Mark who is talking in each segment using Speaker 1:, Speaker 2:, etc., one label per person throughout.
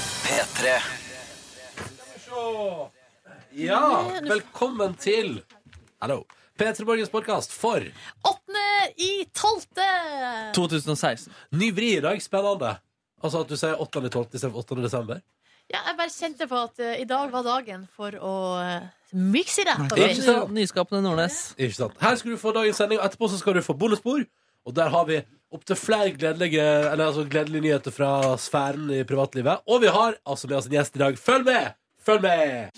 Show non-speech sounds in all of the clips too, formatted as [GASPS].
Speaker 1: P3.
Speaker 2: Ja, velkommen til Hallo. P3 Borgens podkast for
Speaker 3: 8. i 12.
Speaker 4: 2016.
Speaker 2: ny vri i dag. Spennende. Altså at du sier 8. eller 12. istedenfor 8. desember.
Speaker 3: Ja, jeg bare kjente på at eh, i dag var dagen for å uh, mikse det.
Speaker 2: det er ikke sant.
Speaker 4: Nyskapende Nordnes.
Speaker 2: Ikke sant? Her skal du få dagens sending, og etterpå så skal du få bonusspor. Og der har vi opptil flere gledelige, eller altså gledelige nyheter fra sfæren i privatlivet. Og vi har altså med oss en gjest i dag. Følg med! Følg med!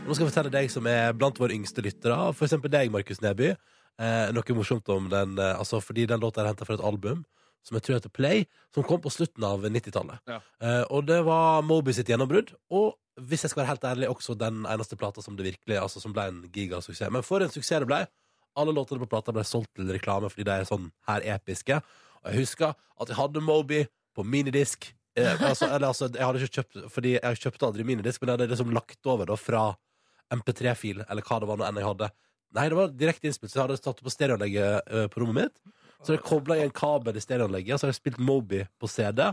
Speaker 2: Nå skal jeg fortelle deg som er blant våre yngste lyttere, og for eksempel deg, Markus Neby, eh, noe morsomt om den, eh, altså fordi den låta er hentet fra et album som jeg tror heter Play, som kom på slutten av 90-tallet.
Speaker 4: Ja.
Speaker 2: Eh, og det var Moby sitt gjennombrudd, og hvis jeg skal være helt ærlig, også den eneste plata som det virkelig, altså som ble en gigasuksess. Men for en suksess det ble. Alle låtene på plata ble solgt til reklame fordi de er sånn her episke. Og jeg husker at jeg hadde Moby på minidisk. Eh, altså, eller altså, jeg hadde ikke kjøpt Fordi jeg kjøpte aldri minidisk, men jeg hadde liksom lagt over da fra MP3-fil, eller hva det var nå enn jeg hadde. Nei, det var direkte innspilt, så jeg hadde tatt det på stereoanlegget eh, på rommet mitt. Så jeg kobla i en kabel i stereoanlegget, og så har jeg spilt Moby på CD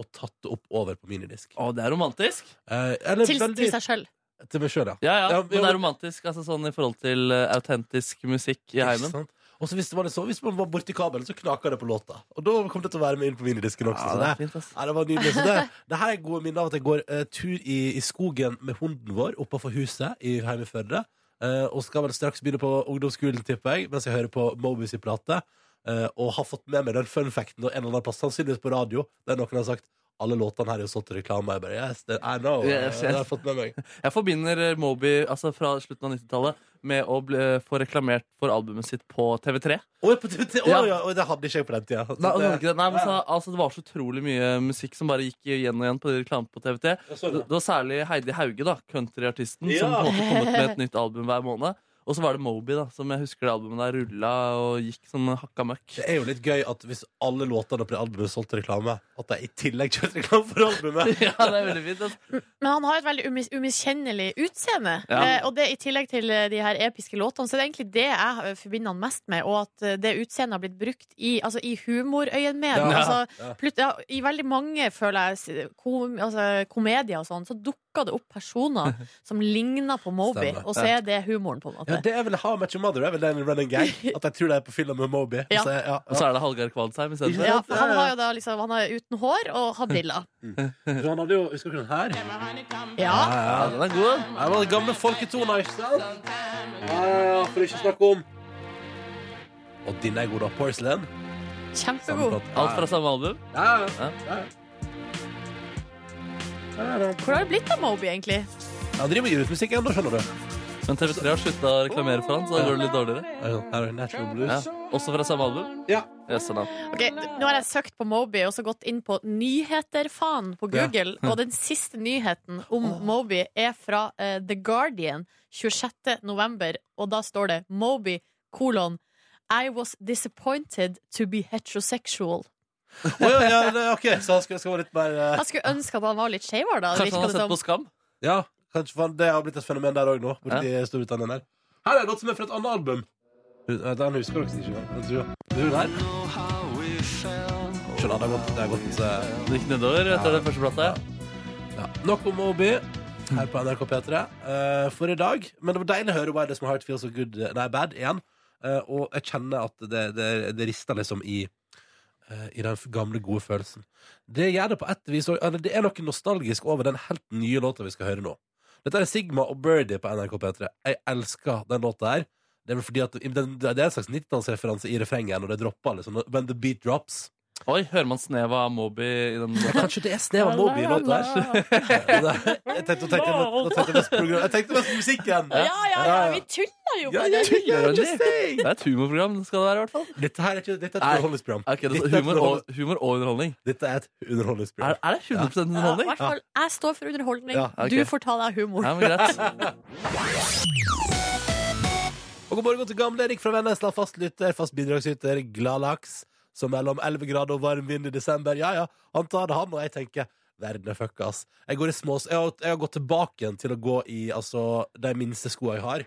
Speaker 2: og tatt det opp over på minidisk.
Speaker 4: Å, det er romantisk.
Speaker 2: Eh, eller
Speaker 3: Til,
Speaker 2: veldig-
Speaker 3: til seg sjøl.
Speaker 2: til meg sjøl, ja.
Speaker 4: Ja, ja,
Speaker 2: Ja,
Speaker 4: men
Speaker 2: jo.
Speaker 4: det er romantisk altså sånn i forhold til eh, autentisk musikk i heimen.
Speaker 2: Ikke sant? Og så hvis, det var litt så, hvis man var borti kabelen, så knaka det på låta. Og da kom det til å være med inn på minidisken også.
Speaker 4: Ja,
Speaker 2: så
Speaker 4: det
Speaker 2: det,
Speaker 4: er fint, ass.
Speaker 2: ja, det var nydelig. Så det, det her er gode minner av at jeg går eh, tur i, i skogen med hunden vår oppafor huset i hjemme i Førde. Eh, og skal vel straks begynne på ungdomsskolen, tipper jeg, mens jeg hører på Mobys i plate. eh, og har fått med meg den fun facten og en eller annen plass, sannsynligvis på radio, der noen har sagt alle låtene her er jo solgt til reklame. Jeg bare, yes, I know. eh,
Speaker 4: Yes, yes.
Speaker 2: Det har jeg fått med meg.
Speaker 4: Jeg forbinder eh, Moby altså fra slutten av 90-tallet med å bli, eh, få reklamert for albumet sitt på TV3.
Speaker 2: Og, på, [LAUGHS] TVT,
Speaker 4: Ja.
Speaker 2: å, ja, og det hadde ikke jeg på den tida. Så
Speaker 4: Nei,
Speaker 2: det-
Speaker 4: det, nei, men så, altså, det var så utrolig mye musikk som bare gikk igjen og igjen på reklame på TVT.
Speaker 2: Jeg så
Speaker 4: Det,
Speaker 2: det.
Speaker 4: det var særlig Heidi Hauge, da, countryartisten, som
Speaker 2: Ja.
Speaker 4: på en måte kom ut med et nytt album hver måned. Og så var det Moby, da, som jeg husker det albumet der rulla og gikk som hakka møkk.
Speaker 2: Det er jo litt gøy at hvis alle låtene på det albumet solgte reklame, at de i tillegg kjørte reklame for albumet.
Speaker 4: Ja, det er veldig fint. altså. ass.
Speaker 3: Men han har et veldig umis umiskjennelig utseende.
Speaker 4: Ja.
Speaker 3: Eh, og det i tillegg til eh, de her episke låtene, så er det egentlig det jeg eh, forbinder han mest med. Og at eh, det utseendet har blitt brukt i, altså, i humorøyemed.
Speaker 2: Ja.
Speaker 3: Altså,
Speaker 2: Ja.
Speaker 3: plut- ja, I veldig mange, føler jeg, s- kom altså, komedier og sånn, så dukker det opp
Speaker 2: [LAUGHS]
Speaker 3: personer som ligner på Moby.
Speaker 2: Stemmer.
Speaker 3: Og så er det humoren, på en
Speaker 2: Ja,
Speaker 3: måte.
Speaker 2: det er vel How I Met Your Mother. Det er vel den running gag. At jeg tror de er på fylla med Moby.
Speaker 3: Ja.
Speaker 2: Så jeg- ja,
Speaker 4: Og så er det Hallgeir Kvalsheim istedenfor.
Speaker 3: Ja, for han har jo da liksom, han er uten hår og har briller.
Speaker 2: ja. Han hadde jo Husker du den her? Ja,
Speaker 3: Ja.
Speaker 4: Ja, den er god.
Speaker 2: Det var gamle folketoner, ikke sant? Ja, ja, ja, for ikke å snakke om Og din er god, da. Porcelain.
Speaker 3: Kjempegod.
Speaker 4: Alt fra samme album.
Speaker 2: Ja, ja.
Speaker 4: Ja.
Speaker 2: ja. Ja, ja.
Speaker 3: Hvor har det blitt av Moby, egentlig?
Speaker 2: Han driver med julemusikk ennå, skjønner du.
Speaker 4: Men TV3 har slutta å reklamere for han, så da går det litt dårligere.
Speaker 2: sånn? Her er Natural
Speaker 4: Ja.
Speaker 2: Blues.
Speaker 4: Også fra samme album.
Speaker 2: Ja.
Speaker 4: Yes, da.
Speaker 3: Ok, Nå har jeg søkt på Moby og så gått inn på nyheter-faen på Google. Og den siste nyheten om Moby er fra eh, The Guardian 26. november. Og da står det Moby kolon I was disappointed to be heterosexual.
Speaker 2: Å, ja, ja, det- OK, så han skal, skal være litt mer eh,
Speaker 3: Jeg skulle ønske at han var litt skeivere, da.
Speaker 4: Kanskje han
Speaker 3: virker
Speaker 4: har
Speaker 3: det
Speaker 4: sett
Speaker 3: som.
Speaker 4: på Skam?
Speaker 2: Ja, kanskje for det har blitt et fenomen der òg nå. Borti Storbritannia der. Her er en låt som er fra et annet album. Nei, Den husker dere ikke. Den tror jeg. Det er hun her. Skjønner, det er godt. Det er godt eh,
Speaker 4: Det gikk nedover etter den første plata. ja.
Speaker 2: ja. Nok om Moby her på NRK P3 eh, for i dag. Men det var deilig å høre Why Does My Heart Feel So Good Nei, Bad igjen. Eh, og jeg kjenner at det, det, det rister liksom i eh, i den gamle, gode følelsen. Det gjør det på et vis også- eller Det er noe nostalgisk over den helt nye låta vi skal høre nå. Dette er Sigma og Birdie på NRK P3. Jeg elsker den låta her. Det er vel fordi at den, Det er en slags 90-tallsreferanse i refrenget når det dropper. liksom When the beat drops.
Speaker 4: Oi, hører man snevet av Moby i den
Speaker 2: Ja, kanskje det er snev av Moby i låta
Speaker 3: [LAUGHS]
Speaker 2: [LAUGHS] her. Jeg tenkte, tenkte, nå tenkte jeg mest program- jeg tenkte mest på musikken.
Speaker 3: Ja, ja, ja, vi tuller jo
Speaker 2: Ja,
Speaker 3: på
Speaker 2: ja,
Speaker 3: det.
Speaker 2: ja, ja,
Speaker 4: Tuller du,
Speaker 2: just saying.
Speaker 4: Det er et humorprogram det skal det være, i hvert fall.
Speaker 2: Dette her er ikke Dette er et
Speaker 4: Nei.
Speaker 2: underholdningsprogram.
Speaker 4: Ok, det er
Speaker 2: Dette er et
Speaker 4: humor,
Speaker 2: underholdnings-
Speaker 4: og, humor og underholdning.
Speaker 2: Dette er et
Speaker 4: Er,
Speaker 2: underholdningsprogram.
Speaker 4: er det 100
Speaker 3: Ja, i
Speaker 4: underholdning?
Speaker 3: hvert fall, jeg står for underholdning.
Speaker 2: Ja,
Speaker 4: ok.
Speaker 3: Du får ta deg av humor.
Speaker 4: Ja, men greit.
Speaker 2: Og god morgen til gamle Erik fra Vennesla, fast lytter, fast bidragsyter, gladlaks, som mellom 11 grader og varm vind i desember. Ja, ja, han tar det, han, og jeg tenker verden er fucka, ass. Jeg, går i små, jeg, har, jeg har gått tilbake igjen til å gå i altså, de minste skoene jeg har.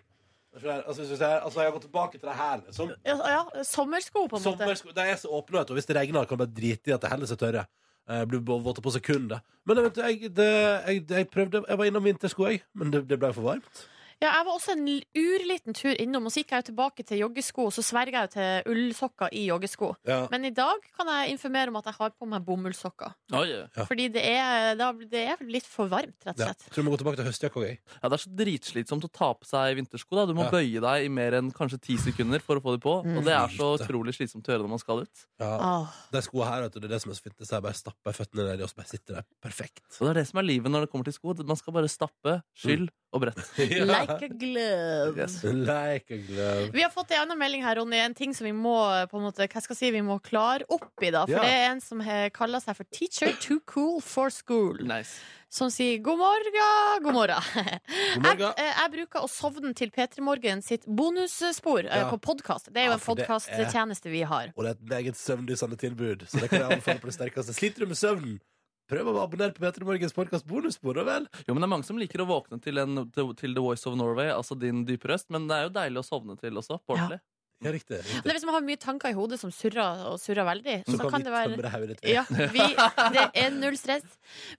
Speaker 2: Altså, hvis du ser, altså, jeg har gått tilbake til det her, liksom.
Speaker 3: Ja, ja, sommersko, på en måte.
Speaker 2: Sommersko, de er så åpne, vet du. og Hvis det regner, kan du bare drite i at det heller seg tørre. Eh, Blir våte på sekundet. Men jeg, vet, du, jeg, det, jeg, jeg prøvde Jeg var innom vintersko, jeg, men det, det ble for varmt.
Speaker 3: Ja, jeg var også en l- urliten tur innom, og så gikk jeg jo tilbake til joggesko, og så sverger jeg jo til ullsokker i joggesko.
Speaker 2: Ja.
Speaker 3: Men i dag kan jeg informere om at jeg har på meg bomullsokker.
Speaker 4: Oi. Ja,
Speaker 2: Ja.
Speaker 3: Fordi det er, det har- det er litt for varmt, rett og
Speaker 2: Ja.
Speaker 3: slett.
Speaker 2: Tror du må gå tilbake til høstjakka òg, jeg.
Speaker 4: det er så dritslitsomt å ta på seg vintersko. Da. Du må
Speaker 2: Ja.
Speaker 4: bøye deg i mer enn kanskje ti sekunder for å få dem på.
Speaker 3: Mm.
Speaker 4: Og det er så
Speaker 2: Lite.
Speaker 4: utrolig slitsomt å gjøre når man skal ut.
Speaker 2: Ja.
Speaker 3: Ah.
Speaker 2: De skoene her, vet du, det er det som er så fint. Det er så jeg bare stapper føttene nedi, og så bare sitter de perfekt.
Speaker 4: Og det er det som er livet når det kommer til sko. Man skal bare stappe, skyll og brett.
Speaker 2: Ja.
Speaker 3: [LAUGHS] Like a glove.
Speaker 4: Yes.
Speaker 2: Like a glove.
Speaker 3: Vi har fått en annen melding her, Ronny. En ting som vi må eh, på en måte, hva skal jeg si, vi må klare opp i. da For
Speaker 2: Ja.
Speaker 3: det er en som he, kaller seg for Teacher Too Cool for School.
Speaker 4: Nice.
Speaker 3: Som sier god morgen, god morgen. [LAUGHS]
Speaker 2: God
Speaker 3: Jeg,
Speaker 2: morgen.
Speaker 3: eh, jeg bruker å sovne til P3 Morgen sitt bonusspor eh,
Speaker 2: Ja.
Speaker 3: på podkast. Det er jo
Speaker 2: Ja,
Speaker 3: en
Speaker 2: for det er-
Speaker 3: podkasttjeneste vi har.
Speaker 2: Og det er et meget søvndyssende tilbud, så det kan jeg anbefale på det sterkeste. Sliter du med søvnen? Prøv å abonnere på Petter Morgens podkast bonusspor, da vel.
Speaker 4: Jo, men Det er mange som liker å våkne til, en, til, til The Voice of Norway, altså din dype røst, men det er jo deilig å sovne til også. på
Speaker 3: Ja.
Speaker 4: ordentlig.
Speaker 2: Ja, riktig.
Speaker 3: Det
Speaker 2: riktig.
Speaker 3: er Hvis man har mye tanker i hodet som surrer og surrer veldig, så, kan, det være
Speaker 2: tømre hodet ditt. [LAUGHS]
Speaker 3: Ja, vi, det er null stress.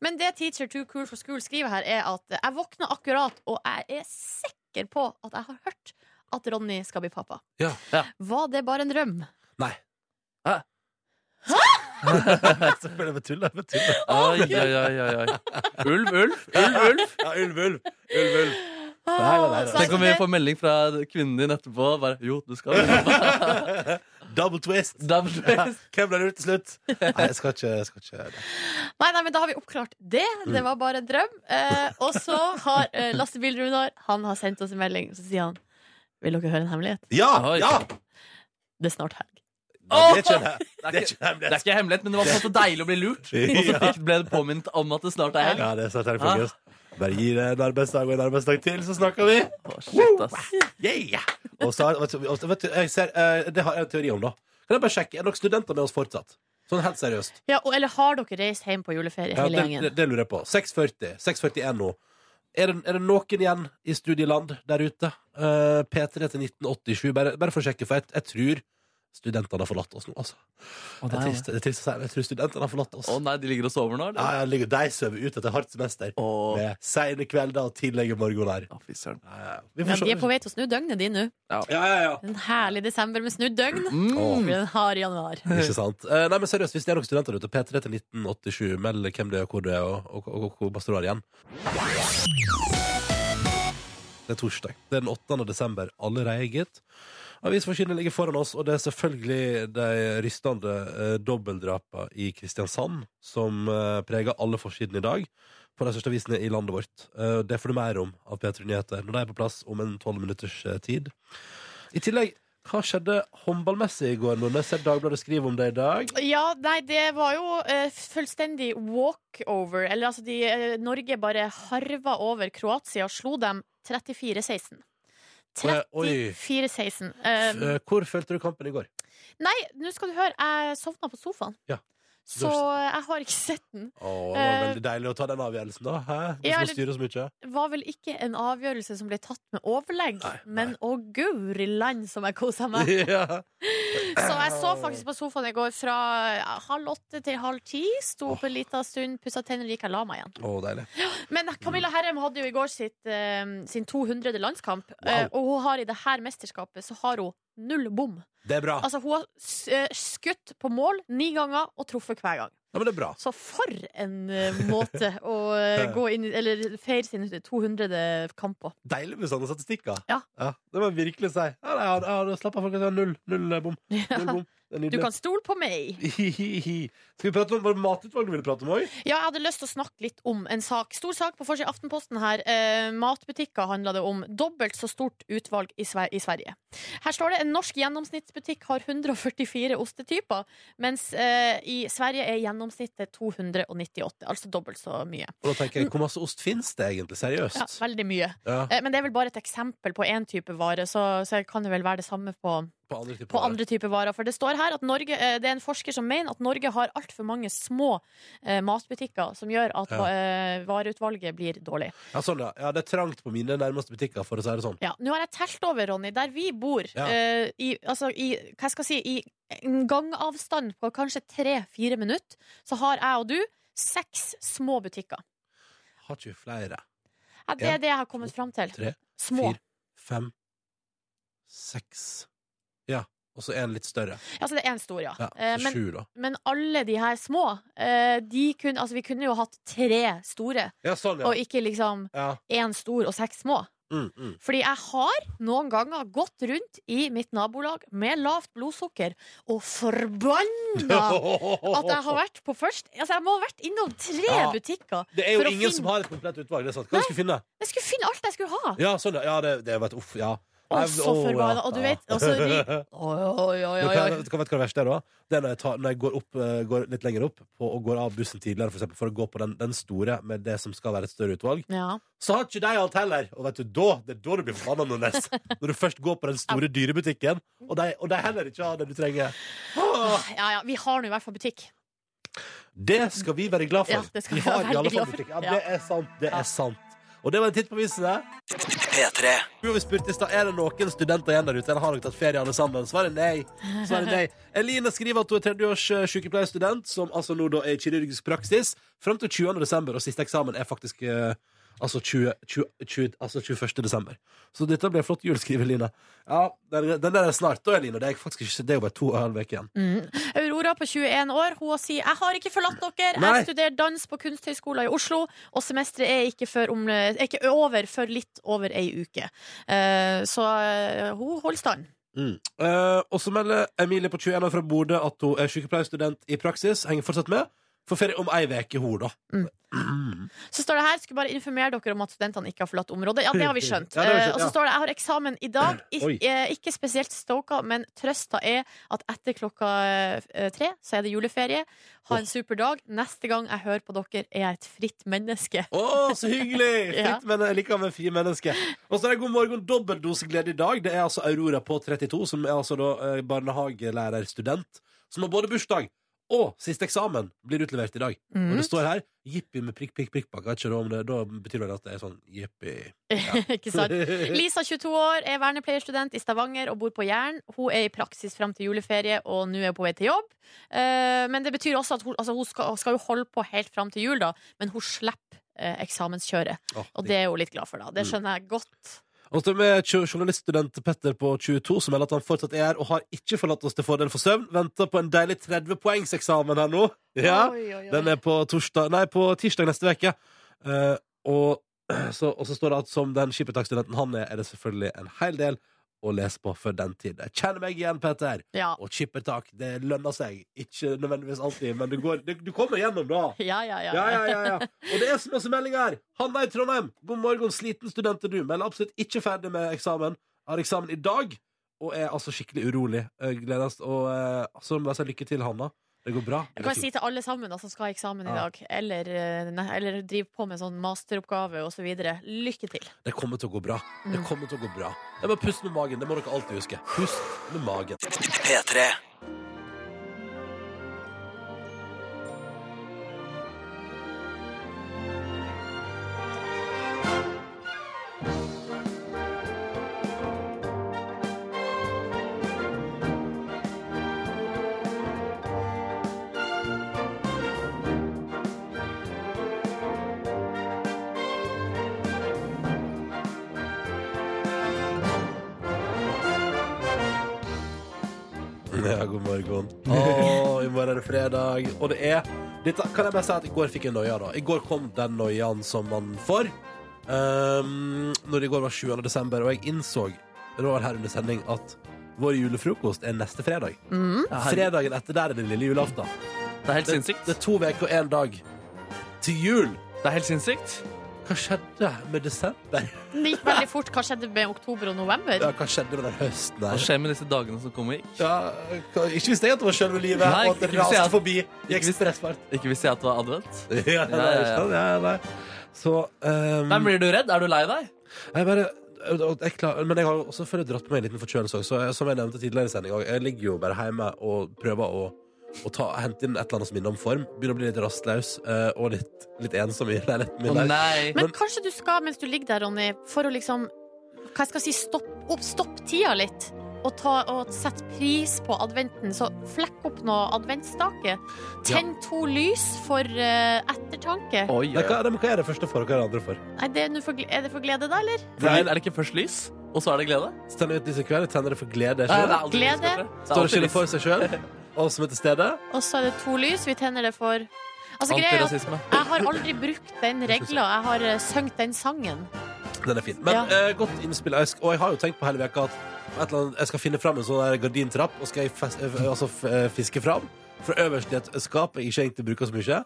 Speaker 3: Men det Teacher Too Cool for School skriver her, er at jeg våkna akkurat, og jeg er sikker på at jeg har hørt at Ronny skal bli pappa.
Speaker 2: Ja.
Speaker 4: Ja.
Speaker 3: Var det bare en drøm?
Speaker 2: Nei.
Speaker 4: Hæ?
Speaker 2: Selvfølgelig, jeg bare tuller. jeg bare tuller.
Speaker 4: Oi, oi, oi, oi, oi. Ulv, ulv, ulv, ulv!
Speaker 2: Ja, ulv, ulv. Ulv, ulv. nei, nei, nei.
Speaker 3: Så
Speaker 4: Tenk om vi
Speaker 3: det-
Speaker 4: får melding fra kvinnen din etterpå. Bare, jo, du skal
Speaker 2: [LAUGHS]
Speaker 4: bli pappa.
Speaker 2: Double twist.
Speaker 4: Double twist.
Speaker 2: Hvem ble det ut til slutt? Nei, jeg skal ikke, jeg skal ikke.
Speaker 3: Nei, nei, men da har vi oppklart det.
Speaker 2: Mm.
Speaker 3: Det var bare en drøm. Eh, og så har eh, Lastebil-Runar Han har sendt oss en melding, så sier han Vil dere høre en hemmelighet?
Speaker 2: Ja!
Speaker 4: Oi.
Speaker 2: ja!
Speaker 3: Det er snart helg.
Speaker 2: Nei, det er ikke en he-
Speaker 4: Det
Speaker 2: det
Speaker 4: er
Speaker 2: er
Speaker 4: ikke, det
Speaker 2: ikke en
Speaker 4: er
Speaker 2: hemmelighet.
Speaker 4: ikke hemmelighet, men det var på en måte deilig å bli lurt. Og så fikk, ble det påminnet om at det snart er helg.
Speaker 2: Ja, det er snart helg, folkens. Bare gi det en arbeidsdag og en arbeidsdag til, så snakker vi.
Speaker 4: Å, shit, ass.
Speaker 2: Yeah! Og så, har- vet du, og så- vet du, jeg ser, eh, det har jeg en teori om, da. Kan jeg bare sjekke, Er det nok studenter med oss fortsatt? Sånn helt seriøst.
Speaker 3: Ja, og, eller har dere reist hjem på juleferie,
Speaker 2: Ja,
Speaker 3: hele
Speaker 2: det,
Speaker 3: gjengen?
Speaker 2: det, det lurer jeg på. 6.40. 6.41 nå. Er det, er det noen igjen i studieland der ute? Eh, P3 til 1987. Bare, bare for å sjekke, for jeg, jeg tror studentene har forlatt oss nå. Altså.
Speaker 4: Å,
Speaker 2: Det er
Speaker 4: nei,
Speaker 2: trist, det er trist å si, men jeg tror studentene har forlatt oss.
Speaker 4: Å nei, de ligger og sover nå,
Speaker 2: Ja,
Speaker 4: eller?
Speaker 2: jeg ligger, De sover ut etter hardt semester.
Speaker 4: Å,
Speaker 2: Med seine kvelder og tidlige morgener.
Speaker 4: å, fy søren.
Speaker 2: Ja, ja. Vi får
Speaker 3: Ja,
Speaker 2: se.
Speaker 3: de er på vei til å snu døgnet, de nå.
Speaker 2: Ja, ja, ja.
Speaker 3: En herlig desember med snudd døgn. Det
Speaker 4: Mm.
Speaker 3: blir en hard januar.
Speaker 2: [LAUGHS] Ikke sant? Eh, nei, men seriøst, Hvis det er noen studenter ute, P3 til 1987, meld hvem det er, hvor du er, og, og, og, og hvor badstue du har igjen. Det er torsdag. Det er den 8. desember allerede, gitt. Avisforsynet ligger foran oss, og det er selvfølgelig de rystende eh, dobbeltdrapene i Kristiansand som eh, preger alle forsidene i dag på de største avisene i landet vårt. Eh, det får du mer om av P3 Nyheter når de er på plass om en tolv minutters eh, tid. I tillegg, hva skjedde håndballmessig i går? Nordnes? Jeg ser Dagbladet skrive om det i dag.
Speaker 3: Ja, nei, det var jo eh, fullstendig walkover. Eller altså, de, eh, Norge bare harva over Kroatia og slo dem 34-16.
Speaker 2: Oi.
Speaker 3: 34-16. Eh,
Speaker 2: Eh, Hvor følte du kampen i går?
Speaker 3: nei, nå skal du høre, jeg sovna på sofaen.
Speaker 2: Ja.
Speaker 3: Så eh, jeg har ikke sett den.
Speaker 2: Å, det var
Speaker 3: Eh,
Speaker 2: veldig deilig å ta den avgjørelsen, da. Hæ? Du
Speaker 3: Ja,
Speaker 2: som
Speaker 3: eller-
Speaker 2: styrer så mye.
Speaker 3: Var vel ikke en avgjørelse som ble tatt med overlegg,
Speaker 2: Nei, nei.
Speaker 3: men å guri land som jeg kosa
Speaker 2: [LAUGHS]
Speaker 3: meg.
Speaker 2: [LAUGHS] ja.
Speaker 3: Så jeg så faktisk på sofaen i går fra ja, halv åtte til halv ti. Sto opp en liten stund, pussa tenner og gikk og la meg igjen.
Speaker 2: Å, deilig.
Speaker 3: Men eh, Camilla Herrem hadde jo i går sitt, eh, sin 200. landskamp,
Speaker 2: Wow.
Speaker 3: eh, og hun har i det her mesterskapet så har hun null bom.
Speaker 2: Det er bra.
Speaker 3: Altså Hun har s- eh, skutt på mål ni ganger og truffet hver gang.
Speaker 2: Ja, men det er bra.
Speaker 3: Så for en eh, måte å eh, gå inn i, eller feire sin 200. kamp på.
Speaker 2: Deilig med sånne statistikker.
Speaker 3: Ja.
Speaker 2: det må jeg virkelig si. Ja, nei, ja, ja, da slapper folk av. Null, null eh, bom. Null bom. Det er
Speaker 3: Du
Speaker 2: nydelig.
Speaker 3: kan stole på meg!
Speaker 2: Skal vi prate om hva matutvalget ville prate om òg?
Speaker 3: Ja, jeg hadde lyst til å snakke litt om en sak. Stor sak på forsiden av Aftenposten her. Eh, matbutikker handla det om. Dobbelt så stort utvalg i, Sver i Sverige. Her står det en norsk gjennomsnittsbutikk har 144 ostetyper, mens eh, i Sverige er gjennomsnittet 298. Altså dobbelt så mye.
Speaker 2: Og da tenker jeg, hvor masse ost finnes det egentlig?
Speaker 3: Ja,
Speaker 2: Seriøst?
Speaker 3: veldig mye.
Speaker 2: Ja.
Speaker 3: Eh, men det er vel bare et eksempel på én type vare, så, så kan det vel være det samme på
Speaker 2: På andre typer
Speaker 3: på
Speaker 2: varer.
Speaker 3: andre typer varer. For det står her at Norge, eh, det er en forsker som mener at Norge har altfor mange små eh, matbutikker som gjør at
Speaker 2: Ja.
Speaker 3: va- eh, vareutvalget blir dårlig.
Speaker 2: Ja, sånn, ja. ja, det er trangt på mine nærmeste butikker, for å si det sånn.
Speaker 3: Ja, Nå har jeg telt over, Ronny, der vi bor,
Speaker 2: Ja.
Speaker 3: eh, i, altså, i, hva skal jeg si, i en gangavstand på kanskje tre-fire minutter, så har jeg og du seks små butikker.
Speaker 2: Har ikke vi flere?
Speaker 3: Ja, det
Speaker 2: En,
Speaker 3: er det jeg har kommet fram til.
Speaker 2: Tre,
Speaker 3: Små.
Speaker 2: fire, fem, seks Ja. Og så en litt større.
Speaker 3: Altså, det er én stor, ja.
Speaker 2: Ja,
Speaker 3: Eh,
Speaker 2: så
Speaker 3: men,
Speaker 2: sju, da.
Speaker 3: men alle de her små, eh, de kunne, altså, vi kunne jo hatt tre store,
Speaker 2: Ja, sånn, ja.
Speaker 3: og ikke liksom
Speaker 2: ja.
Speaker 3: én stor og seks små.
Speaker 2: Mm, mm.
Speaker 3: Fordi jeg har noen ganger gått rundt i mitt nabolag med lavt blodsukker og
Speaker 2: [LAUGHS]
Speaker 3: forbanna at jeg har vært på først Altså, jeg må ha vært innom tre
Speaker 2: Ja.
Speaker 3: butikker.
Speaker 2: Det er jo
Speaker 3: for å
Speaker 2: ingen
Speaker 3: finne-
Speaker 2: som har et komplett utvalg. Det er sant. Hva skal vi finne?
Speaker 3: Jeg skulle finne alt jeg skulle ha!
Speaker 2: Ja, sånn, ja. ja det, det vet, uff, ja.
Speaker 3: Og
Speaker 2: Nei,
Speaker 3: så
Speaker 2: å, ja.
Speaker 3: forbanna. Og du vet, og så ri-
Speaker 2: [LAUGHS]
Speaker 3: Oi, oi, oi,
Speaker 2: Men
Speaker 3: oi,
Speaker 2: hva-
Speaker 3: oi.
Speaker 2: Vet du hva vet du hva det verste er da? Det er når jeg, tar, når jeg går, opp, eh, går litt lenger opp på, og går av bussen tidligere, for, eksempel, for å gå på den, den store med det som skal være et større utvalg,
Speaker 3: Ja.
Speaker 2: så har ikke de alt heller. Og vet du, da, det er da du blir forbanna, Nordnes. Når du først går på den store dyrebutikken, og de, og de heller ikke har det du trenger. Åh,
Speaker 3: ja, ja. Vi har nå i hvert fall butikk.
Speaker 2: Det skal vi være glad for.
Speaker 3: Ja, det skal vi
Speaker 2: har
Speaker 3: være
Speaker 2: i alle
Speaker 3: veldig
Speaker 2: fall
Speaker 3: glad for.
Speaker 2: butikk. Ja,
Speaker 3: Ja.
Speaker 2: det er sant. Det
Speaker 3: Ja.
Speaker 2: er sant. Og det var en titt på visene. Jo, vi spurte i stad er det noen studenter igjen der ute. Eller har dere tatt ferie, alle sammen? Svaret er nei.
Speaker 3: [LAUGHS]
Speaker 2: Svaret er nei. Eline skriver at hun er tredjeårs eh, sykepleierstudent, som altså nå da er i kirurgisk praksis, fram til 20. desember, og siste eksamen er faktisk eh, altså, 20, 20, 20, altså 21. desember. Så dette blir en flott jul, skriver Eline. Ja, den, den der er snart da, Eline. Det er, faktisk ikke, det er jo bare to og en halv uke igjen.
Speaker 3: Mm. Aurora på 21 år hun sier jeg har ikke forlatt dere.
Speaker 2: Nei.
Speaker 3: Jeg studerer dans på Kunsthøgskolen i Oslo, og semesteret er ikke, før om, eh, er ikke over før litt over ei uke. Eh, så eh, hun holder stand.
Speaker 2: Eh, og så melder Emilie på 21 år fra Bodø at hun er sykepleierstudent i praksis. Henger fortsatt med. For ferie om ei uke, hun, da.
Speaker 3: Så står det her skulle bare informere dere om at studentene ikke har forlatt området. Ja, det har vi skjønt.
Speaker 2: Ja, det har vi skjønt,
Speaker 3: Eh, og så
Speaker 2: ja.
Speaker 3: står det jeg har eksamen i dag.
Speaker 2: [CLEARS THROAT]
Speaker 3: Ik
Speaker 2: Oi.
Speaker 3: eh, ikke spesielt stoka, men trøsta er at etter klokka eh, tre så er det juleferie. Ha en super dag. Neste gang jeg hører på dere, er jeg et fritt menneske.
Speaker 2: Å,
Speaker 3: [LAUGHS]
Speaker 2: så hyggelig!
Speaker 3: Ja.
Speaker 2: Fritt, men jeg liker med frie mennesker. Og så er det god morgen, dobbeltdoseglede i dag. Det er altså Aurora på 32, som er altså da eh, barnehagelærerstudent, som har både bursdag og siste eksamen blir utlevert i dag. Og
Speaker 3: Mm.
Speaker 2: det står her jippi med prikk, prikk, prikk bak. Jeg vet ikke om det, da betyr det at det er sånn jippi.
Speaker 3: Mm, [LAUGHS] ikke sant?
Speaker 2: [LAUGHS]
Speaker 3: Lisa, 22 år, er vernepleierstudent i Stavanger og bor på Jæren. Hun er i praksis fram til juleferie, og nå er hun på vei til jobb. Eh, men det betyr også at hun, altså, hun skal, skal jo holde på helt fram til jul, da, men hun slipper eh, eksamenskjøret.
Speaker 2: Å,
Speaker 3: Og det er hun litt glad for, da. Det skjønner jeg godt.
Speaker 2: Og så er vi med journaliststudent Petter på 22 som melder at han fortsatt er her og har ikke forlatt oss til fordel for søvn. Venter på en deilig 30 poengseksamen her nå. Ja,
Speaker 3: Oi, oi, oi.
Speaker 2: Den er på, torsdag, nei, på tirsdag neste uke. Eh, og, [CLEARS THROAT] så, og så står det at som den skippertakstudenten han er, er det selvfølgelig en hel del å lese på før den tid. Jeg kjenner meg igjen, Petter.
Speaker 3: Ja.
Speaker 2: Og skippertak, det lønner seg. Ikke nødvendigvis alltid, men du, går, du, du kommer gjennom da.
Speaker 3: Ja, ja, ja.
Speaker 2: Ja, ja, ja, ja. Og det er så masse meldinger! Hanna i Trondheim, god morgen, sliten student er du, men absolutt ikke ferdig med eksamen. Har eksamen i dag, og er altså skikkelig urolig. Jeg Gleder oss. Og eh, så må jeg si lykke til, Hanna. Det går bra.
Speaker 3: Jeg kan si til alle sammen da, som skal ha eksamen i
Speaker 2: Ja.
Speaker 3: dag, eller, eh, ne- eller driver på med sånn masteroppgave osv., lykke til.
Speaker 2: Det kommer til å gå bra. Det
Speaker 3: Mm.
Speaker 2: kommer til å gå bra. Jeg må puste med magen. Det må dere alltid huske. Pust med magen. Ja, god [LAUGHS] morgen. Å, I morgen er det fredag. Og det er dette, Kan jeg bare si at i går fikk jeg noia, da. I går kom den noiaen som man får. Um, når det i går var 7. desember, og jeg innså det var her under sending at vår julefrokost er neste fredag.
Speaker 3: Mm.
Speaker 4: Ja, herregud,
Speaker 2: Fredagen etter der er det lille julaften.
Speaker 4: det er helt
Speaker 2: Det,
Speaker 4: sinnssykt.
Speaker 2: det er to uker og én dag til jul.
Speaker 4: Det er helt sinnssykt.
Speaker 2: Hva skjedde med desember? [LAUGHS]
Speaker 3: Det gikk veldig fort. Hva skjedde med oktober og november?
Speaker 2: Ja, hva skjedde med den høsten
Speaker 4: Hva
Speaker 2: der?
Speaker 4: skjer med disse dagene som kommer?
Speaker 2: Ja, hva- ikke visste jeg at det var selve livet,
Speaker 4: Nei,
Speaker 2: og at det
Speaker 4: ikke visste jeg
Speaker 2: raste
Speaker 4: at-
Speaker 2: forbi i
Speaker 4: ikke visste-
Speaker 2: ekspressfart.
Speaker 4: Ikke visste jeg at det var advent.
Speaker 2: Ja, ja,
Speaker 4: ja, ja.
Speaker 2: ja. ja, nei. Så ehm,
Speaker 4: Men blir du redd? Er du lei deg?
Speaker 2: jeg bare og jeg klar, men jeg har jo også selvfølgelig dratt på meg en liten forkjølelse òg, så jeg- som jeg nevnte tidligere i sending også, jeg ligger jo bare hjemme og prøver å, å ta, hente inn et eller annet som minner om form. Begynner å bli litt rastløs eh, og litt, litt ensom i leiligheten
Speaker 4: Å
Speaker 2: min. der.
Speaker 4: nei!
Speaker 3: Men kanskje du skal, mens du ligger der, Ronny, for å liksom Hva jeg skal si, stopp opp stopp tida litt. Og, ta, og sette pris på adventen. Så flekk opp noe adventsstake. Tenn to lys for eh, ettertanke.
Speaker 4: Oi,
Speaker 2: Nei,
Speaker 4: oi, oi.
Speaker 2: hva, men hva er det første for, og hva er det andre for?
Speaker 3: Nei, det er, nå for, er det for glede, da, eller?
Speaker 4: For Er det ikke først lys, og så er det glede?
Speaker 2: Så tenner vi ut lyset i kveld, jeg tenner det for glede.
Speaker 4: Nei, det
Speaker 2: Ikke?
Speaker 4: er
Speaker 2: det?
Speaker 4: aldri
Speaker 3: Glede.
Speaker 4: lys, kanskje. Det er
Speaker 2: Står og
Speaker 4: alltid
Speaker 2: skiller
Speaker 4: lys.
Speaker 2: for seg sjøl, og som er til stede.
Speaker 3: Og så er det to lys. Vi tenner det for Altså, greia er at
Speaker 4: Antirasisme.
Speaker 3: jeg har aldri brukt den regla. Jeg har eh, sunget den sangen.
Speaker 2: Den er fin. Men
Speaker 3: Ja.
Speaker 2: eh, godt innspill. Jeg sk- Og jeg har jo tenkt på hele veka at et eller annet, jeg skal finne fram en sånn der gardintrapp og skal jeg fes, eh, altså, f, eh, fiske fram fra øverst i et skap jeg ikke egentlig bruker så mye.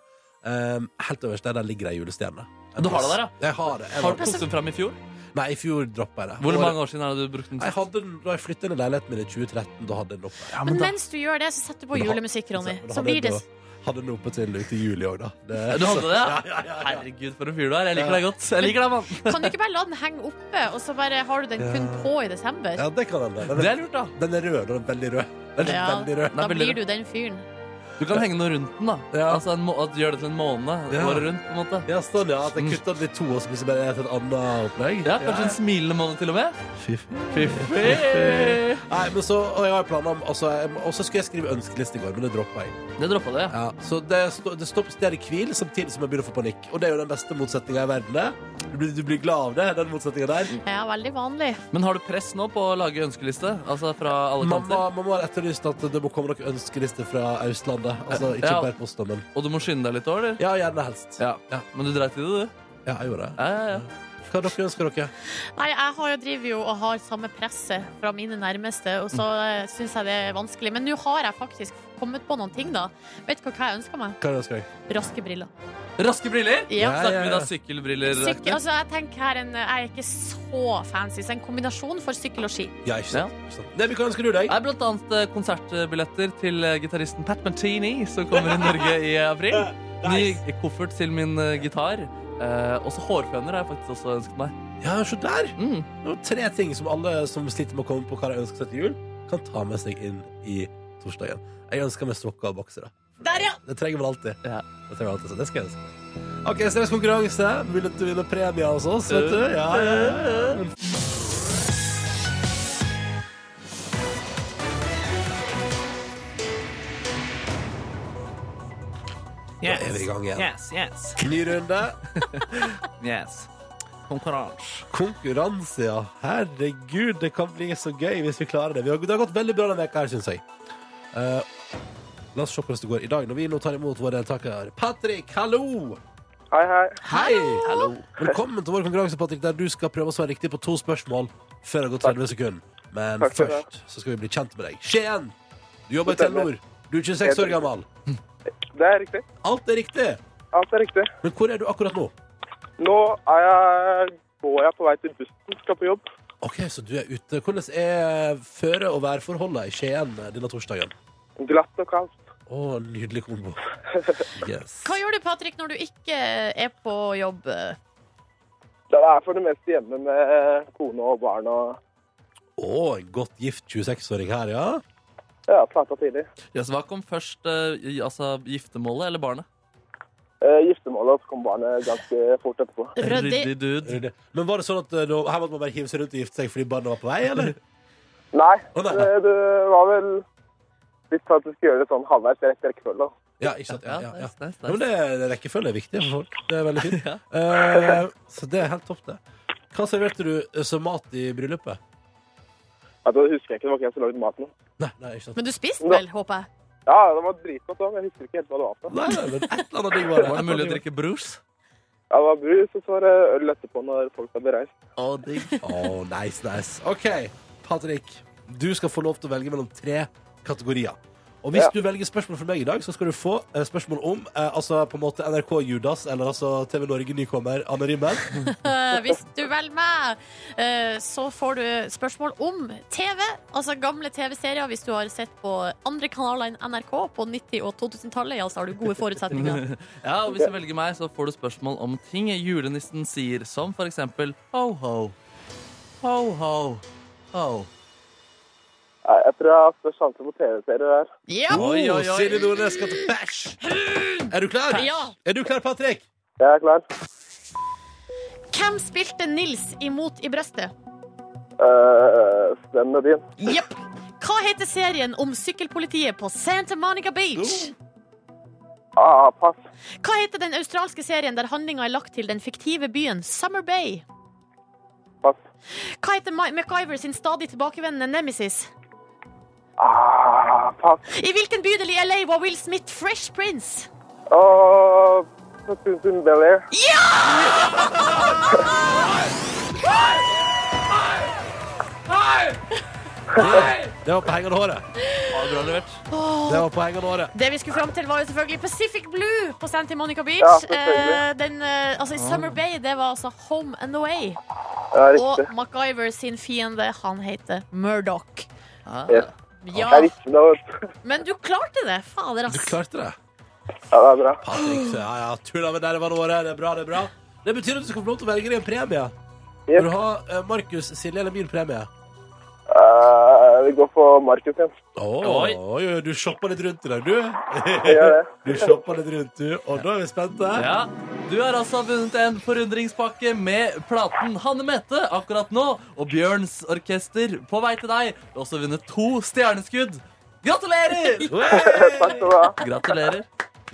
Speaker 2: Ehm, helt øverst der, der ligger ei julestjerne. En
Speaker 4: Du har
Speaker 2: plass.
Speaker 4: det der, ja?
Speaker 2: Jeg har det. Jeg
Speaker 4: Har du
Speaker 2: var-
Speaker 4: kost den fram i fjor?
Speaker 2: Nei, i fjor droppa jeg det.
Speaker 4: Hvor
Speaker 2: Året-
Speaker 4: mange år siden er det du brukte den?
Speaker 2: Jeg hadde den da jeg flytta inn i leiligheten min i 2013. Da hadde jeg den oppe.
Speaker 4: Ja,
Speaker 3: Men
Speaker 4: da-
Speaker 3: mens du gjør det, så setter du på
Speaker 2: Men da-
Speaker 3: julemusikk, Ronny.
Speaker 2: Men da
Speaker 3: Så blir det
Speaker 2: hadde jeg da- Hadde den oppe til ut i juli òg, da. Det-
Speaker 4: Du hadde det, ja?
Speaker 2: Ja, ja, ja, ja.
Speaker 4: Herregud, for en fyr du er. Jeg liker deg godt. Jeg liker deg, mann.
Speaker 3: Kan du ikke bare la den henge oppe, og så bare har du den kun
Speaker 2: [LAUGHS] Ja.
Speaker 3: på i desember?
Speaker 2: Ja, det kan hende. Den,
Speaker 4: Det
Speaker 2: er-
Speaker 4: er lurt, da.
Speaker 2: den er rød. Den er veldig rød. Den er
Speaker 3: Ja.
Speaker 2: veldig rød.
Speaker 4: Nei,
Speaker 3: Da
Speaker 4: veldig
Speaker 3: blir du den fyren.
Speaker 4: Du kan henge noe rundt den, da.
Speaker 2: Ja.
Speaker 4: Altså en må at Gjør det til en måned
Speaker 2: Ja.
Speaker 4: året rundt, på en måte.
Speaker 2: Ja, sånn, ja. At jeg kutta den i to, og så plutselig bare er det et annet opplegg.
Speaker 4: Ja, Kanskje en smilende måned, til og med. Fiffi.
Speaker 2: Nei, men så, og jeg har planer om altså, jeg må- Og så skulle jeg skrive ønskeliste i går, men det droppa jeg.
Speaker 4: Det droppa det, ja.
Speaker 2: Ja, så det, stå, det står på stedet hvil samtidig som jeg begynner å få panikk. Og det er jo den beste motsetninga i verden. det. Du blir, du blir glad av det, den motsetninga der.
Speaker 3: Ja, veldig vanlig.
Speaker 4: Men har du press nå på å lage ønskeliste? Altså fra alle kanter?
Speaker 2: Mamma, mamma har etterlyst at det må komme noen ønskelister fra Østlandet. Altså ikke
Speaker 4: Ja.
Speaker 2: per post, da, men
Speaker 4: Og du må skynde deg litt òg, eller?
Speaker 2: Ja, gjerne helst.
Speaker 4: Ja. Mm. Men du dreit i det, du?
Speaker 2: Ja, jeg gjorde det.
Speaker 4: Ja, ja, ja.
Speaker 2: Hva dere ønsker dere?
Speaker 3: Nei, jeg har jo, driver jo og har samme presset fra mine nærmeste, og så mm. syns jeg det er vanskelig. Men nå har jeg faktisk kommet på noen ting, da. Vet du hva jeg ønsker meg?
Speaker 2: Hva ønsker jeg?
Speaker 3: Raske briller.
Speaker 4: Raske briller?
Speaker 3: Ja.
Speaker 2: Ja,
Speaker 4: Snakker
Speaker 2: ja,
Speaker 4: vi
Speaker 2: ja.
Speaker 4: da sykkelbriller?
Speaker 3: Sykkel, altså, jeg tenker her en, jeg er ikke så fancy, så en kombinasjon for sykkel og ski.
Speaker 2: Ja, ikke sant. Ikke sant. Nei, men hva ønsker du deg?
Speaker 4: er blant annet eh, konsertbilletter til eh, gitaristen Pat Mantini, som kommer i Norge i [LAUGHS] april. Ny koffert til min eh, gitar. Eh, også hårføner har jeg faktisk også ønsket meg.
Speaker 2: Ja, se der!
Speaker 4: Mm.
Speaker 2: Det var tre ting som alle som sliter med å komme på hva de ønsker seg til jul, kan ta med seg inn i torsdagen. Jeg ønsker meg sokker og boksere.
Speaker 3: Der, ja!
Speaker 2: Det trenger man alltid.
Speaker 4: Ja.
Speaker 2: Det, trenger man alltid så det skal jeg ønske. meg. OK, straks konkurranse. Mulighet til å vinne premie hos oss. Vet du. Ja, ja, ja. Da er vi i gang igjen.
Speaker 4: Yes, yes,
Speaker 2: Ny runde.
Speaker 4: yes. Konkurranse.
Speaker 2: Konkurranse, ja. Herregud, det kan bli så gøy hvis vi klarer det. Vi har, det har gått veldig bra denne veka her, syns jeg. Eh, la oss se hvordan det går i dag når vi nå tar imot vår deltaker Patrick. Hallo!
Speaker 1: Hei, hei.
Speaker 2: Hei! Velkommen til vår konkurranse, Patrick, der du skal prøve å svare riktig på to spørsmål før det har gått 30 sekunder. Men
Speaker 1: Takk skal du ha.
Speaker 2: først så skal vi bli kjent med deg. Skien! Du jobber i
Speaker 1: Det stemmer.
Speaker 2: Telenor. Du er 26 år
Speaker 1: Helt
Speaker 2: gammel.
Speaker 1: Det er riktig.
Speaker 2: Alt er riktig.
Speaker 1: Alt er riktig.
Speaker 2: Men hvor er du akkurat nå?
Speaker 1: Nå er jeg, går jeg på vei til bussen, skal på jobb.
Speaker 2: OK, så du er ute. Hvordan er føre- og værforholdene i Skien denne torsdagen?
Speaker 1: Glatt og kaldt.
Speaker 2: Å, nydelig
Speaker 1: [LAUGHS]
Speaker 2: kombo. Yes.
Speaker 3: Hva gjør du, Patrick, når du ikke er på jobb?
Speaker 1: Det er for det meste hjemme med kone og barn og
Speaker 2: Å, en godt gift 26-åring her, ja?
Speaker 1: ja, plata tidlig.
Speaker 4: Yes, hva kom først? eh, i- altså giftermålet eller barnet?
Speaker 1: Eh, giftermålet, og så kom barnet ganske fort etterpå.
Speaker 3: Ryddig.
Speaker 4: Ryddig dude.
Speaker 2: Ryddig. Men var det sånn at eh, da, her måtte man bare hive seg rundt og gifte seg fordi barna var på vei,
Speaker 1: [LAUGHS]
Speaker 2: eller?
Speaker 1: Nei,
Speaker 2: Å, nei.
Speaker 1: det, det var vel litt for at du skulle gjøre det sånn halvveis i rett rekkefølge.
Speaker 2: Ja, ikke sant? Ja, ja, ja.
Speaker 4: Nice, nice,
Speaker 2: Ja, men
Speaker 4: nice.
Speaker 2: det, det rekkefølge er viktig for folk. Det er veldig fint.
Speaker 4: Ja.
Speaker 2: Eh, så det er helt topp, det. Hva serverte du eh, som mat i bryllupet?
Speaker 1: Ja, det husker jeg ikke, det var ikke jeg som lagde maten.
Speaker 2: Nei, nei, ikke sant.
Speaker 3: Men du spiste vel, håper jeg?
Speaker 1: Ja, det var dritgodt òg, men jeg husker ikke helt hva det var for.
Speaker 2: Nei, nei, men et eller annet digg var det.
Speaker 4: Var det mulig å drikke brus?
Speaker 1: Ja, det var brus, og så var det øl etterpå når folk hadde reist.
Speaker 4: Å, digg.
Speaker 2: Å, nice, nice. OK, Patrick. Du skal få lov til å velge mellom tre kategorier. Og hvis
Speaker 1: Ja.
Speaker 2: du velger spørsmål fra meg i dag, så skal du få eh, spørsmål om eh, altså på en måte NRK Judas eller altså TV Norge nykommer Anne Rimmen.
Speaker 3: Eh, Hvis du velger meg, eh, så får du spørsmål om TV. Altså gamle TV-serier. Hvis du har sett på andre kanaler enn NRK på 90- og 2000-tallet, ja, så har du gode forutsetninger.
Speaker 4: [LAUGHS] Ja, og hvis du velger meg, så får du spørsmål om ting julenissen sier, som for eksempel ho-ho. Ho, ho, ho.
Speaker 1: Nei, jeg tror jeg har størst sjanse mot TV-serier her.
Speaker 3: Ja!
Speaker 2: Oi, oi, oi.
Speaker 4: oi.
Speaker 2: Silje Nordnes skal til pers. Er du klar?
Speaker 3: Ja.
Speaker 2: Er du klar, Patrick?
Speaker 1: Jeg er klar.
Speaker 3: Hvem spilte Nils imot i brøstet?
Speaker 1: Uh, Sven Medin.
Speaker 3: Jepp. Hva heter serien om sykkelpolitiet på Santa Monica Beach?
Speaker 1: Ah, pass.
Speaker 3: Hva heter den australske serien der handlinga er lagt til den fiktive byen Summer Bay?
Speaker 1: Pass.
Speaker 3: Hva heter Ma- MacGyver sin stadig tilbakevendende nemesis?
Speaker 1: Ah, pass.
Speaker 3: I hvilken bydel i LA var Will Smith Fresh Prince?
Speaker 1: Og Susan Belair.
Speaker 2: Det var på hengende håret.
Speaker 4: Ja, bra levert.
Speaker 2: Det var på hengende håret.
Speaker 3: Det vi skulle fram til, var jo selvfølgelig Pacific Blue på Santa Monica Beach.
Speaker 1: Ja, selvfølgelig.
Speaker 3: Eh, den, eh, altså, I
Speaker 2: Ah.
Speaker 3: Summer Bay det var altså Home and Away.
Speaker 1: Ja,
Speaker 3: Og
Speaker 1: riktig.
Speaker 3: MacGyver sin fiende, han heter Murdoch.
Speaker 1: Yes. Det er
Speaker 3: Ja,
Speaker 1: riktig. Det var-
Speaker 3: men du klarte det! Fader,
Speaker 2: Du
Speaker 3: ass.
Speaker 2: klarte det.
Speaker 1: ja, det er bra.
Speaker 2: Patrick, så ja, ja, tulla med nervene våre. Det er bra, det er bra. Det betyr at du skal få lov til å velge deg en premie.
Speaker 1: Yes.
Speaker 2: Vil du ha eh, Markus, Silje eller min premie?
Speaker 1: Eh, vi går for Markus igjen.
Speaker 2: Oi,
Speaker 4: Oi.
Speaker 2: oi, oi, du shopper litt rundt i dag, du.
Speaker 1: Jeg gjør det.
Speaker 2: Du shopper litt rundt, du. Og da er vi spente.
Speaker 4: Ja. Du har altså vunnet en forundringspakke med platen Hanne Mette akkurat nå, og Bjørns orkester på vei til deg. Du har også vunnet to stjerneskudd. Gratulerer!
Speaker 1: Takk skal du ha.
Speaker 4: Gratulerer.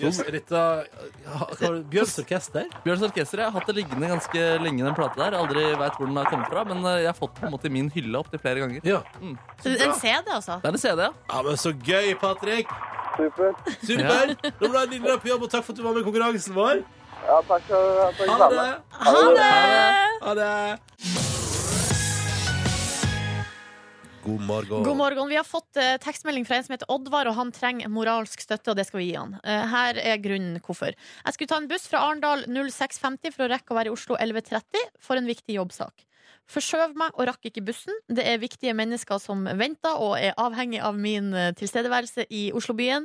Speaker 2: Yes, dette, ja, hva var det? Bjørns orkester?
Speaker 4: Bjørns orkester jeg har hatt det liggende ganske lenge, den plata der. Jeg Aldri vet hvor den har kommet fra, men eh, jeg har fått den på en måte i min hylle opptil flere ganger.
Speaker 2: Ja.
Speaker 3: En CD, altså.
Speaker 4: Det er en CD, ja.
Speaker 2: ja, men så gøy, Patrick.
Speaker 1: Supert.
Speaker 2: Supert. Nå må du ha en lille dag på jobb, og takk for at du var med i konkurransen vår.
Speaker 1: Ja, takk skal du ha. Takk
Speaker 2: Ha
Speaker 1: skal du
Speaker 2: det.
Speaker 1: ha.
Speaker 3: Ha det!
Speaker 2: Ha det. God morgen.
Speaker 3: God morgen. Vi har fått eh, tekstmelding fra en som heter Oddvar, og han trenger moralsk støtte, og det skal vi gi han. Eh, her er grunnen hvorfor. Jeg skulle ta en buss fra Arendal 06.50 for å rekke å være i Oslo 11.30 for en viktig jobbsak. Forskjøv meg og rakk ikke bussen. Det er viktige mennesker som venter og er avhengig av min eh, tilstedeværelse i Oslobyen.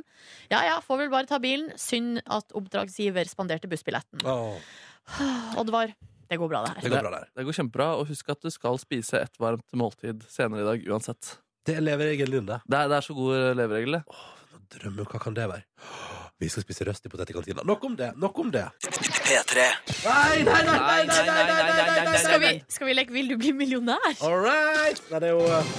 Speaker 3: Ja ja, får vel bare ta bilen. Synd at oppdragsgiver spanderte bussbilletten.
Speaker 2: Åh,
Speaker 3: Oddvar, det går bra, det her.
Speaker 2: det går bra der.
Speaker 4: Det går kjempebra. Og husk at du skal spise et varmt måltid senere i dag uansett.
Speaker 2: Det lever jeg i lunde.
Speaker 4: Det er, det er så god eh, leveregel, det.
Speaker 2: Drømme, hva kan det være? Vi skal spise røstipotet i kantina. Nok om det. nok om det Nei, nei, nei, nei, nei, nei, nei, nei, nei, nei,
Speaker 3: Skal vi, skal vi leke 'Vil du bli millionær'?
Speaker 2: All right! Nei, det er jo eh.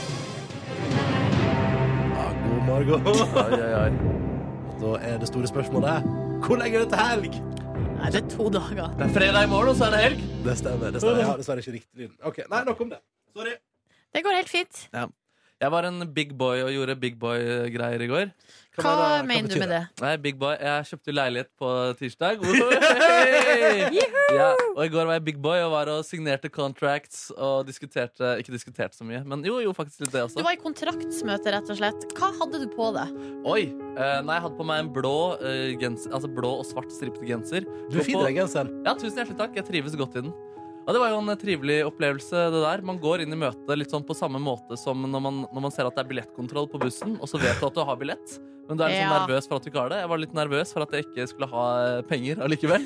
Speaker 2: ja, God morgen.
Speaker 4: Oi, oi, oi.
Speaker 2: [LAUGHS] Da er det store spørsmålet hvor lenge er det til helg?
Speaker 3: Nei, det er to dager.
Speaker 4: Det er fredag i morgen, og så er det helg.
Speaker 2: Det stemmer. det stemmer. Jeg har dessverre ikke riktig lyd. Ok, Nei, nok om det. Sorry.
Speaker 3: Det går helt fint.
Speaker 4: Jeg var en big boy og gjorde big boy-greier i går.
Speaker 3: Hva
Speaker 2: Hva var det- hva
Speaker 3: mener du
Speaker 2: betyr
Speaker 3: med det?
Speaker 4: Nei, big boy, Jeg kjøpte jo leilighet på [LAUGHS] tirsdag. Hey! ja, og I går var jeg big boy og var og signerte contracts og diskuterte Ikke diskuterte så mye, men jo, jo faktisk litt det
Speaker 3: Du
Speaker 4: også.
Speaker 3: var i kontraktsmøte, rett og slett. Hva hadde du på deg?
Speaker 4: Oi! eh, nei, jeg hadde på meg en blå eh, genser, altså blå og svart stripete genser.
Speaker 2: Du er fin i
Speaker 4: Gå på-
Speaker 2: den genseren.
Speaker 4: Ja, tusen hjertelig takk. Jeg trives godt i den. Og det var jo en eh, trivelig opplevelse, det der. Man går inn i møtet litt sånn på samme måte som når man, når man ser at det er billettkontroll på bussen, og så vet du at du har billett, men du er litt sånn
Speaker 3: Ja.
Speaker 4: nervøs for at du ikke har det. Jeg var litt nervøs for at jeg ikke skulle ha eh, penger allikevel.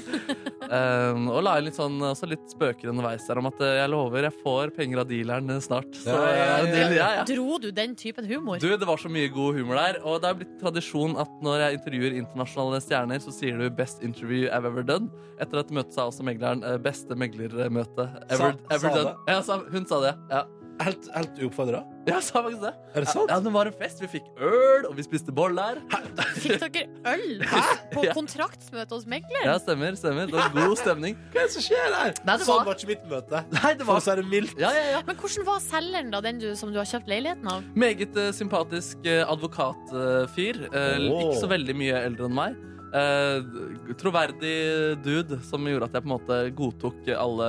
Speaker 4: um, og la inn litt sånn også litt spøker underveis der om at eh, jeg lover, jeg får penger av dealeren eh, snart. Så
Speaker 2: Ja, ja,
Speaker 4: eh,
Speaker 2: ja,
Speaker 4: deal- ja, ja.
Speaker 3: Dro du den typen humor?
Speaker 4: Du, Det var så mye god humor der. Og det har blitt tradisjon at når jeg intervjuer internasjonale stjerner, så sier du 'best interview I've ever done'. Etter dette møtet sa også megleren eh, 'beste meglermøte ever,
Speaker 2: Sa-
Speaker 4: ever
Speaker 2: sa
Speaker 4: done'. Ja, sa, hun sa det. Ja,
Speaker 2: Helt, helt uoppfordra.
Speaker 4: ja sa faktisk det.
Speaker 2: Er det sant?
Speaker 4: Ja, det var en fest. Vi fikk øl, og vi spiste boller.
Speaker 3: Fikk dere
Speaker 4: [LAUGHS]
Speaker 3: øl på kontraktsmøte hos megler?
Speaker 4: Ja, stemmer. stemmer Det var god stemning.
Speaker 2: Hva er det som skjer her?
Speaker 4: Nei, det var-
Speaker 2: Sånn var ikke mitt møte.
Speaker 4: Nei, det
Speaker 2: For
Speaker 4: var
Speaker 2: å si det mildt.
Speaker 4: ja, ja, ja.
Speaker 3: Men hvordan var selgeren, da, den du, som du har kjøpt leiligheten av?
Speaker 4: Meget eh, sympatisk eh, advokatfyr. Eh,
Speaker 2: Åh.
Speaker 4: Ikke så veldig mye eldre enn meg. Eh, troverdig dude som gjorde at jeg på en måte godtok alle,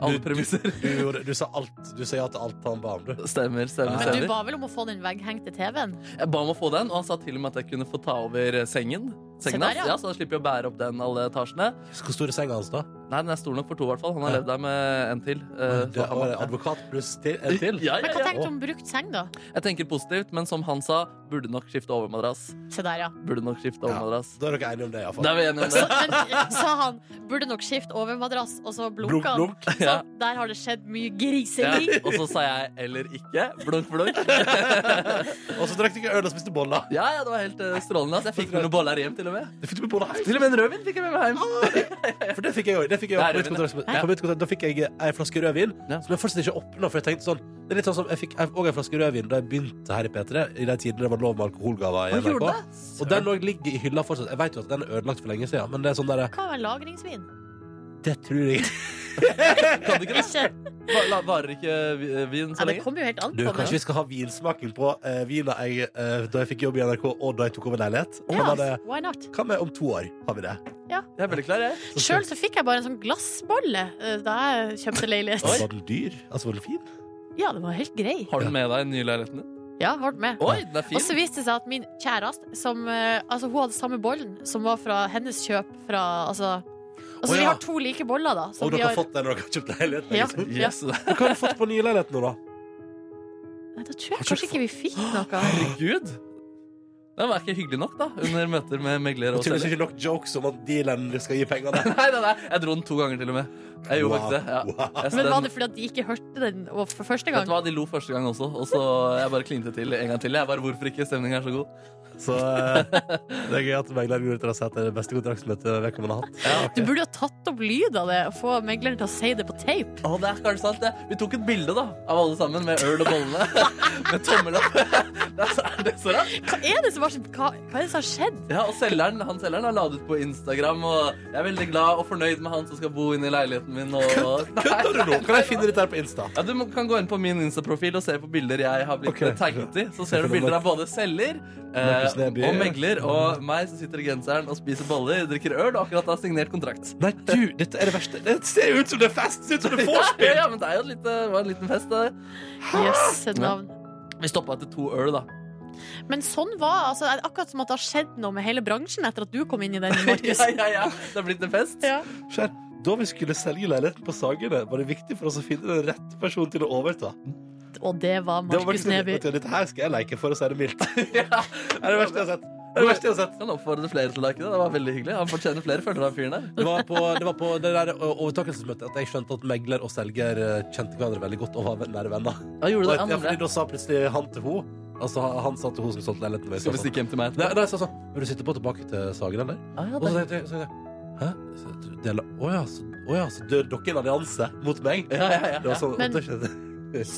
Speaker 4: alle
Speaker 2: Du-
Speaker 4: premisser.
Speaker 2: Du, du, gjorde- du sa alt. Du sa ja til alt han ba om, du.
Speaker 4: Stemmer, stemmer,
Speaker 3: Men du
Speaker 4: stemmer.
Speaker 3: ba vel om å få den vegghengte TV-en?
Speaker 4: Jeg ba om å få den, og han sa til og med at jeg kunne få ta over sengen.
Speaker 3: Se
Speaker 4: Sengen
Speaker 3: der, ja.
Speaker 4: hans, ja, Så han slipper å bære opp den alle etasjene.
Speaker 2: Hvor stor er senga hans, da?
Speaker 4: Nei, den er stor nok for to, i hvert fall. Han har
Speaker 2: Ja.
Speaker 4: levd der med en til. eh,
Speaker 2: Det
Speaker 4: så han-
Speaker 2: var advokat pluss til, en til.
Speaker 4: Ja, ja,
Speaker 3: Men hva
Speaker 4: ja.
Speaker 3: tenkte du om brukt seng, da?
Speaker 4: Jeg tenker positivt, men som han sa, burde nok skifte overmadrass.
Speaker 3: Se der, ja.
Speaker 4: Burde nok skifte overmadrass.
Speaker 2: Da er dere enige om det,
Speaker 4: Da
Speaker 2: iallfall.
Speaker 4: er vi enige om
Speaker 3: Så, [LAUGHS]
Speaker 4: det.
Speaker 3: men, sa han burde nok skifte overmadrass, og så
Speaker 2: Blunk,
Speaker 3: blunka han.
Speaker 2: blunk.
Speaker 4: [LAUGHS] Ja.
Speaker 3: Så der har det skjedd mye
Speaker 4: Ja.
Speaker 3: griseri.
Speaker 4: Og så sa jeg 'eller ikke'. Blunk, blunk.
Speaker 2: Og så drakk dere øl og spiste boller.
Speaker 4: Ja, ja, det var helt eh, strålende. ass. Jeg fikk med noen boller hjem, til og med.
Speaker 2: Det fikk du med boller hjem.
Speaker 4: Til og med en rødvin fikk jeg med meg hjem.
Speaker 2: For det fikk jeg òg.
Speaker 4: Nei,
Speaker 2: På mitt
Speaker 4: rødvin,
Speaker 2: kontor- på mitt kontor- da fikk jeg ei flaske rødvin
Speaker 4: Ja.
Speaker 2: som jeg fortsatt ikke åpna. For jeg tenkte sånn Det er litt sånn som Jeg fikk òg ei flaske rødvin da jeg begynte her i P3, i de tidene det var lov med alkoholgaver i
Speaker 4: Hva gjorde
Speaker 2: NRK.
Speaker 4: det?
Speaker 2: Og den òg ligger i hylla fortsatt. Jeg vet jo at den er ødelagt for lenge siden, men det er sånn derre
Speaker 3: Hva er lagringsvin?
Speaker 2: Det tror jeg
Speaker 4: Kan du ikke det?
Speaker 3: Ikke,
Speaker 4: Va- la- Varer ikke vi- eh, vin så
Speaker 3: ja, det
Speaker 4: lenge?
Speaker 3: kommer jo helt an
Speaker 2: Du,
Speaker 3: på.
Speaker 2: Kanskje vi skal ha vinsmaking på eh, vina jeg, eh, da jeg fikk jobb i NRK, og da jeg tok over leilighet?
Speaker 3: men-
Speaker 2: Og da var det,
Speaker 3: Ja, why not?
Speaker 2: hva med om to år? Har vi det?
Speaker 4: Jeg er veldig klar, jeg.
Speaker 2: Så
Speaker 3: Sjøl så fikk jeg bare en sånn glassbolle eh, da jeg kjøpte
Speaker 2: Altså,
Speaker 3: leilighet.
Speaker 2: var den dyr? Altså, var den fin?
Speaker 3: [LAUGHS] Ja, det var helt grei.
Speaker 4: Har du med deg den nye leiligheten din?
Speaker 3: Ja, hold med.
Speaker 4: Oi, den er fin.
Speaker 3: Og så viste det seg at min kjæreste, som eh, Altså, hun hadde samme bollen som var fra hennes kjøp fra Altså, altså
Speaker 2: Å,
Speaker 3: vi
Speaker 2: ja.
Speaker 3: har to like boller, da. som
Speaker 2: Og
Speaker 3: vi
Speaker 2: dere har fått den når dere har kjøpt leilighet?
Speaker 3: Ja.
Speaker 2: liksom.
Speaker 4: Yes.
Speaker 2: Hva har du fått på nye leilighet nå, da?
Speaker 3: Nei, da tror jeg
Speaker 2: Har ikke
Speaker 3: kanskje ikke vi fikk noe.
Speaker 4: [GASPS] Herregud. Den var ikke hyggelig nok, da, under møter med megler og
Speaker 2: Det er
Speaker 4: selger.
Speaker 2: ikke nok jokes om at dealeren skal gi pengene.
Speaker 4: [LAUGHS] Nei, nei, nei. Jeg dro den to ganger, til og med. Jeg gjorde faktisk det. Ja.
Speaker 2: Wow.
Speaker 4: Jeg så
Speaker 3: Men
Speaker 4: altså, den-
Speaker 3: var det fordi at de ikke hørte den og- for første
Speaker 4: Vet
Speaker 3: gang?
Speaker 4: du hva, De lo første gang også, og så jeg bare klinte til en gang til. Jeg bare, Hvorfor ikke? Stemningen er så god.
Speaker 2: Så eh, det er gøy at megleren gjorde til å si at det er det beste kontraktsmøtet vedkommende har hatt.
Speaker 3: Du burde jo ha tatt opp lyd av det og få megleren til å si det på tape.
Speaker 4: Å, det er kanskje sant, det. Vi tok et bilde da, av alle sammen med øl og bollene. [LAUGHS] med tommel opp. [LAUGHS] Det er så, det er så rart.
Speaker 3: Hva er det som har, hva, hva er det som har skjedd?
Speaker 4: Ja, og selgeren, han selgeren har ladet på Instagram, og jeg er veldig glad og fornøyd med han som skal bo inne i leiligheten min. Og... Nei.
Speaker 2: Kødder du nå? Kan jeg finne dette her på Insta?
Speaker 4: Ja, du må- kan gå inn på min Insta-profil og se på bilder jeg har blitt
Speaker 2: Ok.
Speaker 4: eh, tagget i. Så ser du bilder av både selger eh,
Speaker 2: Markus Neby.
Speaker 4: og megler og meg som sitter i genseren og spiser boller, drikker øl og akkurat har signert kontrakt.
Speaker 2: Nei, du, dette er det verste. Det ser jo ut som det er fest! Det ser ut som det
Speaker 4: [LAUGHS]
Speaker 2: er
Speaker 4: Ja,
Speaker 2: vorspiel!
Speaker 4: ja, men det er jo et lite, var en liten fest. Det.
Speaker 3: Jøsse navn.
Speaker 4: Vi stoppa etter to øl, da.
Speaker 3: Men sånn var altså, det er akkurat som at det har skjedd noe med hele bransjen etter at du kom inn i den, Markus.
Speaker 4: [LAUGHS] [LAUGHS] Ja, ja, ja. Det er blitt en fest.
Speaker 3: Ja.
Speaker 2: Skjær. Da vi skulle selge leiligheten på Sagene, var det viktig for oss å finne den rette personen til å overta.
Speaker 3: Og det var
Speaker 2: Det var
Speaker 3: Markus
Speaker 2: faktisk-
Speaker 3: Neby.
Speaker 2: Vet du, Dette her skal jeg leke for å si det [LAUGHS] mildt. Det
Speaker 4: Ja.
Speaker 2: er det verste jeg har sett. Det er det verste jeg har sett.
Speaker 4: Jeg kan oppfordre flere til å like det. Det var veldig hyggelig. Han fortjener flere følgere, han fyren der.
Speaker 2: Det var på det, var på det der ø, overtakelsesmøtet at jeg skjønte at megler og selger ø, kjente hverandre veldig godt og var vel- nære venner.
Speaker 4: Ja, gjorde det
Speaker 2: Og, ja,
Speaker 4: andre.
Speaker 2: fordi da sa plutselig han til hun Altså han- han sa til hun som solgte leiligheten min
Speaker 4: Skal vi
Speaker 2: sånn,
Speaker 4: stikke hjem til meg
Speaker 2: Nei,
Speaker 4: etterpå?
Speaker 2: nei, sa sånn Vil du sitte på tilbake til Sagen, eller?
Speaker 4: Ah, ja,
Speaker 2: Og
Speaker 4: det-
Speaker 2: så tenkte jeg, så tenkte jeg Hæ? Så deler- Å ja, så, å ja, så dør dere i en allianse mot meg?
Speaker 4: Ja, ja, ja,
Speaker 2: Det var sånn,
Speaker 3: Men-
Speaker 2: det var ikke-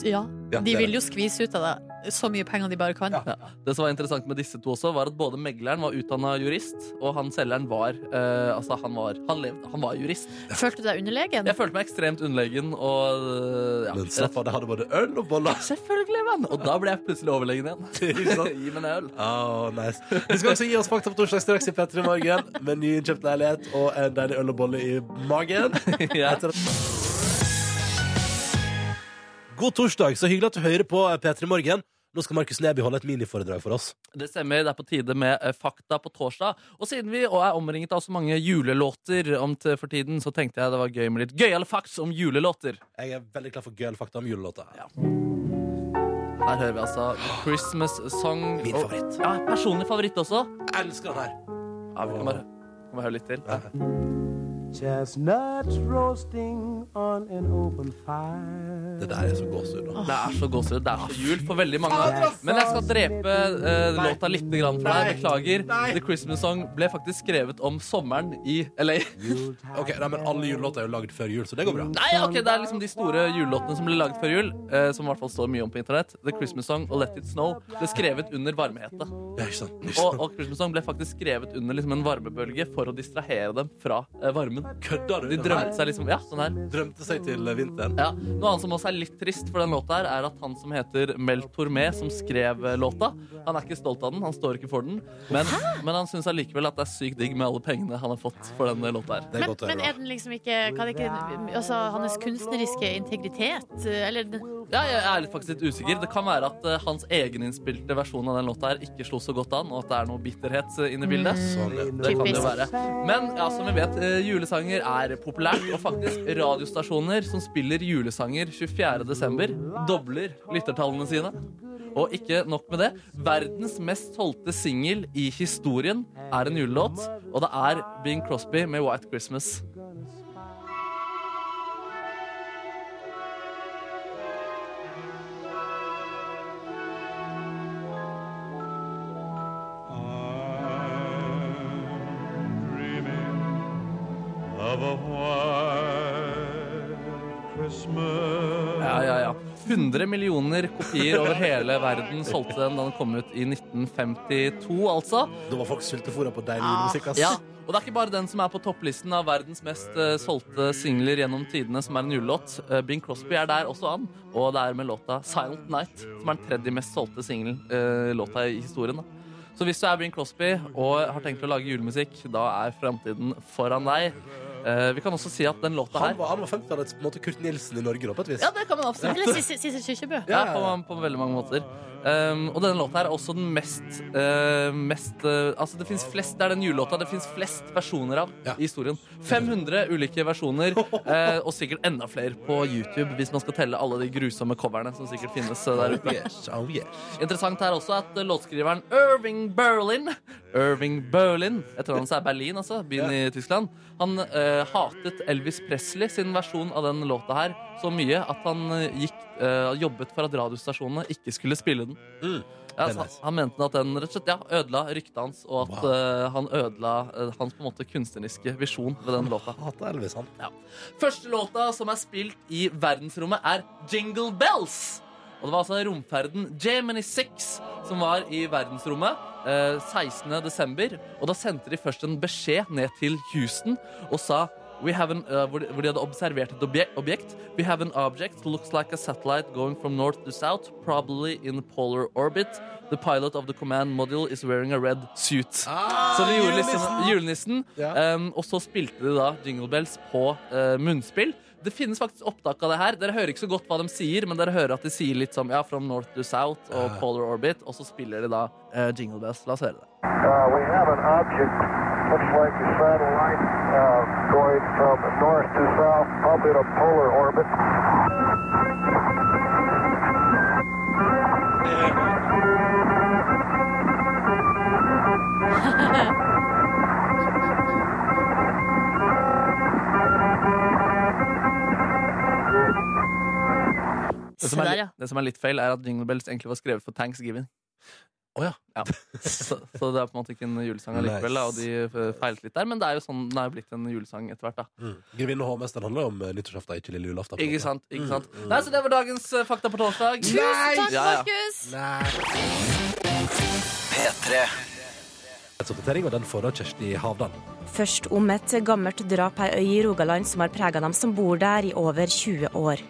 Speaker 3: Ja,
Speaker 2: Ja,
Speaker 3: de
Speaker 2: det er
Speaker 3: vil jo skvise ut av deg så mye penger de bare kan.
Speaker 2: Ja.
Speaker 4: Det som var interessant med disse to også, var at både megleren var utdanna jurist, og han selgeren var eh, Altså, han var, han, levde, han var jurist.
Speaker 3: Følte du deg underlegen?
Speaker 4: Jeg følte meg ekstremt underlegen og eh, ja,
Speaker 2: Men slapp
Speaker 4: rett-
Speaker 2: av, det hadde både øl og boller.
Speaker 4: Selvfølgelig, venn! Og da ble jeg plutselig overlegen
Speaker 2: [LAUGHS] Ikke
Speaker 4: igjen.
Speaker 2: sant?
Speaker 4: Gi meg en øl. [LAUGHS]
Speaker 2: Oh, nice. Vi skal også gi oss fakta på torsdag straks i Petter i morgen med nyinnkjøpt leilighet og en deilig øl og bolle i magen.
Speaker 4: Ja.
Speaker 2: Etter- God torsdag. Så hyggelig at du hører på eh, P3 Morgen. Nå skal Markus Neby holde et miniforedrag for oss.
Speaker 4: Det stemmer. Det er på tide med eh, fakta på torsdag. Og siden vi er omringet av så mange julelåter om til for tiden, så tenkte jeg det var gøy med litt gøyale facts om julelåter.
Speaker 2: Jeg er veldig klar for gøyale fakta om julelåta.
Speaker 4: Ja. Her hører vi altså Christmas Song.
Speaker 2: Min
Speaker 4: og-
Speaker 2: favoritt.
Speaker 4: Ja, personlig favoritt også.
Speaker 2: Jeg elsker den her.
Speaker 4: Ja, vi kan bare, kan bare høre litt til.
Speaker 5: Chestnuts roasting on an open fire.
Speaker 2: Det der er så gåsehud. da.
Speaker 4: Det er så gåsehud. Det er så jul for veldig mange. Men jeg skal drepe eh, låta litt grann for deg. Beklager. The Christmas Song ble faktisk skrevet om sommeren i LA.
Speaker 2: Ok, nei, men Alle julelåter er jo lagd før jul, så det går bra.
Speaker 4: Nei, ok, Det er liksom de store julelåtene som ble laget før jul, eh, som i hvert fall står mye om på internett. The Christmas Song og Let It Snow ble skrevet under varmehete.
Speaker 2: Ja, ikke sant?
Speaker 4: Og,
Speaker 2: Ikke sant?
Speaker 4: og Christmas Song ble faktisk skrevet under liksom en varmebølge for å distrahere dem fra eh, varmen.
Speaker 2: Kødda du?
Speaker 4: De drømte seg liksom Ja, sånn her.
Speaker 2: Den her drømte seg til vinteren.
Speaker 4: Ja, Noe annet som også er litt trist for den låta, her er at han som heter Mel Tormé, som skrev eh, låta, han er ikke stolt av den. Han står ikke for den. Men, men han syns allikevel at det er sykt digg med alle pengene han har fått for den eh, låta her.
Speaker 2: Det er
Speaker 3: Men,
Speaker 2: godt å
Speaker 3: men
Speaker 2: høre.
Speaker 3: er den liksom ikke, kan det ikke altså, Hans kunstneriske integritet eh, Eller den-
Speaker 4: Ja, jeg er litt- faktisk litt usikker. Det kan være at eh, hans egeninnspilte versjon av den låta her ikke slo så godt an, og at det er noe bitterhet eh, inne i bildet.
Speaker 2: Sånn, ja.
Speaker 4: Det kan det
Speaker 3: Typisk.
Speaker 4: jo være. Men ja, som vi vet, eh, julesanger er populært, og faktisk radiostasjoner som spiller julesanger 24. desember, dobler lyttertallene sine. Og ikke nok med det. Verdens mest solgte singel i historien er en julelåt, og det er Bing Crosby med White Christmas.
Speaker 6: I'm dreaming of a white Christmas.
Speaker 4: Ja, ja, ja. 100 millioner kopier over hele verden solgte den da den kom ut i 1952, altså.
Speaker 2: Da var folk sultefòra på deilig julemusikk, ass.
Speaker 4: Ja, og det er ikke bare den som er på topplisten av verdens mest eh, solgte singler gjennom tidene, som er en julelåt. Eh, Bing Crosby er der også an, og det er med låta 'Silent Night', som er den tredje mest solgte singelen, eh, låta i historien. da. Så hvis du er Bing Crosby og har tenkt å lage julemusikk, da er framtiden foran deg. Eh, vi kan også si at den låta her
Speaker 2: Han var, han var 50-tallets på en måte Kurt Nilsen i Norge, da, på et vis.
Speaker 4: Ja, det kan man absolutt.
Speaker 3: Eller Sissel Sissel Kyrkjebø.
Speaker 2: Ja,
Speaker 4: Ja,
Speaker 2: ja,
Speaker 4: på,
Speaker 2: ja.
Speaker 4: på veldig mange måter. Um, og denne låta her er også den mest, eh, mest eh, Altså, det finnes flest Det er den julelåta det fins flest versjoner av
Speaker 2: Ja.
Speaker 4: i historien. 500 ulike versjoner, eh, og sikkert enda flere på YouTube hvis man skal telle alle de grusomme coverne som sikkert finnes eh, der ute.
Speaker 2: Yes, oh yes.
Speaker 4: Interessant her også at eh, låtskriveren Irving Berlin Irving Berlin Jeg tror han er Berlin, altså. Byen i Tyskland. Han eh, hatet Elvis Presley sin versjon av den låta her så mye at han eh, gikk, eh, jobbet for at radiostasjonene ikke skulle spille den. Ja,
Speaker 2: Mm. Det er
Speaker 4: så
Speaker 2: nice.
Speaker 4: han mente at den rett og slett ja, ødela ryktet hans, og at
Speaker 2: Wow.
Speaker 4: eh, han ødela eh, hans på en måte kunstneriske visjon ved den låta.
Speaker 2: Hater Elvis, han.
Speaker 4: Første låta som er spilt i verdensrommet, er Jingle Bells. Og det var altså romferden Gemini 6 som var i verdensrommet eh, 16. desember. Og da sendte de først en beskjed ned til Houston og sa We have an, eh, hvor, de, hvor de hadde observert et objekt, objekt. We have an object looks like a satellite going from north to south, probably in polar orbit. The pilot of the command module is wearing a red suit. Så de gjorde liksom julenissen.
Speaker 2: Ja.
Speaker 4: Um, og så spilte de da Jingle Bells på eh, munnspill. Det finnes faktisk opptak av det her. Dere hører ikke så godt hva de sier, men dere hører at de sier litt som ja, From North to South og Polar Orbit, og så spiller de da eh, Jingle Bells. La oss høre det.
Speaker 7: Uh, we have an object, looks like a satellite, uh, going from north to south, probably in a polar orbit.
Speaker 4: Det
Speaker 3: Se
Speaker 4: som, er,
Speaker 3: der, ja.
Speaker 4: litt- det som er litt feil, er at Jingle Bells egentlig var skrevet for Thanksgiving.
Speaker 2: Å ja.
Speaker 4: Ja. Så, så det er på en måte ikke en julesang allikevel, da, og de eh, feilte litt der. Men det er jo sånn, den er jo blitt en julesang etter hvert, da.
Speaker 2: Mm. Grevinne og hovmesteren handler jo om eh, nyttårsaften, ikke lille julaften. på en
Speaker 4: Ikke
Speaker 2: måte.
Speaker 4: sant? ikke sant Nei, Så det var dagens eh, Fakta på torsdag.
Speaker 3: Tusen takk,
Speaker 4: Ja, ja.
Speaker 3: Markus!
Speaker 2: Nyhetsoppdatering, og den får da Kjersti Havdal.
Speaker 8: Først om et gammelt drap på ei øy i Rogaland som har prega dem som bor der i over 20 år.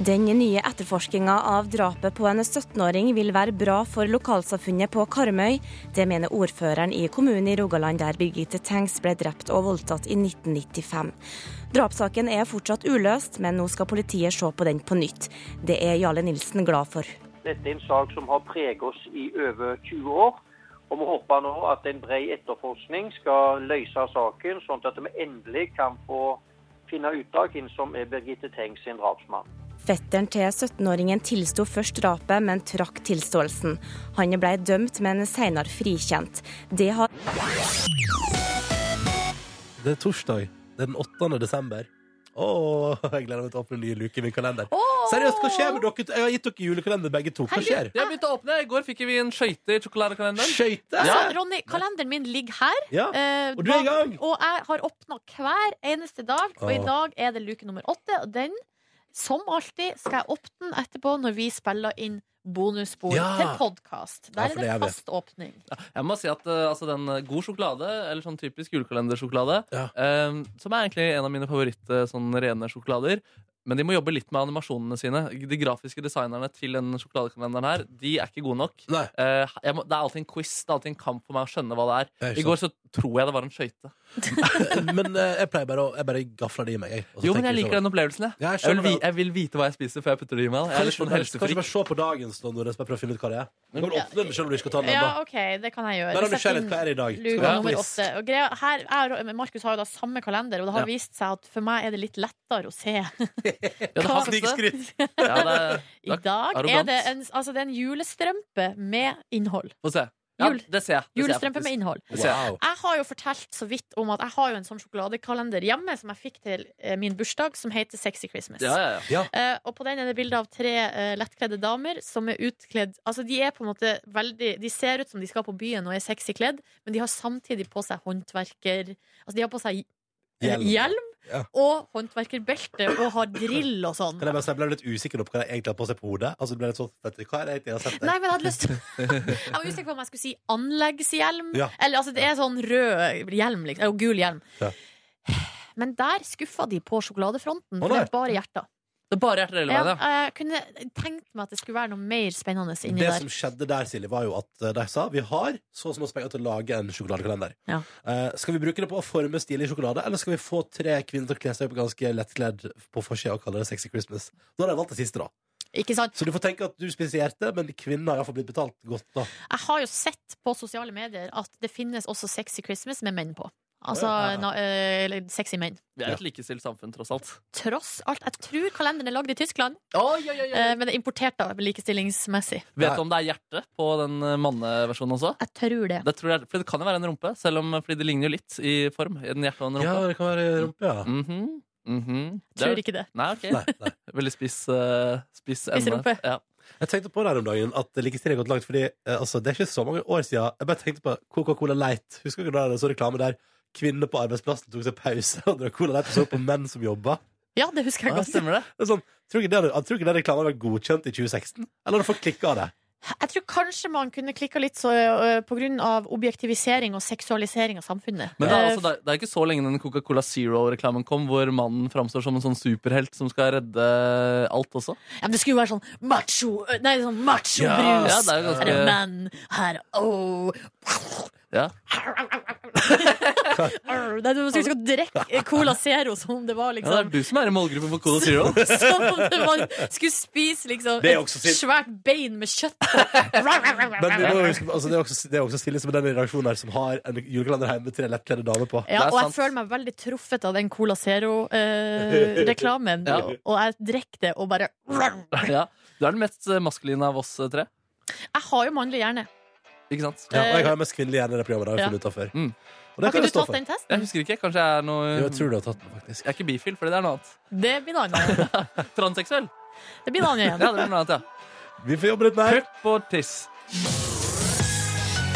Speaker 8: Den nye etterforskinga av drapet på en 17-åring vil være bra for lokalsamfunnet på Karmøy. Det mener ordføreren i kommunen i Rogaland, der Birgitte Tengs ble drept og voldtatt i 1995. Drapssaken er fortsatt uløst, men nå skal politiet se på den på nytt. Det er Jarle Nilsen glad for.
Speaker 9: Dette er en sak som har preget oss i over 20 år. Og vi håper nå at en bred etterforskning skal løse saken, sånn at vi endelig kan få finne ut av hvem som er Birgitte Tengs sin drapsmann.
Speaker 8: Fetteren til 17-åringen tilsto først drapet, men trakk tilståelsen. Han ble dømt, men senere frikjent. Det har
Speaker 2: Det er torsdag. Det er den 8. desember. Å, jeg gleder meg til å åpne en ny luke i min kalender. Seriøst, hva skjer med dere? Jeg har gitt dere julekalender begge to. Hva skjer?
Speaker 4: Jeg begynte å åpne. I går fikk vi en skøyte i sjokoladekalenderen.
Speaker 2: Skøyter?
Speaker 3: Så, Ronny, kalenderen min ligger her.
Speaker 2: Ja.
Speaker 3: Eh,
Speaker 2: Og du er i gang.
Speaker 3: Og jeg har åpna hver eneste dag, og i
Speaker 2: Åh.
Speaker 3: dag er det luke nummer åtte. Og den, som alltid, skal jeg åpne den etterpå når vi spiller inn bonusspor
Speaker 2: Ja.
Speaker 3: til podkast.
Speaker 2: Ja,
Speaker 3: Der
Speaker 2: for det
Speaker 3: er det
Speaker 2: er vi.
Speaker 3: fast åpning.
Speaker 4: Jeg må si at eh, altså, den eh, god sjokolade, eller sånn typisk julekalendersjokolade,
Speaker 2: Ja.
Speaker 4: eh, som er egentlig en av mine favoritt eh, sånn rene sjokolader, Men de må jobbe litt med animasjonene sine. De grafiske designerne til denne sjokoladekalenderen her, de er ikke gode nok.
Speaker 2: Nei.
Speaker 4: Eh, jeg må, det er alltid en quiz, det er alltid en kamp for meg å skjønne hva det er.
Speaker 2: Det er ikke
Speaker 4: I går så tror jeg det var en skøyte.
Speaker 2: [LAUGHS] Men eh, jeg pleier bare å Jeg bare gafler det i meg, jeg. og så
Speaker 4: Jo, men
Speaker 2: tenker
Speaker 4: jeg liker
Speaker 2: ikke over
Speaker 4: den opplevelsen, jeg.
Speaker 2: det. Ja,
Speaker 4: Jeg
Speaker 2: jeg
Speaker 4: vil,
Speaker 2: skjønner
Speaker 4: vi,
Speaker 2: det.
Speaker 4: jeg vil vite hva jeg spiser før jeg putter det i meg. Jeg er litt
Speaker 2: Kanskje
Speaker 4: sånn
Speaker 2: bare, kanskje
Speaker 4: helsefrik.
Speaker 2: bare se på dagens da, når jeg skal prøve å finne ut hva det er. Du kan åpne den selv om du ikke skal ta den
Speaker 3: Ja,
Speaker 2: ennå.
Speaker 3: OK, det kan jeg gjøre.
Speaker 2: Bare av
Speaker 3: Sett inn-
Speaker 2: nysgjerrighet, hva er det i dag? Skal vi
Speaker 3: Luka
Speaker 2: ha
Speaker 3: nummer
Speaker 2: quiz?
Speaker 3: åtte. Og greia, her er, men Markus har jo da samme kalender, og det har
Speaker 2: Ja.
Speaker 3: vist seg at for meg er det litt lettere å se. [LAUGHS]
Speaker 4: Ja, det har
Speaker 3: Hva-
Speaker 4: faktisk det. Ja, det er,
Speaker 3: I dag
Speaker 4: arrogant.
Speaker 3: er det en, altså det er en julestrømpe med innhold.
Speaker 4: få se. Ja,
Speaker 3: Jul-
Speaker 4: det ser jeg. Det ser jeg
Speaker 3: Julestrømpe
Speaker 4: faktisk.
Speaker 3: med innhold.
Speaker 4: Det ser jeg.
Speaker 2: Wow.
Speaker 3: Jeg har jo fortalt så vidt om at jeg har jo en sånn sjokoladekalender hjemme som jeg fikk til eh, min bursdag, som heter Sexy Christmas.
Speaker 4: Ja, ja, ja.
Speaker 3: Eh, og på den er det bilde av tre eh, lettkledde damer som er utkledd Altså, de er på en måte veldig De ser ut som de skal på byen og er sexy kledd, men de har samtidig på seg håndverker Altså, de har på seg eh,
Speaker 2: Hjelm.
Speaker 3: hjelm
Speaker 2: Ja.
Speaker 3: og håndverkerbelte og har drill og sånn.
Speaker 2: Kan jeg bare si, jeg ble litt usikker på hva jeg egentlig har på seg på hodet? Altså, det ble litt sånn, vet du, hva er det egentlig jeg har sett
Speaker 3: Nei,
Speaker 2: der?
Speaker 3: men jeg hadde lyst til [LAUGHS] Jeg var usikker på om jeg skulle si anleggshjelm.
Speaker 2: Ja.
Speaker 3: Eller altså, det er sånn rød hjelm, liksom. Eller gul hjelm.
Speaker 2: Ja.
Speaker 3: Men der skuffa de på sjokoladefronten.
Speaker 2: Å,
Speaker 3: for det
Speaker 2: nei.
Speaker 3: er bare hjerter.
Speaker 4: Det er bare hjerter hele
Speaker 3: Ja,
Speaker 4: veien, ja.
Speaker 3: jeg kunne tenkt meg at det skulle være noe mer spennende inni
Speaker 2: Det
Speaker 3: der.
Speaker 2: som skjedde der, Silje, var jo at eh, de sa vi har så og så masse penger til å lage en sjokoladekalender.
Speaker 3: Ja.
Speaker 2: Eh, skal vi bruke det på å forme stilig sjokolade, eller skal vi få tre kvinner til å kle seg opp ganske lettkledd på forsida og kalle det Sexy Christmas? Da har de valgt det siste, da.
Speaker 3: Ikke sant?
Speaker 2: Så du får tenke at du spiser hjerte, men kvinnen har iallfall blitt betalt godt, da.
Speaker 3: Jeg har jo sett på sosiale medier at det finnes også sexy Christmas med menn på. Altså
Speaker 2: Ja, ja, ja.
Speaker 3: na- eh, eller sexy menn.
Speaker 4: Vi er et likestilt samfunn, tross alt.
Speaker 3: Tross alt. Jeg tror kalenderen er lagd i Tyskland,
Speaker 4: Oi, oi, oi, oi.
Speaker 3: eh, men det er importert da, likestillingsmessig.
Speaker 4: Vet du om det er hjerte på den eh, manneversjonen også?
Speaker 3: Jeg tror det.
Speaker 4: Det, tror jeg, for det kan jo være en rumpe, selv om, fordi det ligner jo litt i form. En hjerte og en rumpe.
Speaker 2: det kan være rumpe, ja.
Speaker 4: Mhm, mhm. Det er-
Speaker 3: Tror ikke det.
Speaker 4: Nei, ok.
Speaker 2: Nei, nei.
Speaker 4: Veldig spiss, eh, spiss ende.
Speaker 3: Spissrumpe.
Speaker 4: Ja.
Speaker 2: Jeg tenkte på det her om dagen, at likestilling har gått langt. Fordi eh, altså, Det er ikke så mange år siden. Jeg bare tenkte på Coca-Cola Light. Husker dere da det så reklame der kvinner på arbeidsplassen tok seg pause [LAUGHS] og drakk Cola Light og så på menn som jobba?
Speaker 3: Ja, det husker jeg
Speaker 4: Ja,
Speaker 3: godt.
Speaker 4: Ah, stemmer det?
Speaker 2: Det er Sånn, tror ikke den, tror ikke den reklamen hadde vært godkjent i 2016? Eller hadde folk klikka av det?
Speaker 3: Jeg tror kanskje man kunne klikka litt så, eh, på grunn av objektivisering og seksualisering av samfunnet.
Speaker 4: Men det er,
Speaker 3: Eh,
Speaker 4: altså, det er- det er ikke så lenge den Coca-Cola Zero-reklamen kom, hvor mannen framstår som en sånn superhelt som skal redde alt også.
Speaker 3: ja, men det skulle jo være sånn macho Nei, sånn macho
Speaker 4: Ja,
Speaker 3: brus.
Speaker 4: ja, det er jo ganske-
Speaker 3: Her er menn. Her oh.
Speaker 4: Ja.
Speaker 3: Arr, Nei, du skulle ikke drikke eh, Cola Zero som om det var
Speaker 4: Ja, det er
Speaker 3: liksom
Speaker 4: du som er i målgruppen for Cola [LAUGHS] Zero.
Speaker 3: [LAUGHS] Som om det var, skulle spise liksom
Speaker 2: Det er
Speaker 3: et
Speaker 2: også sitt.
Speaker 3: svært bein med kjøtt.
Speaker 4: [LAUGHS]
Speaker 2: Men vi må jo huske på- altså, det er også, det er også Silje som er den i redaksjonen her som har en julekalender hjemme med tre lettkledde damer på.
Speaker 3: Ja,
Speaker 4: Det er
Speaker 3: og jeg
Speaker 4: sant.
Speaker 3: føler meg veldig truffet av den Cola Zero-reklamen.
Speaker 4: [LAUGHS] Ja.
Speaker 3: Og jeg drikker det og bare Jeg
Speaker 4: Ja. Du er den mest eh, maskuline av oss eh, tre.
Speaker 3: har jo mannlig hjerne.
Speaker 4: Ikke sant?
Speaker 2: Ja, og jeg har jo mest kvinnelig hjerne i det programmet. Det har jeg funnet ut av før.
Speaker 4: Mm.
Speaker 2: Og det
Speaker 3: Har
Speaker 2: kan
Speaker 3: ikke du
Speaker 2: jeg stå
Speaker 3: tatt
Speaker 2: for.
Speaker 3: den testen?
Speaker 4: Jeg husker ikke. Kanskje jeg er noe
Speaker 2: Jo, jeg tror du har tatt den, faktisk.
Speaker 4: Jeg er ikke bifil, fordi det er noe annet.
Speaker 3: Det blir noe annet.
Speaker 4: Transseksuell.
Speaker 3: Det blir noe
Speaker 2: [LAUGHS]
Speaker 3: annet
Speaker 4: Ja,
Speaker 3: igjen.
Speaker 4: det blir noe annet, ja.
Speaker 2: Vi får jobbe litt mer.
Speaker 4: Pupp og tiss.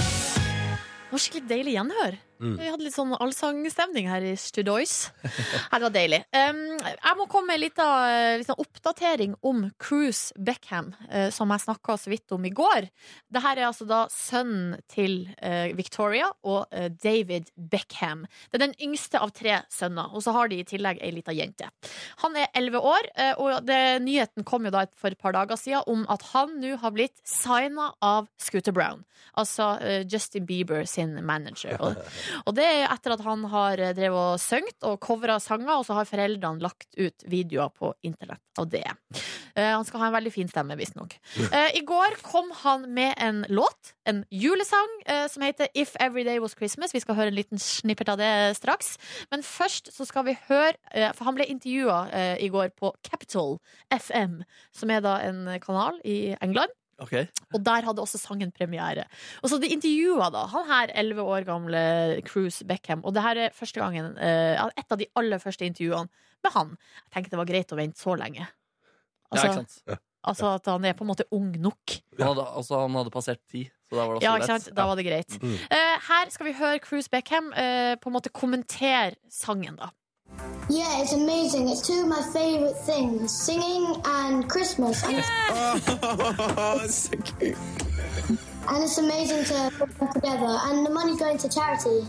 Speaker 3: Det var skikkelig deilig gjenhør.
Speaker 2: Mm.
Speaker 3: Vi hadde litt sånn allsangstemning her i Studois. Nei, det var deilig. Um, jeg må komme med en liten, eh, liten oppdatering om Cruise Beckham, eh, som jeg snakka så vidt om i går. Dette er altså da sønnen til eh, Victoria og eh, David Beckham. Det er den yngste av tre sønner, og så har de i tillegg ei lita jente. Han er elleve år, eh, og det, nyheten kom jo da for et par dager siden om at han nå har blitt signa av Scooter Brown altså eh, Justin Bieber sin manager. Og, og det er jo etter at han har eh, drevet og sunget og covra sanger, og så har foreldrene lagt ut videoer på internett av det. Eh, han skal ha en veldig fin stemme, visstnok. Uh, I går kom han med en låt, en julesang, eh, som heter If Every Day Was Christmas. Vi skal høre en liten snippert av det straks. Men først så skal vi høre eh, For han ble intervjua i går på Capital FM, som er da en kanal i England.
Speaker 4: Ok.
Speaker 3: Og der hadde også sangen premiere. Og så de intervjua da han her, 11 år gamle Cruise Beckham. Og det her er første gangen eh, et av de aller første intervjuene med han. Jeg tenkte det var greit å vente så lenge.
Speaker 4: ja, ikke
Speaker 3: Altså,
Speaker 4: sant?
Speaker 3: altså at han er på en måte ung nok.
Speaker 4: Han hadde, altså, han hadde passert ti, så da var det også
Speaker 3: Ja, ikke sant?
Speaker 4: greit.
Speaker 3: Da var det greit.
Speaker 2: Mm.
Speaker 3: Eh, her skal vi høre Cruise Beckham eh, på en måte kommentere sangen, da.
Speaker 10: Yeah, it's amazing. It's two of my favorite things singing and Christmas. And it's, and it's amazing to put them together. And the money's going to charity.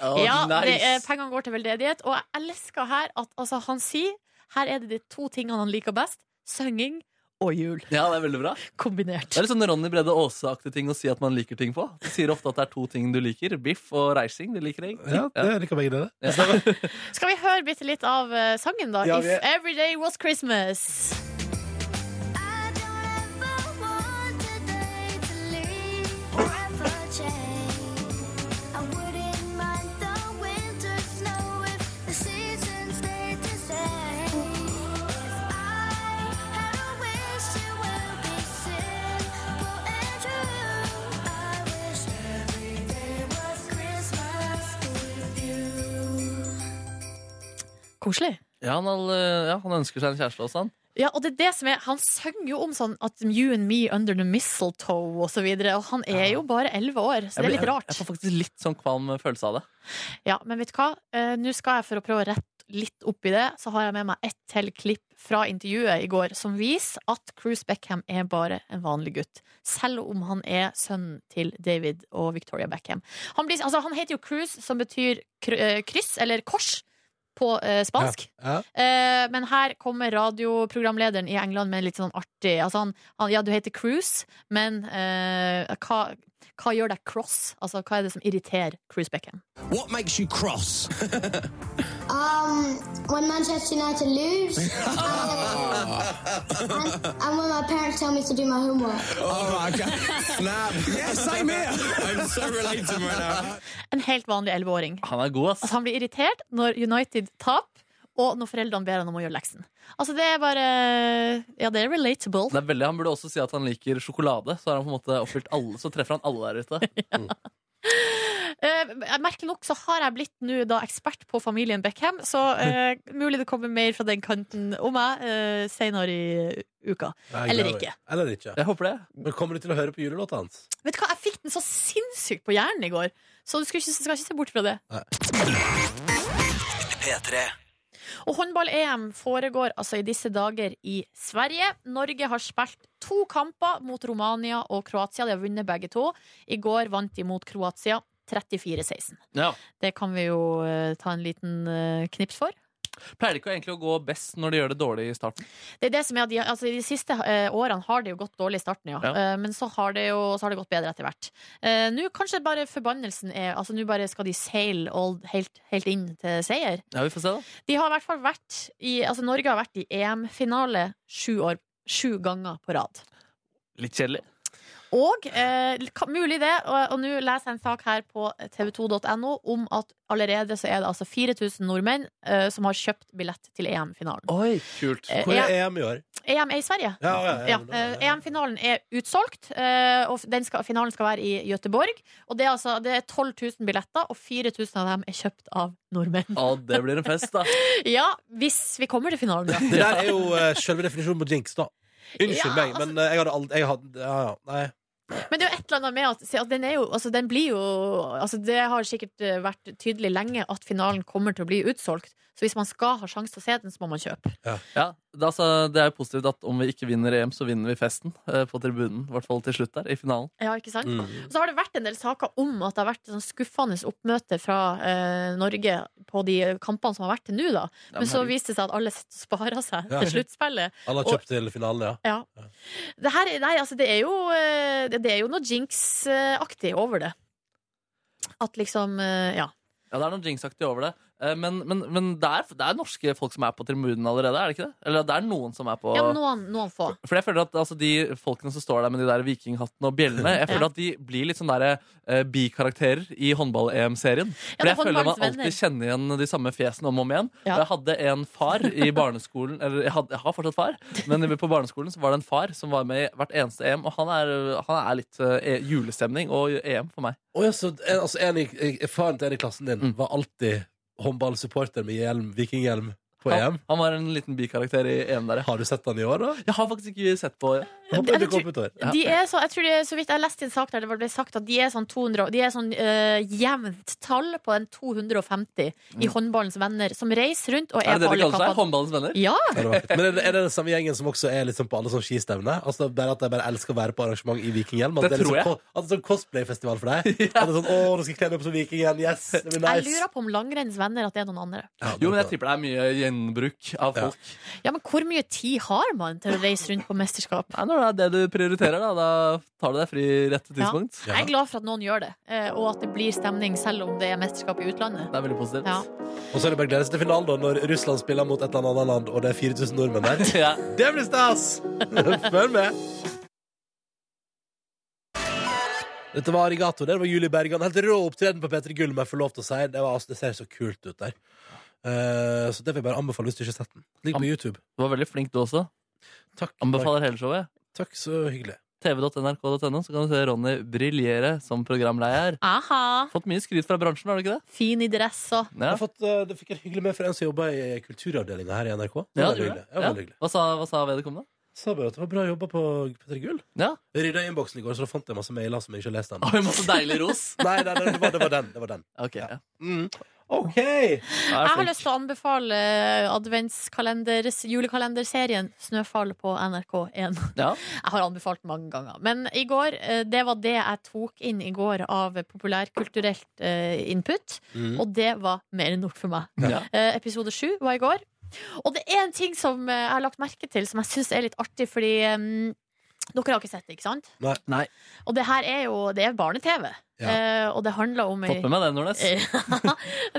Speaker 4: Ja,
Speaker 3: ja,
Speaker 4: nice.
Speaker 3: det, eh, Pengene går til veldedighet. Og jeg elsker her at altså, han sier Her er det de to tingene han liker best. Sønging og jul.
Speaker 4: Ja, det er veldig bra.
Speaker 3: Kombinert.
Speaker 4: Det er litt sånn Ronny Brede Aase-aktig ting å si at man liker ting på. Du sier ofte at det er to ting du liker. Biff og reising. Det liker jeg.
Speaker 2: Ja, det liker begge dere.
Speaker 3: Skal vi høre bitte litt av eh, sangen, da?
Speaker 2: Ja, vi-
Speaker 3: If Every Day Was Christmas. Koselig.
Speaker 4: Ja, han, har, eh, ja, han ønsker seg en kjæreste sånn. også, han.
Speaker 3: Ja, og det er det som er Han synger jo om sånn at you and me under the mistletoe og så videre, og han er jo bare elleve år, så det er
Speaker 4: Jeg
Speaker 3: litt
Speaker 4: blir-
Speaker 3: rart.
Speaker 4: Jeg får faktisk litt sånn kvalm følelse av det.
Speaker 3: Ja, men vet du hva? Eh, Nå skal jeg for å prøve å rette litt opp i det, så har jeg med meg ett til klipp fra intervjuet i går som viser at Cruise Beckham er bare en vanlig gutt. Selv om han er sønnen til David og Victoria Beckham. Han, blir, altså, han heter jo Cruise, som betyr kry- eh, kryss, eller kors, på eh, spansk.
Speaker 2: Ja.
Speaker 3: Eh, men her kommer radioprogramlederen i England med en litt sånn artig altså han, han, Ja, du heter Cruise, men eh, hva, hva gjør deg cross? Altså, hva er det som irriterer Cruise Beckham?
Speaker 11: What makes you cross?
Speaker 10: Um, when Manchester United lose, uh, and, and when my parents tell me to do my homework.
Speaker 11: Oh, okay. Snap. Yeah, same here. I'm so relatable right now.
Speaker 3: En helt vanlig 11-åring.
Speaker 4: Han er god, ass.
Speaker 3: Altså, han blir irritert når United taper, og når foreldrene ber han om å gjøre leksen. Altså, det er bare eh, Ja, det er relatable.
Speaker 4: Det er veldig, han burde også si at han liker sjokolade, så, har han på en måte oppfylt alle, så treffer han alle der ute.
Speaker 3: Eh, merkelig nok så har jeg blitt nå da ekspert på familien Beckham, så eh, mulig det kommer mer fra den kanten om meg eh, senere i uka.
Speaker 2: Nei,
Speaker 3: Eller
Speaker 2: gleder meg.
Speaker 3: ikke.
Speaker 2: Eller ikke.
Speaker 4: Jeg håper det.
Speaker 2: Men kommer du til å høre på julelåta hans?
Speaker 3: Vet du hva, jeg fikk den så sinnssykt på hjernen i går, så du skal ikke, skal ikke se bort fra det.
Speaker 11: P3.
Speaker 3: Og håndball-EM foregår altså i disse dager i Sverige. Norge har spilt to kamper mot Romania og Kroatia. De har vunnet begge to. I går vant de mot Kroatia 34-16.
Speaker 4: Ja.
Speaker 3: Det kan vi jo eh, ta en liten eh, knips for.
Speaker 4: Pleier det ikke egentlig å gå best når de gjør det dårlig i starten?
Speaker 3: Det er det som er at de, altså, I de siste eh, årene har det jo gått dårlig i starten, ja.
Speaker 4: Ja.
Speaker 3: Eh, men så har det jo så har det gått bedre etter hvert. Eh, nå kanskje bare forbannelsen er Altså nå bare skal de seile all- helt, helt inn til seier.
Speaker 4: Ja, vi får se, da.
Speaker 3: De har i hvert fall vært i Altså Norge har vært i EM-finale sju år Sju ganger på rad.
Speaker 4: Litt kjedelig.
Speaker 3: Og eh, ka- mulig det, og, og nå leser jeg en sak her på tv2.no om at allerede så er det altså 4000 nordmenn eh, som har kjøpt billett til EM-finalen.
Speaker 4: Oi, kult.
Speaker 3: Eh,
Speaker 2: Hvor er
Speaker 3: EM,
Speaker 2: EM i år?
Speaker 3: er i Sverige.
Speaker 2: Ja, ja, ja,
Speaker 3: Ja, eh, EM-finalen er utsolgt, eh, og den skal, finalen skal være i Gøteborg. Og det er, altså, det er 12 000 billetter, og 4000 av dem er kjøpt av nordmenn. [LAUGHS]
Speaker 4: Å, det blir en fest, da.
Speaker 3: Ja, hvis vi kommer til finalen, [LAUGHS] ja.
Speaker 2: Det der er jo eh, selve definisjonen på jinx, da. Unnskyld
Speaker 3: Ja,
Speaker 2: meg,
Speaker 3: altså-
Speaker 2: men eh, jeg hadde aldri jeg hadde, ja, ja, Nei.
Speaker 3: Men det er jo et eller annet med at, se, at den, er jo, altså, den blir jo altså, Det har sikkert eh, vært tydelig lenge at finalen kommer til å bli utsolgt. Så hvis man skal ha sjanse til å se den, så må man kjøpe.
Speaker 4: [LAUGHS] Ja, det, er altså, det er jo positivt at om vi ikke vinner EM, så vinner vi festen eh, på tribunen. I hvert fall til slutt der, i finalen.
Speaker 3: Ja, ikke sant?
Speaker 2: Mm.
Speaker 3: Og så har det vært en del saker om at det har vært et sånn skuffende oppmøte fra eh, Norge på de kampene som har vært til nå, da.
Speaker 4: Ja,
Speaker 3: Men så
Speaker 4: herregud.
Speaker 3: viste det seg at alle sparer seg
Speaker 2: Ja.
Speaker 3: til sluttspillet.
Speaker 2: Alle har
Speaker 3: Og-
Speaker 2: kjøpt til finalen, ja.
Speaker 3: Ja. Det, her, er- nei, altså, det, er jo, eh, det det er jo noe jinx-aktig over det. At liksom eh, Ja.
Speaker 4: Ja, det er noe jinx-aktig over det. Eh, Men, men, men det, er, det er norske folk som er på tribunen allerede, er det ikke det? Eller det er noen som er på
Speaker 3: ja noen, noen få.
Speaker 4: For jeg føler at altså, de folkene som står der med de der vikinghattene og bjellene, jeg føler
Speaker 3: Ja.
Speaker 4: at de blir litt sånn derre eh, bikarakterer i håndball-EM-serien.
Speaker 3: Ja,
Speaker 4: For
Speaker 3: det er
Speaker 4: jeg føler man
Speaker 3: håndballens venner.
Speaker 4: alltid kjenner igjen de samme fjesene om og om igjen.
Speaker 3: Ja.
Speaker 4: Og jeg hadde en far i barneskolen Eller jeg, hadde, jeg har fortsatt far, men på barneskolen så var det en far som var med i hvert eneste EM, og han er, han er litt eh, julestemning og EM for meg.
Speaker 2: Å, ja, så en, altså, en i, jeg- faren til en i klassen din
Speaker 4: Mm.
Speaker 2: var alltid håndballsupporter med hjelm, vikinghjelm på
Speaker 4: Han,
Speaker 2: EM.
Speaker 4: han var en liten bikarakter i EM der.
Speaker 2: Har du sett han i år, da?
Speaker 4: Jeg har faktisk ikke sett på
Speaker 2: Håper det dukker opp utover.
Speaker 3: De er så, jeg tror de er, så vidt jeg leste i en sak der det ble sagt at de er sånn, 200, og- de er sånn eh, jevnt tall på den 250 i
Speaker 2: Mm.
Speaker 3: Håndballens venner, som reiser rundt og er,
Speaker 2: Er det det
Speaker 3: på
Speaker 2: de
Speaker 3: alle
Speaker 2: kaller
Speaker 3: kampene.
Speaker 2: seg?
Speaker 4: Håndballens venner?
Speaker 3: Ja.
Speaker 2: Det er vakkert. Men er det, er det den samme gjengen som også er liksom på alle sånn skistevner? Altså bare At de bare elsker å være på arrangement i vikinghjelm? At
Speaker 4: Det
Speaker 2: det, er
Speaker 4: tror jeg.
Speaker 2: liksom, ko- at det er sånn cosplayfestival for
Speaker 4: [LAUGHS]
Speaker 2: deg? At det er sånn, å, nå skal jeg kle meg opp som viking igjen, yes, det
Speaker 3: Jeg
Speaker 2: blir nice
Speaker 3: lurer på om langrenns venner at det er noen andre.
Speaker 4: Jo, men jeg tipper det er mye gjenbruk av folk.
Speaker 3: Ja, men hvor mye tid har man til å reise rundt på mesterskap?
Speaker 4: Nei, når det er det du prioriterer, da, da tar du deg fri rett til
Speaker 3: Ja.
Speaker 4: tidspunkt.
Speaker 3: Jeg er glad for at noen gjør det, eh, og at det blir stemning selv om det er mesterskap i utlandet.
Speaker 4: Det er veldig positivt. [LAUGHS]
Speaker 3: Ja.
Speaker 2: Og så er det bare å glede seg til finalen, da, når Russland spiller mot et eller annet land, og det er 4000 nordmenn
Speaker 4: [LAUGHS]
Speaker 2: der. Det blir stas! [LAUGHS] Følg med. Dette var Arigato. Der var Julie Bergan. Helt rå opptreden på P3 Gull, må jeg få lov til å si. Det, var, altså, det ser så kult ut der. Eh, så det vil jeg bare anbefale hvis du ikke har sett den. Ligger på YouTube.
Speaker 4: Du var veldig flink, du også.
Speaker 2: Takk.
Speaker 4: Anbefaler hele showet.
Speaker 2: Takk, så hyggelig.
Speaker 4: tv.nrk.no, så kan du se Ronny briljere som programleder.
Speaker 3: Aha.
Speaker 4: Fått mye skryt fra bransjen, har du ikke det?
Speaker 3: Fin i dress og
Speaker 4: Ja.
Speaker 2: Jeg har fått, eh, det fikk jeg hyggelig med fra en som jobber i kulturavdelinga her i NRK. Det
Speaker 4: Ja,
Speaker 2: var
Speaker 4: du
Speaker 2: hyggelig.
Speaker 4: det?
Speaker 2: Ja, det var
Speaker 4: Ja.
Speaker 2: hyggelig.
Speaker 4: Hva sa, hva sa vedkommende?
Speaker 2: Sa bare at det var bra jobba på P3 Gull.
Speaker 4: Ja.
Speaker 2: Jeg rydda i innboksen i går, så da fant jeg masse mailer som jeg ikke
Speaker 4: [LAUGHS]
Speaker 2: har lest
Speaker 4: [LAUGHS]
Speaker 2: ennå.
Speaker 4: Oi, masse deilig ros.
Speaker 2: nei, nei, nei, det var, det var den. Det var den.
Speaker 4: Ok, ja.
Speaker 2: Mm. OK!
Speaker 3: Jeg
Speaker 2: Jeg
Speaker 3: har lyst til å anbefale adventskalender, julekalenderserien Snøfall på NRK1.
Speaker 4: Ja.
Speaker 3: Jeg har anbefalt den mange ganger. Men i går, eh, det var det jeg tok inn i går av populærkulturelt eh, input.
Speaker 2: Mm.
Speaker 12: Mhm.
Speaker 3: Og det var mer enn nok for meg.
Speaker 12: Ja.
Speaker 3: Eh, Episode sju var i går. Og det er en ting som eh, jeg har lagt merke til, som jeg syns er litt artig, fordi eh, dere har ikke sett det, ikke sant?
Speaker 2: Nei.
Speaker 3: Og det her er jo Det er barne-TV.
Speaker 4: Ja.
Speaker 3: Eh, og det handler om [LAUGHS]
Speaker 4: Fått med meg den, Nordnes.
Speaker 3: Eh,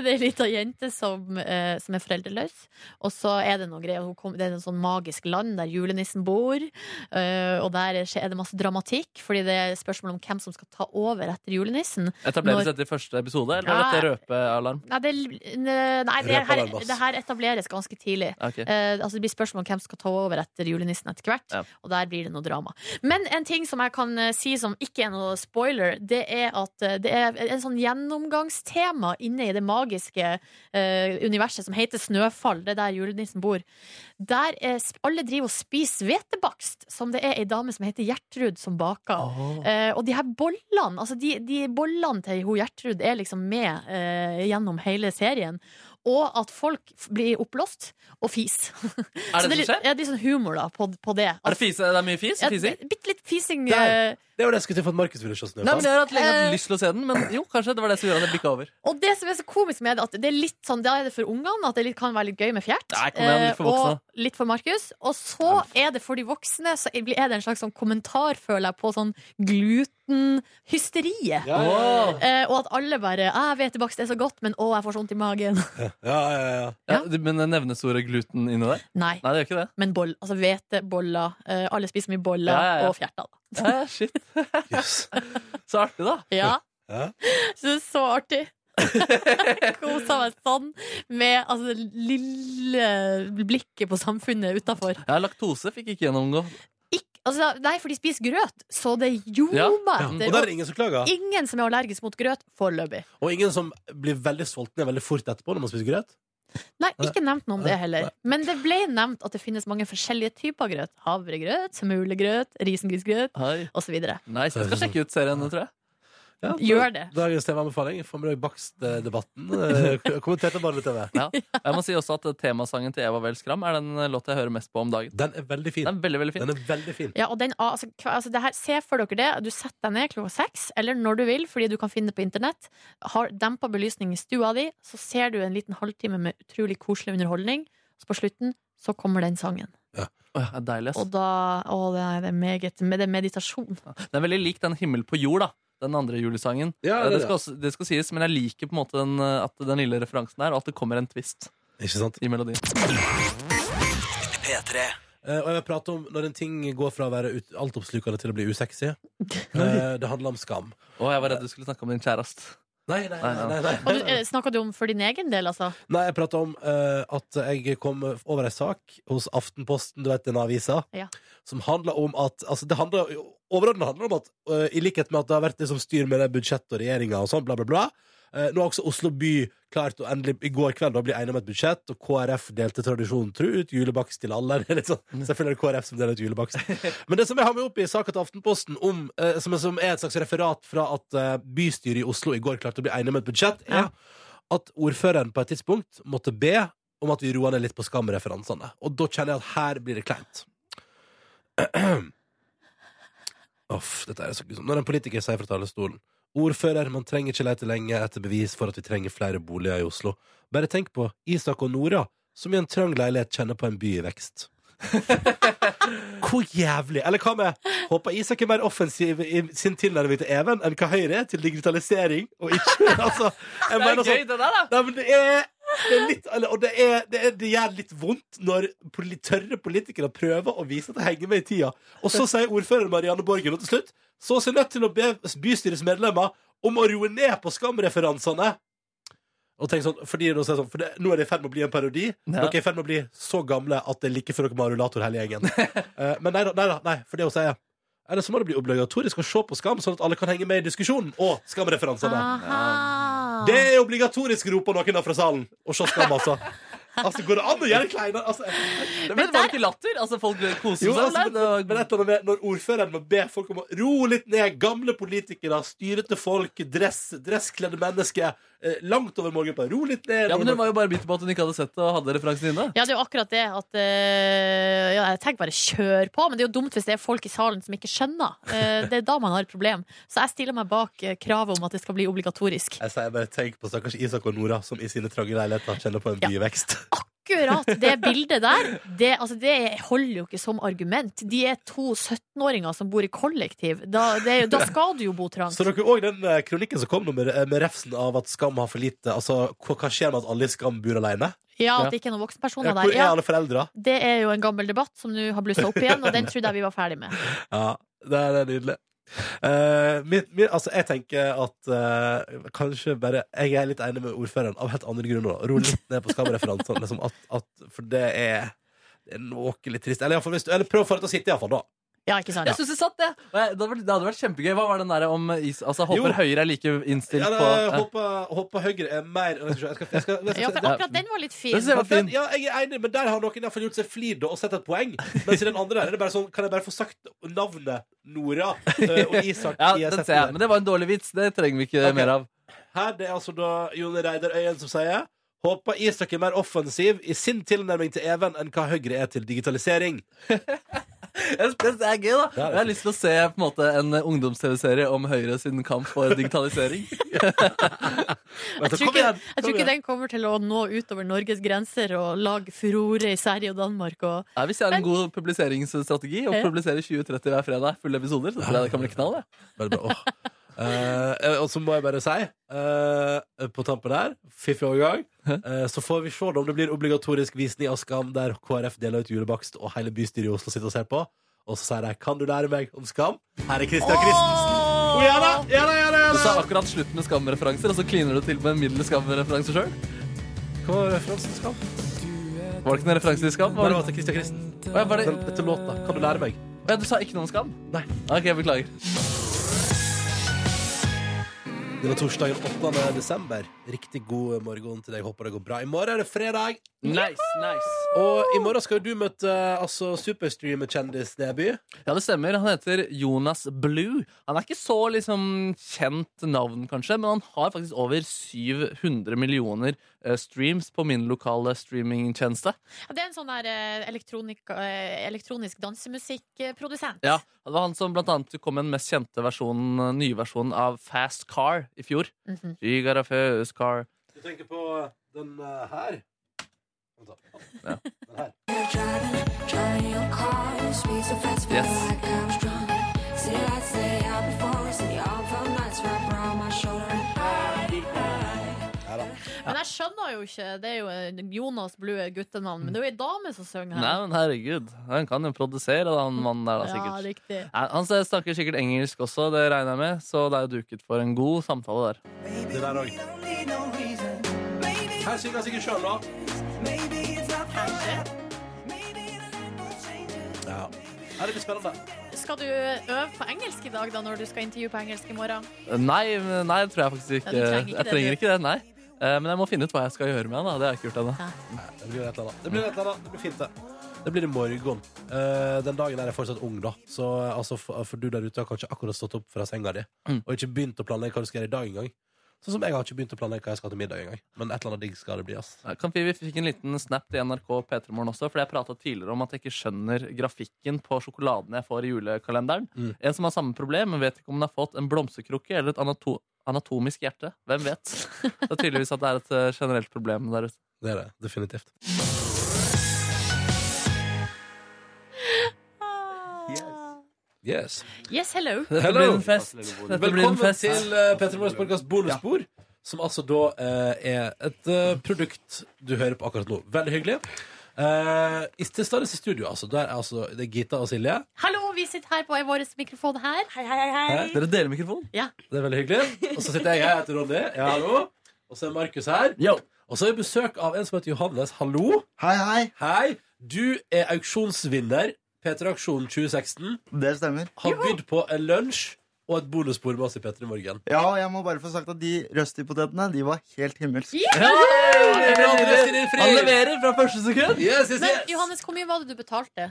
Speaker 3: det er ei lita jente som, eh, som er foreldreløs. Og så er det noe greier. Hun kom, det er en sånn magisk land der julenissen bor. eh, og der skje- er det masse dramatikk, fordi det er spørsmål om hvem som skal ta over etter julenissen.
Speaker 4: Etableres
Speaker 3: Når-
Speaker 4: dette i første episode, eller var
Speaker 3: Ja.
Speaker 4: dette røpealarm?
Speaker 3: Nei, det, nei det, her,
Speaker 4: Røpalarm, ass.
Speaker 3: det her etableres ganske tidlig.
Speaker 4: Ok.
Speaker 3: Eh, altså Det blir spørsmål om hvem som skal ta over etter julenissen etter hvert.
Speaker 4: Ja.
Speaker 3: Og der blir det noe drama. Men en ting som jeg kan eh, si som ikke er noe spoiler, det er at eh, det er en sånn gjennomgangstema inne i det magiske eh, universet som heter Snøfall. Det er der julenissen bor. Der eh, sp- alle driver og spiser hvetebakst, som det er ei dame som heter Gjertrud, som baker. Eh, og de her bollene, altså de, de bollene til hun Gjertrud er liksom med eh, gjennom hele serien. Og at folk f- blir oppblåst og fis. [LAUGHS]
Speaker 4: Er
Speaker 3: Så
Speaker 4: det det
Speaker 3: litt-
Speaker 4: som skjer?
Speaker 3: Ja, det er litt sånn humor da, på, på det. Altså,
Speaker 4: Er det, fise, det er mye fis?
Speaker 3: Ja, eh,
Speaker 4: Fising?
Speaker 3: Bitte litt fising.
Speaker 2: Der.
Speaker 3: eh,
Speaker 2: Det var det jeg skulle til for at Markus ville se snø.
Speaker 4: Nei, men Jeg har hatt lenge hatt lyst til å se den, men jo, kanskje det var det som gjorde at det bikka over.
Speaker 3: Og det som er så komisk med det, at det er litt sånn, da er det for ungene, at det litt, kan være litt gøy med fjert.
Speaker 4: Nei, kom igjen, litt
Speaker 3: eh,
Speaker 4: for
Speaker 3: og
Speaker 4: voksne.
Speaker 3: litt for Markus. Og så er det for de voksne, så er det en slags sånn kommentar, føler jeg, på sånn glutenhysteriet.
Speaker 2: Ja, ja, ja.
Speaker 3: Eh, og at alle bare «Ah, 'Hvetebakst er så godt, men å, jeg får så vondt i magen'. [LAUGHS]
Speaker 2: Ja, ja, ja, ja.
Speaker 4: Ja, du- men nevnes ordet gluten inni der?
Speaker 3: Nei.
Speaker 4: Nei, det gjør ikke det.
Speaker 3: Men boll, altså hveteboller. eh, alle spiser mye boller
Speaker 4: Ja, ja, ja.
Speaker 3: og fjerter. da.
Speaker 4: Ja, shit. [LAUGHS] Så artig, da.
Speaker 3: Ja. [LAUGHS] Så det er så artig.
Speaker 4: [LAUGHS]
Speaker 3: Kosa meg sånn med altså, det lille blikket på samfunnet utafor.
Speaker 4: Ja, laktose fikk ikke gjennomgå.
Speaker 3: Altså, nei, for de spiser grøt, så det ljomer
Speaker 2: Ja. Ja.
Speaker 3: etter.
Speaker 2: Og der er det ingen som klager.
Speaker 3: Ingen som er allergisk mot grøt foreløpig.
Speaker 2: Og ingen som blir veldig sultne veldig fort etterpå når man spiser grøt.
Speaker 3: Nei, ikke nevnt noe om det heller. Men det ble nevnt at det finnes mange forskjellige typer grøt. Havregrøt, smulegrøt, risengrynsgrøt osv.
Speaker 4: Nice. Jeg skal sjekke ut serien, tror jeg.
Speaker 2: Ja,
Speaker 3: Gjør det.
Speaker 2: Dagens TV-anbefaling. Formiddag-bakst-debatten. [LAUGHS] eh, Kommenterte barne-TV.
Speaker 4: Ja. Jeg må si også at temasangen til Eva Vel Skram er den låta jeg hører mest på om dagen.
Speaker 2: Den er veldig fin.
Speaker 4: Den er veldig, veldig fin.
Speaker 3: Ja, og den, altså, hva- altså, det her, se for dere det. Du setter deg ned klokka seks, eller når du vil, fordi du kan finne det på internett. Har dempa belysning i stua di, så ser du en liten halvtime med utrolig koselig underholdning. Så på slutten så kommer den sangen.
Speaker 4: Åh, det er deilig, ass.
Speaker 3: Og da Å, det er- det er meget med det er meditasjon.
Speaker 4: Den er veldig lik den Himmel på jord, da. Den andre julesangen.
Speaker 2: Ja,
Speaker 4: det,
Speaker 2: det er
Speaker 4: skal også, det skal sies, men jeg liker på en måte den, eh, at den lille referansen her, og at det kommer en twist i melodien.
Speaker 2: Eh, og jeg vil prate om når en ting går fra å være ut- altoppslukende til å bli usexy. [LAUGHS] Eh, det handler om skam.
Speaker 4: Å, jeg var redd du skulle snakke om din kjæreste.
Speaker 2: Nei, nei, nei. nei, nei,
Speaker 3: Og du, eh, snakker du om for din egen del, altså?
Speaker 2: Nei, jeg prata om eh, at jeg kom over ei sak hos Aftenposten, du vet den avisa,
Speaker 3: Ja.
Speaker 2: som handla om at altså det handler, Overordnet handler det om at eh, i likhet med at det har vært liksom styr med det budsjettet og regjeringa og sånn, bla, bla, bla, Eh, Nå har også Oslo by klart å endelig i går kveld da bli enige om et budsjett, og KrF delte tradisjonen tru ut julebakst til alle. [LAUGHS] Det er litt sånn, selvfølgelig er det KrF som deler ut julebakst. Men det som jeg har med opp i saka til Aftenposten, om, eh, som, som er et slags referat fra at eh, bystyret i Oslo i går klarte å bli enige om et budsjett, er at ordføreren på et tidspunkt måtte be om at vi roer ned litt på skamreferansene. Og da kjenner jeg at her blir det kleint. [CLEARS THROAT] Uff, dette er så grusomt. Når en politiker sier fra talerstolen Ordfører, man trenger ikke lete lenge etter bevis for at vi trenger flere boliger i Oslo. Bare tenk på Isak og Nora, som i en trang leilighet kjenner på en by i vekst. [LAUGHS] Hvor jævlig! Eller hva med Håper Isak er mer offensiv i sin tilnærming til Even enn hva Høyre er til digitalisering og ikke [LAUGHS] altså, jeg
Speaker 4: Det er
Speaker 2: mener
Speaker 4: gøy,
Speaker 2: sånn-
Speaker 4: det der, da.
Speaker 2: Nei, men det er, det er litt, eller, og det, er, det, er, det gjør litt vondt når poli, tørre politikere prøver å vise at det henger med i tida. Og så sier ordfører Marianne Borgen, og til slutt så ser nødt til å be bystyrets medlemmer om å roe ned på skamreferansene. Og tenk sånn, fordi nå, sier jeg sånn, for det, nå er det i ferd med å bli en parodi.
Speaker 4: Ja.
Speaker 2: Dere er i ferd med å bli så gamle at det er like før dere må ha rullator hele gjengen. Eh, men nei da, nei da, nei, for det hun sier Eller så må det bli obligatorisk å se på Skam, sånn at alle kan henge med i diskusjonen og skamreferansene. Det er obligatorisk, roper noen da fra salen. Og se skam, altså. Altså, Går det an å gjøre kleinere? Altså,
Speaker 4: Men var det ikke latter? Altså, folk koser
Speaker 2: jo,
Speaker 4: seg.
Speaker 2: altså, men, men et eller annet med når ordføreren må be folk om å roe litt ned. Gamle politikere, styrete folk, dress, dresskledde mennesker. Eh, langt over morgenplanen. Ro litt ned.
Speaker 4: Ja, men Hun var jo bare bitter på at hun ikke hadde sett det og hadde referansen inne.
Speaker 3: Ja, det er jo akkurat det at eh, ja, Jeg tenker bare kjør på, men det er jo dumt hvis det er folk i salen som ikke skjønner. Eh, det er da man har et problem. Så jeg stiller meg bak eh, kravet om at det skal bli obligatorisk.
Speaker 2: Jeg sier bare tenk på stakkars Isak og Nora, som i sine trange leiligheter kjenner på en byvekst.
Speaker 3: Akkurat [LAUGHS] det bildet der, det, altså, det holder jo ikke som argument. De er to 17-åringer som bor i kollektiv. Da, det, er jo- da skal du jo bo trangt.
Speaker 2: Så dere òg den eh, kronikken som kom nå med, med refsen av at Skam har for lite Altså, hva, hva skjer med at alle i Skam bor alene?
Speaker 3: Ja, at det ikke er noen voksenpersoner
Speaker 2: Ja, Hvor
Speaker 3: der.
Speaker 2: er
Speaker 3: Ja,
Speaker 2: alle foreldra?
Speaker 3: det er jo en gammel debatt som nå har blussa opp igjen,
Speaker 2: [LAUGHS]
Speaker 3: og den trodde jeg vi var ferdig med.
Speaker 2: Ja, det er det er nydelig. Eh, min, min, altså, jeg tenker at eh, kanskje bare Jeg er litt enig med ordføreren av helt andre grunner. da. Ro litt ned på skamreferansene. liksom, at, at, for det er, det er noe litt trist. Eller, i hvert fall hvis du- eller prøv å få det til å sitte, iallfall, da.
Speaker 3: Ja, ikke sant?
Speaker 4: Jeg synes det satt, det. Og jeg- Det hadde vært- det hadde vært kjempegøy. Hva var den der om is... Altså, håper
Speaker 2: Jo.
Speaker 4: Høyre er like innstilt
Speaker 2: Ja,
Speaker 4: på
Speaker 2: da, håper, håper Høyre er mer Jeg skal, jeg skal, jeg skal, jeg skal
Speaker 3: Ja, for akkurat den var litt fin.
Speaker 2: Men den- Ja, jeg er enig, men der har noen i hvert fall gjort seg flid da, og sett et poeng. Mens i den andre der er det bare sånn Kan jeg bare få sagt navnet Nora eh, og Isak
Speaker 4: Ja,
Speaker 2: i en
Speaker 4: den
Speaker 2: setning
Speaker 4: ser jeg.
Speaker 2: der?
Speaker 4: Men det var en dårlig vits. Det trenger vi ikke
Speaker 2: Ok.
Speaker 4: mer av.
Speaker 2: Her det er altså da Jon Reidar Øyen som sier Håper Isak er mer offensiv i sin tilnærming til Even enn hva Høyre er til digitalisering.
Speaker 4: Jeg synes Det er gøy, da. Jeg har lyst til å se på en måte en ungdoms-TV-serie om Høyre sin kamp for [LAUGHS] digitalisering. altså,
Speaker 3: Jeg tror, ikke, jeg tror ikke den kommer til å nå utover Norges grenser og lage furore i Sverige og Danmark. Og
Speaker 4: Ja, hvis jeg har en god publiseringsstrategi og
Speaker 3: Ja.
Speaker 4: publiserer 20-30 hver fredag, fulle episoder, så tror jeg det kan bli knall. det.
Speaker 2: Veldig bra. Åh. Eh, og så må jeg bare si, eh, på tampen her, fiffig overgang, eh, så får vi se da om det blir obligatorisk visning av Skam der KrF deler ut julebakst og hele bystyret i Oslo sitter og ser på. Og så sier de 'Kan du lære meg om Skam?' Her er Christian Christensen. Å, ja da, ja da, ja da, ja
Speaker 4: Du
Speaker 2: da.
Speaker 4: sa akkurat slutt med skamreferanser, og så kliner du til med en middels skamreferanse sjøl.
Speaker 2: Hva var referansen til Skam?
Speaker 4: Var det ikke en referanse til skam?
Speaker 2: Nei, det var til Christian Christensen.
Speaker 4: Å, ja, var det...
Speaker 2: Den- Dette låta. Kan du lære meg?
Speaker 4: Å, ja, du sa ikke noe om skam?
Speaker 2: Nei.
Speaker 4: Ok, beklager.
Speaker 2: Det var torsdagen 8. desember. Riktig god morgen til deg. Håper det går bra. I morgen er det fredag,
Speaker 4: Nice, nice.
Speaker 2: og i morgen skal jo du møte eh, altså, superstreamer-kjendisdebut.
Speaker 4: Ja, det stemmer. Han heter Jonas Blue. Han er ikke så liksom, kjent navn, kanskje, men han har faktisk over 700 millioner eh, streams på min lokale streamingtjeneste.
Speaker 3: ja, det er en sånn der eh, elektronik- eh, elektronisk dansemusikkprodusent.
Speaker 4: Ja, det var han som blant annet kom med den mest kjente versjonen, eh, nye versjonen av Fast Car i fjor.
Speaker 3: Mhm.
Speaker 4: You got a fast car.
Speaker 2: Du tenker på den eh, her? Vent da.
Speaker 4: Ja.
Speaker 2: Den her.
Speaker 4: Yes.
Speaker 3: Men jeg skjønner jo ikke Det er jo en Jonas Blue guttenavn, men det er jo ei dame som synger her.
Speaker 4: Nei, men herregud, han kan jo produsere, da, han mannen der, da,
Speaker 3: ja,
Speaker 4: sikkert.
Speaker 3: riktig.
Speaker 4: Nei, Han snakker sikkert engelsk også, det regner jeg med, så det er jo duket for en god samtale der.
Speaker 2: Det der òg. Her synger jeg sikkert sjøl, da. Ja. ja. Det blir spennende.
Speaker 3: Skal du eh, øve på engelsk i dag da, når du skal intervjue på engelsk i morgen?
Speaker 4: Nei, nei, det tror jeg faktisk ikke.
Speaker 3: Ja, du trenger ikke
Speaker 4: jeg
Speaker 3: det,
Speaker 4: trenger
Speaker 3: du.
Speaker 4: ikke det, nei. Eh, Men jeg må finne ut hva jeg skal gjøre med den. da. Det har jeg ikke gjort ennå.
Speaker 2: Det blir et eller annet. Det blir, et eller annet. Det blir fint, det. Det blir i morgen. Eh, den dagen er jeg fortsatt ung, da. Så eh, altså, for, for du der ute har kanskje akkurat stått opp fra senga di og ikke begynt å planlegge hva du skal gjøre i dag engang. Sånn som jeg har ikke begynt å planlegge hva jeg skal til middag engang. Men et eller annet digg skal det bli. ass
Speaker 4: Ja, Kan vi, vi fikk en liten snap til NRK P3 Morgen også, fordi jeg prata tidligere om at jeg ikke skjønner grafikken på sjokoladen jeg får i julekalenderen.
Speaker 12: Mm.
Speaker 4: En som har samme problem, men vet ikke om hun har fått en blomsterkrukke eller et anato anatomisk hjerte. Hvem vet? Det er tydeligvis at det er et eh, generelt problem der ute.
Speaker 2: Det er det, definitivt. Yes.
Speaker 3: Yes, hello.
Speaker 2: Hello. Velkommen til uh, Petter Morgens podcast Bonusspor, som altså da eh, er et eh, produkt du hører på akkurat nå. Veldig hyggelig. Uh, I til stede i studio, altså. Der er altså det er Gita og Silje.
Speaker 3: Hallo, vi sitter her på vår mikrofon her. Hei, hei, hei.
Speaker 2: Hæ? Dere deler mikrofon?
Speaker 3: Ja.
Speaker 2: Det er veldig hyggelig. Og så sitter jeg her, jeg heter Ronny. Ja, hallo. Og så er Markus her. Og så har vi besøk av en som heter Johannes. Hallo. Hei, hei. Hei. Du er auksjonsvinner. Peter Aksjon 2016.
Speaker 12: Det stemmer.
Speaker 2: Har bydd på en lunsj og et bonusbord med oss i Peter i morgen.
Speaker 12: Ja, og jeg må bare få sagt at de røstipotetene, de var helt himmelsk.
Speaker 2: Det er bra, det er Silje Fri.
Speaker 12: Han leverer fra første sekund.
Speaker 3: Men Johannes, hvor mye var det du betalte?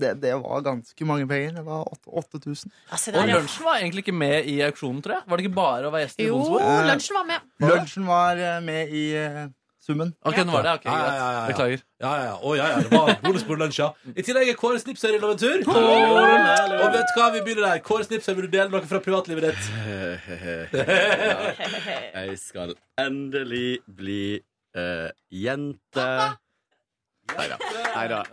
Speaker 12: Det, det var ganske mange penger. Det var åtte- 8000.
Speaker 3: Altså,
Speaker 4: Og lunsjen var egentlig ikke med i auksjonen, tror jeg. Var det ikke bare å være gjest i
Speaker 3: Jo,
Speaker 4: Bonusbord?
Speaker 3: lunsjen var med.
Speaker 12: Lunsjen var eh, med i eh, summen.
Speaker 4: Ok, den var det. Ok, greit. Beklager.
Speaker 2: Ja, ja, ja. Å, ja, ja. Det var bonusbord lunsj, ja. I tillegg er Kåre Snips her i Loventur.
Speaker 12: Hallo.
Speaker 2: Og vet du hva, vi begynner der. Kåre Snips, vil du dele noe fra privatlivet ditt?
Speaker 13: Jeg skal endelig bli eh, jente. Nei da.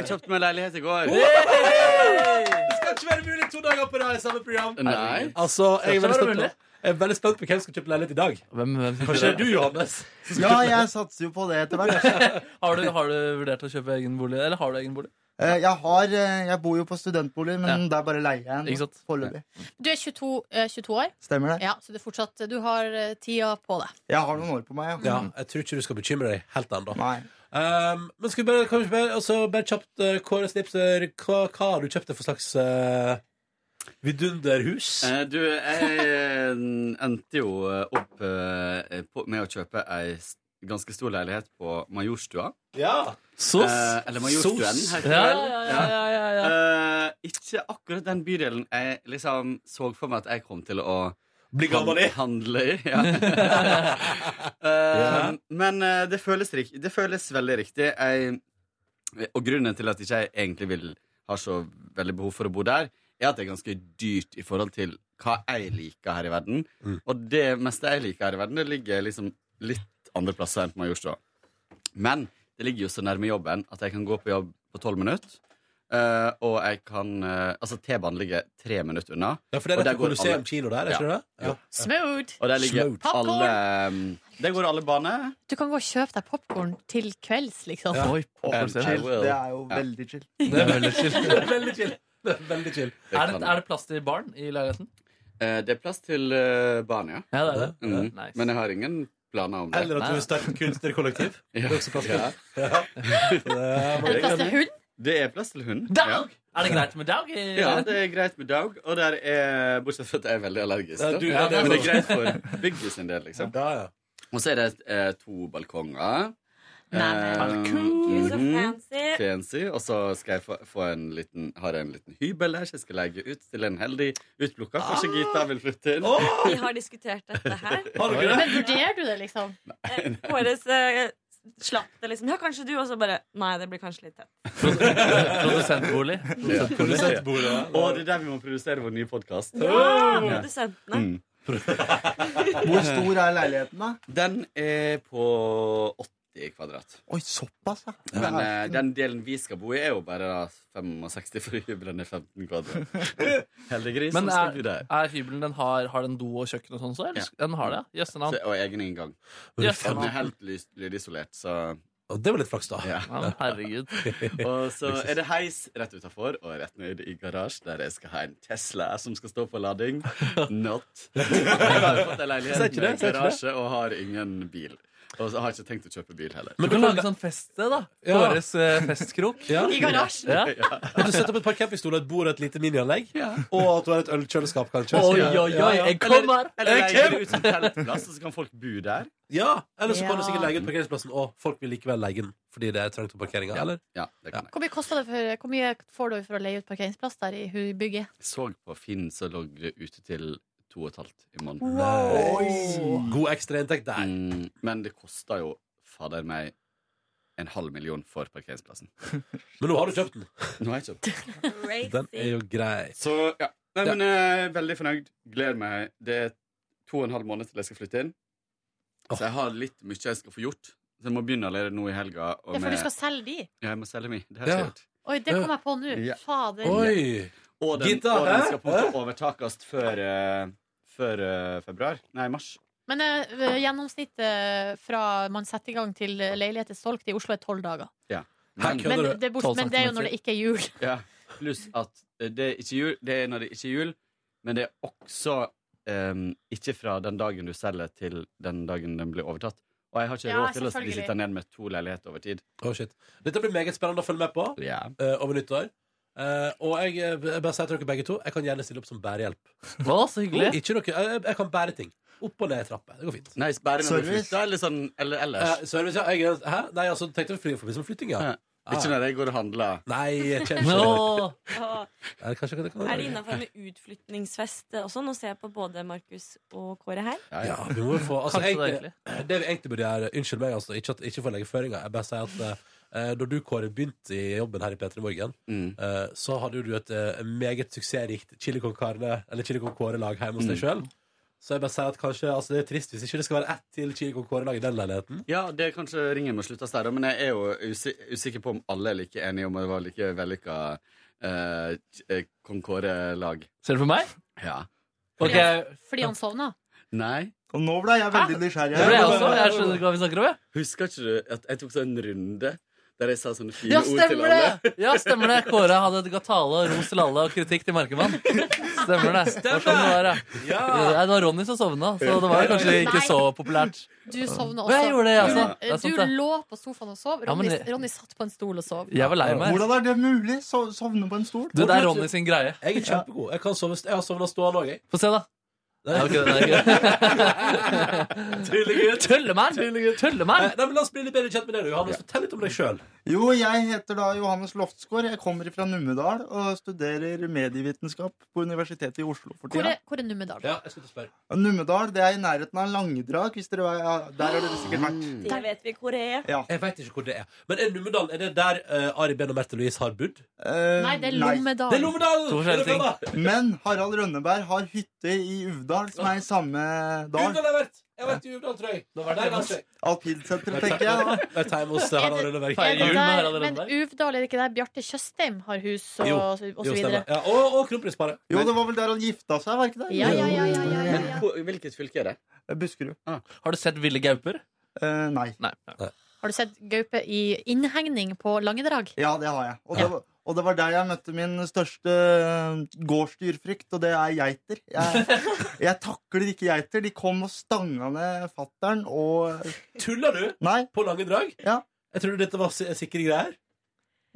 Speaker 13: jeg kjøpte meg leilighet i går.
Speaker 2: Det skal ikke være mulig to dager på rad i samme program.
Speaker 13: Nei.
Speaker 2: Altså, jeg er
Speaker 13: Skal ikke
Speaker 2: veldig
Speaker 13: være
Speaker 2: spent på, jeg er veldig spent på hvem som skal kjøpe leilighet i dag. Kanskje det er du, Johannes? som skal
Speaker 12: Ja,
Speaker 2: kjøpe-
Speaker 12: jeg satser jo på det etter hvert.
Speaker 4: [LAUGHS] Har du, har du vurdert å kjøpe egen bolig? Eller har du egen bolig?
Speaker 12: Eh, Jeg, har, eh, jeg bor jo på studentbolig, men det er bare leie jeg
Speaker 4: Ikke
Speaker 12: nå,
Speaker 4: sant?
Speaker 12: foreløpig.
Speaker 3: Du er 22, eh, 22 år.
Speaker 12: Stemmer det.
Speaker 3: Ja, så du, fortsatt, du har eh, tida på deg.
Speaker 12: Jeg har noen år på meg, ja.
Speaker 2: Ja, jeg tror ikke du skal bekymre deg helt ennå. Um, men skal vi bare, kan vi ikke bare, altså, bare kjapt eh, Kåre Snipser, hva, hva har du kjøpt deg for slags eh, vidunderhus?
Speaker 13: Eh, du, jeg eh, endte jo eh, opp eh, på, med å kjøpe ei s- ganske stor leilighet på Majorstua.
Speaker 2: Ja.
Speaker 4: Sos.
Speaker 13: Eh, eller Majorstuen,
Speaker 4: Sos.
Speaker 13: heter det
Speaker 4: Ja,
Speaker 13: vel.
Speaker 4: ja, ja, ja, ja,
Speaker 13: Eh, ikke akkurat den bydelen jeg liksom så for meg at jeg kom til å
Speaker 2: bli gammel i.
Speaker 13: Handle i,
Speaker 2: [LAUGHS]
Speaker 13: ja. Eh, Men eh, det føles, rik- det føles veldig riktig. Jeg, og grunnen til at ikke jeg egentlig vil, har så veldig behov for å bo der, er at det er ganske dyrt i forhold til hva jeg liker her i verden.
Speaker 2: Mm.
Speaker 13: Og det meste jeg liker her i verden, det ligger liksom litt andre plasser enn på Majorstua. Men det ligger jo så nærme jobben at jeg kan gå på jobb på tolv minutter. eh, og jeg kan eh, Altså, T-banen ligger tre minutter unna.
Speaker 2: Ja, for det er
Speaker 13: og
Speaker 2: rett ved
Speaker 13: går
Speaker 2: Colosseum
Speaker 13: alle-
Speaker 2: kino der, er ikke det?
Speaker 13: Jo.
Speaker 3: Smooth.
Speaker 13: Og der ligger
Speaker 3: Smooth. Popcorn.
Speaker 13: alle um, Der går alle baner.
Speaker 3: Du kan gå og kjøpe deg popkorn til kvelds, liksom.
Speaker 13: Ja.
Speaker 4: Oi,
Speaker 13: popcorn,
Speaker 4: ser
Speaker 13: chill.
Speaker 4: jeg.
Speaker 13: Det er jo
Speaker 4: Ja.
Speaker 13: veldig chill.
Speaker 4: Det er veldig chill.
Speaker 2: [LAUGHS] Det er veldig chill. Det er veldig chill.
Speaker 4: Er det, er det plass til barn i leiligheten?
Speaker 13: Eh, det er plass til eh, barn, ja.
Speaker 4: Ja, det er det.
Speaker 13: Mm.
Speaker 4: Ja, nice.
Speaker 13: Men jeg har ingen planer om det.
Speaker 2: Eller at du er sterkt kunstnerkollektiv.
Speaker 13: Ja.
Speaker 2: Det er også plass til.
Speaker 13: Ja.
Speaker 2: Er
Speaker 3: det plass til hund?
Speaker 13: Det er plass til hund.
Speaker 4: Dog!
Speaker 13: ja.
Speaker 4: Er det greit med dog? i- [LAUGHS]
Speaker 13: Ja, det er greit med dog, og der er, bortsett fra at jeg er veldig allergisk.
Speaker 4: Ja,
Speaker 13: da.
Speaker 4: du- ja, det er
Speaker 13: Men det er
Speaker 4: sant.
Speaker 13: greit for bygget sin del, liksom. Og så er det eh, to balkonger.
Speaker 14: men-
Speaker 13: Eh,
Speaker 4: Mm.
Speaker 14: Balkonger, så
Speaker 13: mhm,
Speaker 14: fancy.
Speaker 13: fancy. Og så skal jeg få, få en liten, har jeg en liten hybel der som jeg skal legge ut til en heldig utplukka. Kanskje Gita vil flytte inn.
Speaker 14: Vi har diskutert dette her.
Speaker 3: Men vurderer du det, liksom?
Speaker 14: Kåres eh, slapp det liksom. Ja, kanskje du også bare Nei, det blir kanskje litt tett.
Speaker 4: Produsentbolig.
Speaker 2: [LAUGHS]
Speaker 13: Ja.
Speaker 4: Produsentbolig, ja.
Speaker 13: Og det er der vi må produsere vår nye podkast.
Speaker 14: Ja, Ah, produsentene.
Speaker 12: Hvor stor er leiligheten, da?
Speaker 13: Den er på 80 kvadrat.
Speaker 12: Oi, såpass, ja.
Speaker 13: Men eh, den delen vi skal bo i, er jo bare da 65, for hybelen er 15 kvadrat. Heldig gris
Speaker 4: Men
Speaker 13: som skal
Speaker 4: er,
Speaker 13: bo der.
Speaker 4: er hybelen den har, har den do og kjøkken og sånn? Så, eller?
Speaker 13: Ja.
Speaker 4: Den har det, ja. Jøsse navn.
Speaker 13: Så- Og egen inngang.
Speaker 4: Jøsse
Speaker 13: Den er
Speaker 4: navn.
Speaker 13: helt lys- lydisolert, så
Speaker 2: Det var litt flaks, da.
Speaker 13: Ja.
Speaker 4: Ja, men herregud.
Speaker 13: [LAUGHS] Og så er det heis rett utafor og rett ned i garasje, der jeg skal ha en Tesla som skal stå på [LAUGHS] lading. Not. Jeg har fått en
Speaker 2: Ser ikke det, ser
Speaker 13: leilighet med
Speaker 2: ikke det.
Speaker 13: garasje og har ingen bil. Og så har jeg ikke tenkt å kjøpe bil heller.
Speaker 4: Men du kan lage sånn feststed, da.
Speaker 2: Ja.
Speaker 4: Kåres eh, festkrok.
Speaker 2: Ja.
Speaker 4: Ja.
Speaker 2: Men du setter opp et par campingstoler, et bord og et lite minianlegg. Og at du har et ølkjøleskap, kanskje.
Speaker 4: Oi, oi, oi, jeg kommer.
Speaker 13: Eller, eller
Speaker 2: Jeg
Speaker 13: leier
Speaker 2: kommer.
Speaker 13: ut som teltplass, og så kan folk bo der.
Speaker 2: Ja, eller så kan du
Speaker 3: Ja.
Speaker 2: sikkert leie ut parkeringsplassen, og folk vil likevel leie den fordi det er trangt på parkeringa, eller?
Speaker 13: Ja, det kan jeg.
Speaker 3: Hvor mye, koster det for, hvor mye får du for å leie ut parkeringsplass der i hu- bygget?
Speaker 13: Så på Finn, så lå det ute til to og et halvt i måneden.
Speaker 3: Wow.
Speaker 2: God ekstrainntekt der.
Speaker 13: Mm, men det kosta jo fader meg en halv million for parkeringsplassen.
Speaker 2: Men nå har du kjøpt den.
Speaker 13: Nå har jeg kjøpt den.
Speaker 4: Mm.
Speaker 14: [LAUGHS]
Speaker 2: Den er jo grei.
Speaker 13: Så ja. Nei, men eh, veldig fornøyd. Gleder meg. Det er to og en halv måned til jeg skal flytte inn. Så jeg har litt mye jeg skal få gjort. Så jeg må begynne allerede nå i helga.
Speaker 3: Ja,
Speaker 13: og
Speaker 3: for
Speaker 13: med-
Speaker 3: du skal selge de?
Speaker 13: Ja, jeg må selge mi. Det har
Speaker 2: Ja.
Speaker 13: jeg ikke gjort.
Speaker 3: Oi, det kom jeg på nå.
Speaker 13: Ja.
Speaker 3: Fader.
Speaker 2: Oi.
Speaker 13: Og den,
Speaker 2: Gita,
Speaker 13: og den
Speaker 2: hæ?
Speaker 13: skal på en måte overtakes før, eh, før eh, februar. Nei, mars.
Speaker 3: Men eh, gjennomsnittet fra man setter i gang til leilighet er solgt i Oslo, er tolv dager.
Speaker 13: Ja.
Speaker 2: Her kødder
Speaker 3: Men
Speaker 2: du.
Speaker 3: det, er bort,
Speaker 13: 12
Speaker 3: men det er jo når
Speaker 13: centimeter.
Speaker 3: det ikke er jul. [LAUGHS]
Speaker 13: Ja. Pluss at eh, det er ikke jul, det er når det ikke er jul, men det er også eh, ikke fra den dagen du selger, til den dagen den blir overtatt. Og jeg har ikke
Speaker 2: Ja,
Speaker 13: råd til å
Speaker 2: selvfølgelig.
Speaker 13: sitte ned med to leiligheter over tid.
Speaker 2: Å, shit. Dette blir meget spennende å følge med på eh, over nyttår. Eh, og jeg, eh, jeg bare sier til dere begge to Jeg kan gjerne stille opp som bærehjelp.
Speaker 4: [LAUGHS] Å, så hyggelig.
Speaker 2: Ikke noe, eh, jeg, jeg kan bære ting. Opp og ned trapper. Det går fint.
Speaker 13: Nei, bære når du
Speaker 2: Service?
Speaker 13: flytter, eller sånn, eller ellers.
Speaker 2: Eh, service, ja. Jeg, er- hæ? Nei, altså, tenkte jeg fly forbi som flytting, ja. Ah.
Speaker 13: Ikke når jeg går og handler.
Speaker 2: Nei, jeg kjenner ikke
Speaker 14: Nå.
Speaker 2: det. Eller kanskje det kan
Speaker 14: Er det innafor med utflytningsfest også? Nå ser jeg på både Markus og Kåre her.
Speaker 2: Ja, vi må jo få altså,
Speaker 4: Kanskje det
Speaker 2: egentlig, Det vi egentlig burde gjøre Unnskyld meg, altså, ikke, at, ikke for å legge føringer. Jeg bare sier at eh, da du, Kåre, begynte i jobben her i P3 Morgen, eh, så hadde jo du et eh, meget suksessrikt Chili Con Carne, eller Chili Con Kåre-lag hjemme hos deg sjøl. Så jeg bare sier at kanskje altså, det er trist hvis ikke det skal være ett til Chili Con Kåre-lag i den leiligheten.
Speaker 13: Ja, det er kanskje ringen må sluttes der, da, men jeg er jo usi- usikker på om alle er like enige om at det var like vellykka eh, eh, Concorde-lag.
Speaker 4: Ser du for meg?
Speaker 13: Ja.
Speaker 3: Fordi han- Fordi han sovna.
Speaker 13: Nei.
Speaker 12: Og nå ble jeg veldig nysgjerrig.
Speaker 13: Det ble jeg også.
Speaker 4: Jeg skjønner ikke hva vi snakker om. jeg.
Speaker 13: Husker ikke du at jeg tok sånn en runde der jeg sa sånne fine
Speaker 4: Ja,
Speaker 13: ord til
Speaker 4: stemmer
Speaker 13: alle?
Speaker 4: det! Ja, stemmer det. Kåre hadde et godt tale, ros til alle og kritikk til Markemann. Stemmer det. Det var sånn det var, ja. Nei, Det var Ronny som sovna, så det var kanskje ikke
Speaker 3: Nei.
Speaker 4: så populært.
Speaker 3: Du sovna
Speaker 4: Men
Speaker 3: også.
Speaker 4: jeg gjorde det, altså.
Speaker 3: Du,
Speaker 4: Det er sant,
Speaker 3: du
Speaker 4: det.
Speaker 3: lå på sofaen og sov.
Speaker 4: Ja, men
Speaker 3: Ronny,
Speaker 4: det-
Speaker 3: Ronny satt på en stol og sov.
Speaker 4: Jeg var lei meg.
Speaker 12: Hvordan er det mulig? So sovne på en stol?
Speaker 4: Du, det er Ronny sin greie.
Speaker 2: Jeg er kjempegod. Jeg, kan sove, jeg har sovna stående òg, jeg.
Speaker 4: Få se, da.
Speaker 2: Nei.
Speaker 4: Ja, ok, det er
Speaker 2: Tullegutt.
Speaker 4: Tullemann. Tullemann.
Speaker 2: Eh, nei, men La oss bli litt bedre kjent med deg, du, Johannes. Fortell litt om deg sjøl.
Speaker 12: Jo, jeg heter da Johannes Loftsgaard. Jeg kommer fra Numedal og studerer medievitenskap på Universitetet i Oslo for
Speaker 3: Hvor
Speaker 12: tida.
Speaker 3: er, hvor er Numedal?
Speaker 2: Ja, jeg skulle spørre.
Speaker 12: Numedal det er i nærheten av Langedrag. Hvis dere, ja, der har dere sikkert vært.
Speaker 4: Mm.
Speaker 14: Der vet vi hvor det er.
Speaker 12: Ja.
Speaker 2: Jeg veit ikke hvor det er. Men er Numedal er det der eh, Ari Behn og Merte Louise har bodd?
Speaker 3: Nei,
Speaker 12: Eh,
Speaker 3: det er Lommedal.
Speaker 2: Det er Lommedal!
Speaker 4: To forskjellige ting.
Speaker 12: Men Harald Rønneberg har hytte i Uvdal, som er i samme dal.
Speaker 2: Uvdal har vært. Jeg har vært i Uvdal, tror jeg. Der var jeg.
Speaker 12: Alpinsenteret, tenker jeg. da.
Speaker 2: Vært hjemme hos Harald Rønneberg.
Speaker 3: Er det der, men Uvdal, er det ikke der Bjarte Tjøstheim har hus og,
Speaker 2: Jo.
Speaker 3: og så
Speaker 2: Jo,
Speaker 3: videre?
Speaker 2: stemmer. Ja, og, og kronprinsparet.
Speaker 12: Jo, det var vel der han gifta seg, var det ikke det?
Speaker 3: Ja, ja, ja, ja, ja, ja,
Speaker 13: Men
Speaker 3: ja.
Speaker 13: hvor- hvilket fylke er det?
Speaker 12: Buskerud.
Speaker 4: Har du sett Ville gauper?
Speaker 12: Eh, nei.
Speaker 4: Nei.
Speaker 3: Har du sett gaupe i innhegning på Langedrag?
Speaker 12: Ja, det har jeg. Og, det, var, og det var der jeg møtte min største eh, gårdsdyrfrykt, og det er geiter. Jeg, jeg takler ikke geiter. De kom og stanga ned fattern og
Speaker 2: Tuller du?
Speaker 12: Nei.
Speaker 2: På lange drag?
Speaker 12: Ja.
Speaker 2: Jeg trodde dette var si- sikre greier.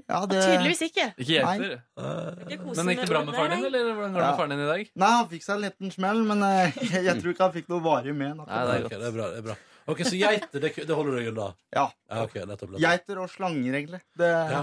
Speaker 12: Ja, det...
Speaker 3: Tydeligvis ikke.
Speaker 4: Ikke geiter. Men gikk det bra med faren din, eller hvordan går det
Speaker 12: Ja.
Speaker 4: med faren din i dag?
Speaker 12: Nei, han fikk seg en liten smell, men eh, jeg tror ikke han fikk noe varig men.
Speaker 4: Nei, det er
Speaker 2: Ok,
Speaker 4: godt.
Speaker 2: det er bra. det er bra Ok, Så geiter, det, det holder du deg unna?
Speaker 12: Ja.
Speaker 2: ok, nettopp, nettopp.
Speaker 12: Geiter og slanger, egentlig. Det...
Speaker 2: Ja.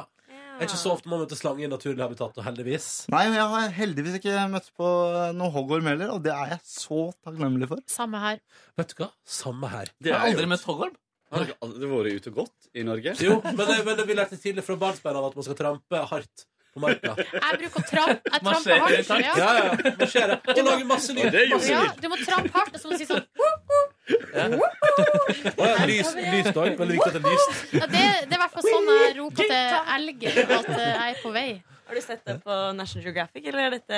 Speaker 2: Er ikke så ofte man møter slange i naturlig habitat, og heldigvis.
Speaker 12: Nei, men jeg har heldigvis ikke møtt på noe hoggorm heller, og det er jeg så takknemlig for.
Speaker 3: Samme her.
Speaker 2: Vet du hva? Samme her.
Speaker 4: Jeg
Speaker 13: Det
Speaker 4: har
Speaker 13: er
Speaker 4: aldri
Speaker 13: jo-
Speaker 4: møtt hoggorm.
Speaker 13: Har dere aldri vært ute og gått i Norge?
Speaker 2: Jo, men det, men det vi lærte tidlig fra barnsben av at man skal trampe hardt på marka.
Speaker 3: Jeg bruker å trampe Jeg tramper
Speaker 2: Marsjere,
Speaker 3: hardt.
Speaker 2: takk. Ja, ja, marsjere. Og lage masse lyd.
Speaker 13: Og det gjorde
Speaker 2: Masse
Speaker 3: Ja,
Speaker 2: lyd.
Speaker 3: du må trampe hardt. Og så må du si sånn
Speaker 2: Og ja, lys, lyst òg. Veldig viktig at det er lyst.
Speaker 3: ja, det, det er i hvert fall sånn jeg roper til elgen at eh, jeg er på vei.
Speaker 14: Har du sett det på National Geographic, eller er dette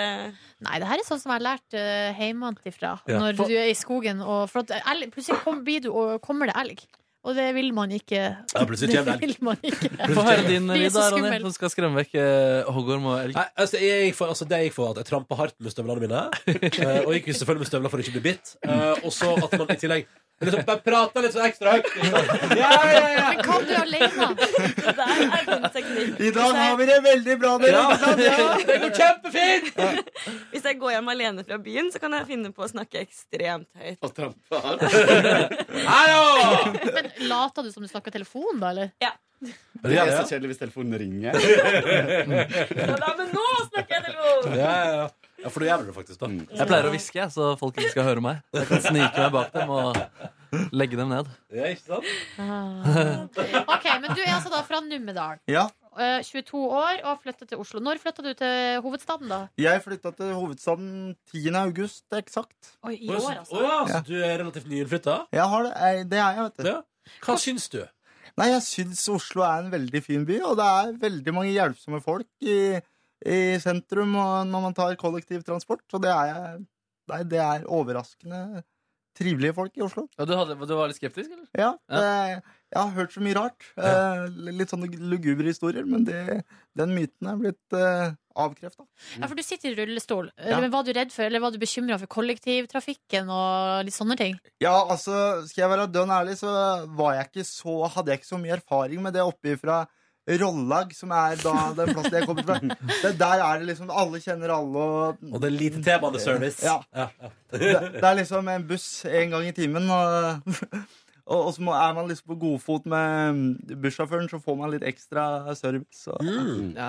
Speaker 3: Nei, det her er sånn som jeg har lært uh, hjemmefra.
Speaker 14: Ja.
Speaker 3: Når
Speaker 14: For-
Speaker 3: du er i skogen, og for at elg, plutselig kom, blir du, og kommer det elg. Og det vil man ikke.
Speaker 2: Ja, plutselig kommer det elg.
Speaker 3: [LAUGHS] vil man ikke.
Speaker 4: Få høre din,
Speaker 3: Det er så
Speaker 4: Vidar, Ronny,
Speaker 3: skummelt.
Speaker 4: som skal skremme vekk eh, hoggorm og elg.
Speaker 2: Nei, altså, jeg gikk for, altså, det jeg gikk for var at jeg trampa hardt med støvlene mine. eh, Og gikk jo selvfølgelig med støvler for å ikke bli bitt. Eh, Og så at man i tillegg Men Liksom, bare prate litt sånn ekstra høyt. Liksom. Ja, ja, ja.
Speaker 3: Men kan du alene?
Speaker 14: Det der er din teknikk.
Speaker 12: I dag har vi det veldig bra. Dere,
Speaker 2: Ja.
Speaker 12: ikke sant? Ja.
Speaker 2: [LAUGHS] Det går kjempefint!
Speaker 14: Hvis jeg går hjem alene fra byen, så kan jeg finne på å snakke ekstremt høyt.
Speaker 13: Og trampe hardt.
Speaker 2: Hallo!
Speaker 3: Men later du som du snakker telefon, da, eller?
Speaker 14: Ja.
Speaker 13: Det er så kjedelig hvis telefonen ringer.
Speaker 14: Ja, men nå snakker jeg telefon!
Speaker 2: ja, ja. For du gjør det faktisk, da.
Speaker 13: Mm.
Speaker 4: Jeg pleier å hviske, jeg, så folk ikke skal høre meg. Jeg kan snike meg bak dem og legge dem ned.
Speaker 2: Ja, ikke sant?
Speaker 3: OK, men du er altså da fra Numedal.
Speaker 12: Ja.
Speaker 3: Eh, 22 år og flyttet til Oslo. Når flytta du til hovedstaden, da?
Speaker 12: Jeg flytta til hovedstaden 10. august, eksakt.
Speaker 3: Oi, I
Speaker 2: Å
Speaker 3: år,
Speaker 2: ja,
Speaker 3: altså.
Speaker 2: så du er relativt nyinnflytta?
Speaker 12: Jeg har det. Jeg, det er jeg, vet du.
Speaker 2: Ja. Hva syns du?
Speaker 12: Nei, jeg syns Oslo er en veldig fin by, og det er veldig mange hjelpsomme folk i, i sentrum og når man tar kollektivtransport, så det er jeg Nei, det er overraskende trivelige folk i Oslo.
Speaker 4: Ja, du, hadde, du var litt skeptisk, eller?
Speaker 12: Ja, det, jeg har hørt så mye rart. Eh, Litt sånne lugubre historier, men det, den myten er blitt eh, avkrefta.
Speaker 3: Ja, for du sitter i rullestol. Eh,
Speaker 12: Ja.
Speaker 3: Men var du redd for, eller var du bekymra for kollektivtrafikken og litt sånne ting?
Speaker 12: Ja, altså, skal jeg være dønn ærlig, så var jeg ikke så, hadde jeg ikke så mye erfaring med det oppe fra Rollag, som er da den plassen jeg kommer fra. Det, der er det liksom alle kjenner alle. Og,
Speaker 2: Og det er lite T-baneservice.
Speaker 12: Ja.
Speaker 2: Ja,
Speaker 12: det, det er liksom en buss en gang i timen, og, [LAUGHS] og, og så må, er man liksom på godfot med bussjåføren, så får man litt ekstra service. Og,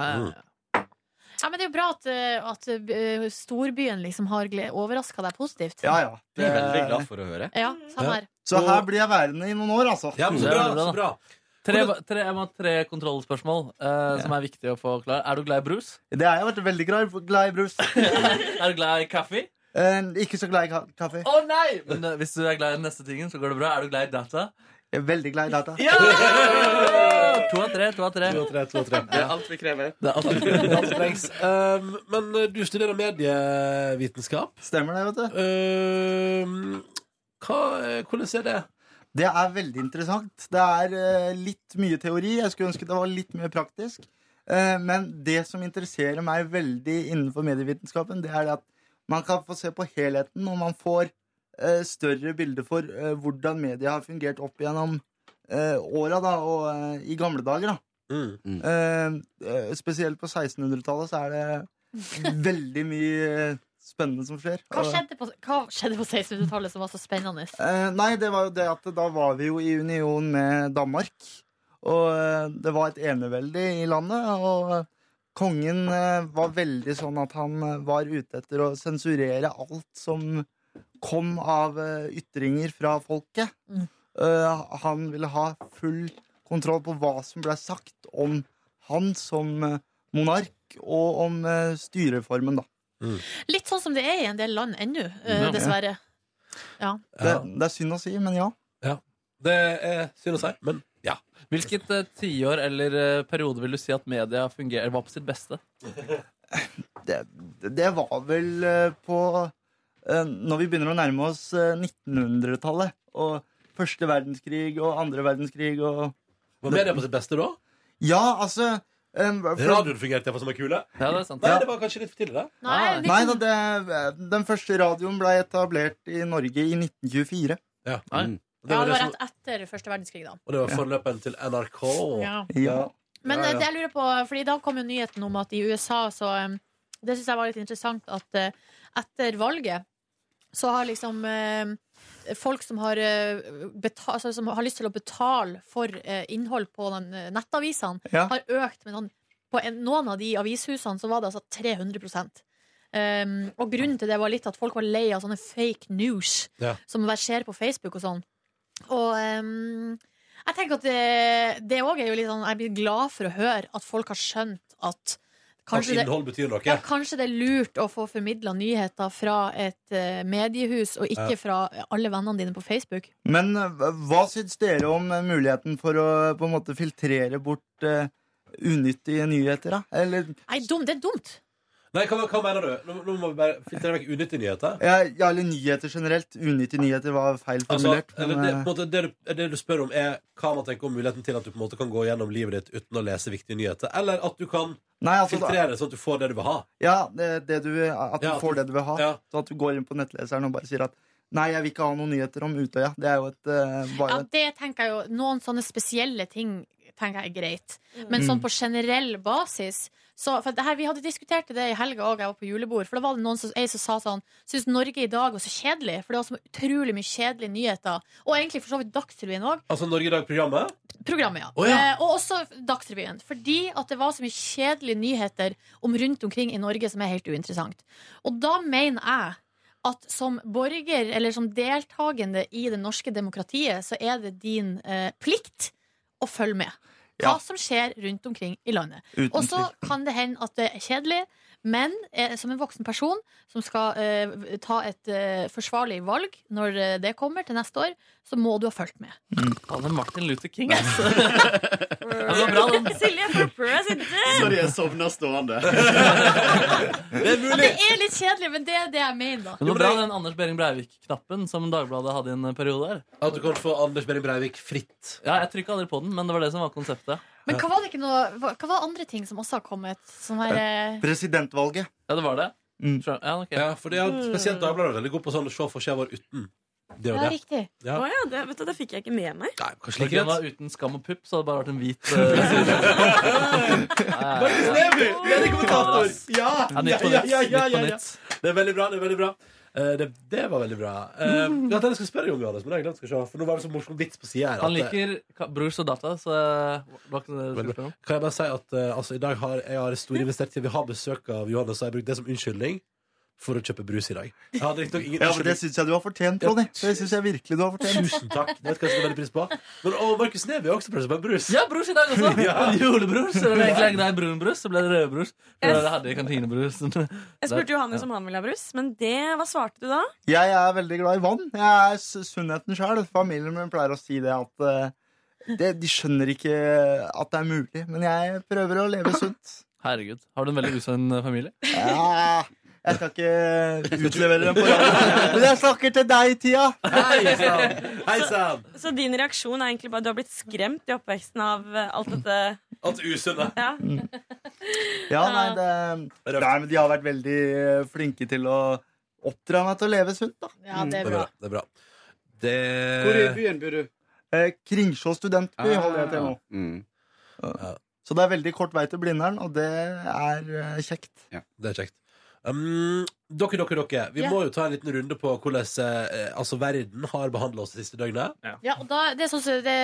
Speaker 3: Ja, men Det er jo bra at, eh, at eh, storbyen liksom har overraska deg positivt.
Speaker 12: Ja, ja.
Speaker 13: Det er jeg veldig glad for å høre.
Speaker 3: Ja, samme her.
Speaker 12: Så her blir jeg værende i noen år, altså.
Speaker 2: Ja, men så
Speaker 4: Det er
Speaker 2: bra,
Speaker 4: veldig bra,
Speaker 2: så bra.
Speaker 4: Tre, tre, jeg må ha tre kontrollspørsmål eh, som er viktige å få klar. Er du glad i brus?
Speaker 12: Det har jeg vært veldig glad, glad i brus.
Speaker 4: Er du glad i kaffe?
Speaker 12: Eh, ikke så glad i ka kaffe.
Speaker 4: Å nei! Men eh, hvis du er glad i den neste tingen, så går det bra. Er du glad i data?
Speaker 12: Jeg er veldig glad i data.
Speaker 4: Ja! To av tre. To av tre.
Speaker 2: To av tre, to av tre.
Speaker 13: [LAUGHS] Det er alt vi krever.
Speaker 4: Det er alt.
Speaker 2: Alt trengs. Um, men uh, du studerer medievitenskap.
Speaker 12: Stemmer det, vet du.
Speaker 2: Um, hva, uh, hvordan er det?
Speaker 12: Det er veldig interessant. Det er eh, litt mye teori. Jeg skulle ønske det var litt mer praktisk. Eh, men det som interesserer meg veldig innenfor medievitenskapen, det er det at man kan få se på helheten, og man får eh, større bilde for eh, hvordan media har fungert opp gjennom uh, åra, da, og eh, i gamle dager, da. Eh, eh, spesielt på 1600-tallet så er det veldig mye eh, spennende som skjer.
Speaker 3: Hva
Speaker 12: Og-
Speaker 3: skjedde på, hva skjedde på 1600-tallet som var så spennende?
Speaker 12: Eh, nei, det var jo det at da var vi jo i union med Danmark. Og eh, det var et enevelde i landet, og eh, kongen eh, var veldig sånn at han eh, var ute etter å sensurere alt som kom av eh, ytringer fra folket.
Speaker 3: Mm.
Speaker 12: Eh, han ville ha full kontroll på hva som ble sagt om han som eh, monark, og om eh, styreformen, da.
Speaker 3: Litt sånn som det er i en del land ennå, eh,
Speaker 12: Ja.
Speaker 3: dessverre. Ja.
Speaker 12: Det, det er synd å si, men ja.
Speaker 2: Det er synd å si, men ja.
Speaker 4: Hvilket eh, tiår eller eh, periode vil du si at media fungerer, var på sitt beste?
Speaker 12: det, det var vel eh, på eh, Når vi begynner å nærme oss eh, 1900-tallet og første verdenskrig og andre verdenskrig og
Speaker 2: Var media på sitt beste da?
Speaker 12: Ja, altså em, for-
Speaker 2: Radioen fungerte for som en kule?
Speaker 4: Ja, det er sant.
Speaker 2: Nei,
Speaker 12: Ja.
Speaker 2: det var kanskje litt for tidlig, da.
Speaker 3: Nei, litt
Speaker 12: Nei da,
Speaker 3: sånn-
Speaker 12: det, den første radioen ble etablert i Norge i 1924.
Speaker 2: Ja.
Speaker 4: Nei.
Speaker 3: ja,
Speaker 2: Og det var
Speaker 3: det
Speaker 2: det
Speaker 3: var
Speaker 2: som,
Speaker 3: rett etter første verdenskrig, da.
Speaker 2: og det var forløperen til NRK.
Speaker 3: Ja.
Speaker 12: Ja.
Speaker 3: Men
Speaker 2: Ja, ja.
Speaker 3: eh, det jeg lurer på, fordi da kom jo nyheten om at i USA så eh, Det syns jeg var litt interessant at eh, etter valget så har liksom eh, folk som har, eh, beta altså, som har lyst til å betale for eh, innhold på den, eh, nettavisene,
Speaker 12: Ja.
Speaker 3: har økt med noen På en, noen av de avishusene så var det altså 300 Um, og grunnen til det var litt at folk var lei av sånne fake news
Speaker 2: Ja.
Speaker 3: som verserer på Facebook og sånn. Og ehm, jeg tenker at det, det også er jo litt sånn Jeg blir glad for å høre at folk har skjønt at
Speaker 2: At
Speaker 3: kanskje det,
Speaker 2: innhold betyr noe.
Speaker 3: ja, kanskje det er lurt å få formidla nyheter fra et eh, mediehus, og
Speaker 2: Ja.
Speaker 3: ikke fra alle vennene dine på Facebook.
Speaker 12: Men eh, hva syns dere om eh, muligheten for å på en måte filtrere bort eh, unyttige nyheter, da? Eller
Speaker 3: Nei, dum, det er dumt!
Speaker 2: Nei, hva, hva mener du? Nå, nå må vi bare filtrere vekk unyttige nyheter.
Speaker 12: ja, ja, eller nyheter generelt. Unyttige nyheter var feil
Speaker 2: Altså,
Speaker 12: formulert.
Speaker 2: eller
Speaker 12: men,
Speaker 2: det,
Speaker 12: eh,
Speaker 2: på en måte, det, du, det du spør om, er hva man tenker om muligheten til at du på en måte kan gå gjennom livet ditt uten å lese viktige nyheter, eller at du kan
Speaker 12: Nei, altså, da-
Speaker 2: filtrere sånn at du får det du vil ha.
Speaker 12: Ja, det, det du, at du
Speaker 2: Ja, at
Speaker 12: får
Speaker 2: du-
Speaker 12: det du vil ha.
Speaker 2: ja.
Speaker 12: Så at du går inn på nettleseren og bare sier at Nei, jeg vil ikke ha noen nyheter om Utøya. Det er jo et eh, bare
Speaker 3: Ja, det tenker jeg jo Noen sånne spesielle ting tenker jeg er greit. Men sånn
Speaker 12: Mm.
Speaker 3: på generell basis så, for det her, Vi hadde diskutert det i helga òg, jeg var på julebord. For da var det noen som, ei som sa sånn Syns Norge i dag var så kjedelig? For det var så utrolig mye kjedelige nyheter. Og egentlig for så vidt Dagsrevyen òg.
Speaker 2: Altså Norge i dag-programmet?
Speaker 3: Programmet, ja.
Speaker 2: Å, ja.
Speaker 3: Eh, og også Dagsrevyen. Fordi at det var så mye kjedelige nyheter om rundt omkring i Norge som er helt uinteressant. Og da mener jeg at som borger, eller som deltakende i det norske demokratiet, så er det din eh, plikt å følge med. Hva
Speaker 15: Ja.
Speaker 3: som skjer rundt omkring i landet.
Speaker 15: Uten
Speaker 3: Og så
Speaker 15: tvil.
Speaker 3: kan det hende at det er kjedelig, men eh, som en voksen person som skal eh, ta et eh, forsvarlig valg når eh, det kommer til neste år, så må du ha fulgt med.
Speaker 4: Faen, det er Martin Luther King, altså. ass. Ja, det var bra, den.
Speaker 3: Silje for president!
Speaker 13: Sorry, jeg sovna stående.
Speaker 4: Det er
Speaker 3: Ja, det er litt kjedelig, men det er det jeg mener, da.
Speaker 4: Det var bra den Anders Behring Breivik-knappen som Dagbladet hadde i en eh, periode der.
Speaker 2: At du kan få Anders Behring Breivik fritt.
Speaker 4: Ja, jeg trykka aldri på den, men det var det som var konseptet.
Speaker 3: Men hva var det ikke noe Hva hva var andre ting som også har kommet? Som er, eh,
Speaker 12: Presidentvalget.
Speaker 4: Ja, det var det? Tror jeg- Mm. Ja, ok.
Speaker 2: Ja, for det er
Speaker 4: Mm.
Speaker 2: spesielt Dagbladet er veldig god på sånn å se forskjellen vår uten. Det og
Speaker 14: Ja,
Speaker 2: det.
Speaker 3: riktig.
Speaker 2: Ja.
Speaker 14: Å ja, det, vet du, det fikk jeg ikke med meg.
Speaker 2: Kanskje
Speaker 4: Hvis
Speaker 2: like
Speaker 4: den
Speaker 2: greit.
Speaker 4: var uten skam og pupp, så hadde det bare vært en hvit eh, [LAUGHS] uh, Ja, nytt på nytt. Nytt på nytt.
Speaker 2: Det er veldig bra. Det er veldig bra. Eh, det, det var veldig bra. Eh, jeg tenkte jeg skulle spørre Jon Johannes, men det har jeg glemt. Skal se. For nå var det så morsom vits på sida her.
Speaker 4: Han
Speaker 2: at eh, det-
Speaker 4: liker ka- Brors og Data, så eh, det var ikke noe
Speaker 2: Veldig
Speaker 4: spørsmål
Speaker 2: bra.
Speaker 4: om.
Speaker 2: Kan jeg bare si at eh, altså, i dag har jeg har storinvestert til Vi har besøk av Johannes, og jeg har brukt det som unnskyldning for å kjøpe brus i dag. Jeg hadde riktignok ingen
Speaker 12: Ja, men Det syns jeg du har fortjent, Ronny. Det synes jeg virkelig du har fortjent.
Speaker 2: Tusen takk. Det skal jeg sette veldig pris på. Men, og Markus Neby har også prøvd seg på en brus.
Speaker 4: Ja, brors i dag også!
Speaker 2: [LAUGHS] Ja.
Speaker 4: Julebrors. eller Det er egentlig ikke det er brunbrus, så ble det rødbrus.
Speaker 14: Jeg-
Speaker 4: Det hadde jeg kantinebrus. [LAUGHS]
Speaker 14: Jeg spurte Johannes om han ville ha brus, men det, hva svarte du da?
Speaker 12: Jeg er veldig glad i vann. Jeg er s- sunnheten sjøl. Familien min pleier å si det at eh, det, De skjønner ikke at det er mulig, men jeg prøver å leve sunt.
Speaker 4: Herregud. Har du en veldig usunn eh, familie?
Speaker 12: Ja, jeg skal ikke utlevere dem på radio. Men jeg snakker til deg, Tia.
Speaker 2: Hei sann! Hei sann!
Speaker 14: Så din reaksjon er egentlig bare at du har blitt skremt i oppveksten av eh, alt dette
Speaker 2: Alt usunne.
Speaker 14: Ja.
Speaker 12: Ja, nei, det, nei, men de har vært veldig eh, flinke til å oppdra meg til å leve sunt, da.
Speaker 3: Ja, det
Speaker 2: er bra. Det er bra. Det...
Speaker 12: Hvor i
Speaker 13: byen bor du?
Speaker 12: Eh, Kringsjå studentby
Speaker 13: Ah.
Speaker 12: holder jeg til nå.
Speaker 13: Mm.
Speaker 12: Så det er veldig kort vei til Blindern, og det er eh, kjekt.
Speaker 2: Det er kjekt. Um, dere, dere, dere. Vi
Speaker 3: Ja.
Speaker 2: må jo ta en liten runde på hvordan eh, altså, verden har behandla oss det siste døgnet.
Speaker 3: ja, og da, det er sånn som- det,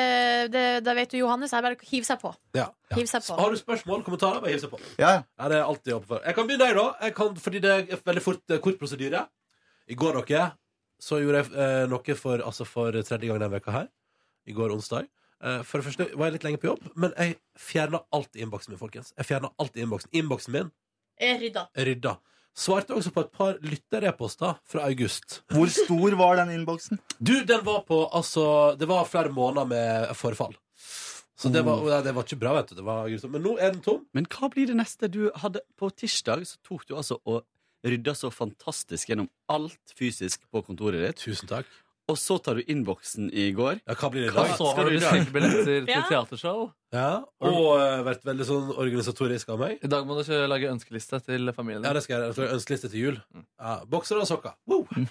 Speaker 3: det, Da vet du Johannes, jeg bare hiver seg på.
Speaker 2: Ja.
Speaker 3: Hiv seg på.
Speaker 2: Har du spørsmål, kommentarer, bare hiv seg på.
Speaker 12: Ja.
Speaker 2: det er alltid åpen for. Jeg kan begynne, jeg, da. Jeg kan, fordi det er veldig fort, eh, kort prosedyre. I går, dere, så gjorde jeg eh, noe for, altså for tredje gang denne veka her. I går onsdag. Eh, for det første var jeg litt lenge på jobb, men jeg fjerna alt i innboksen min, folkens. Jeg fjerna alt i innboksen. Innboksen min
Speaker 3: Er rydda.
Speaker 2: er rydda. Svarte også på et par lyttereposter fra august.
Speaker 12: Hvor stor var den innboksen?
Speaker 2: Du, den var på altså Det var flere måneder med forfall. Så det var, nei, det var ikke bra, vet du. Det var grusomt. Men nå er den tom.
Speaker 13: Men hva blir det neste du hadde På tirsdag så tok du altså og rydda så fantastisk gjennom alt fysisk på kontoret ditt.
Speaker 2: Tusen takk.
Speaker 13: Og så tar du innboksen i går.
Speaker 2: Ja, hva blir det i
Speaker 4: Og
Speaker 2: dag?
Speaker 4: så har du bestilt billetter til
Speaker 13: Ja.
Speaker 4: teatershow.
Speaker 2: Ja, og eh, vært veldig sånn organisatorisk av meg.
Speaker 4: I dag må du ikke lage ønskeliste til familien.
Speaker 2: Ja, det skal jeg. jeg. skal Ønskeliste til jul. Ja, bokser og sokker. [LAUGHS] Wow. Eh,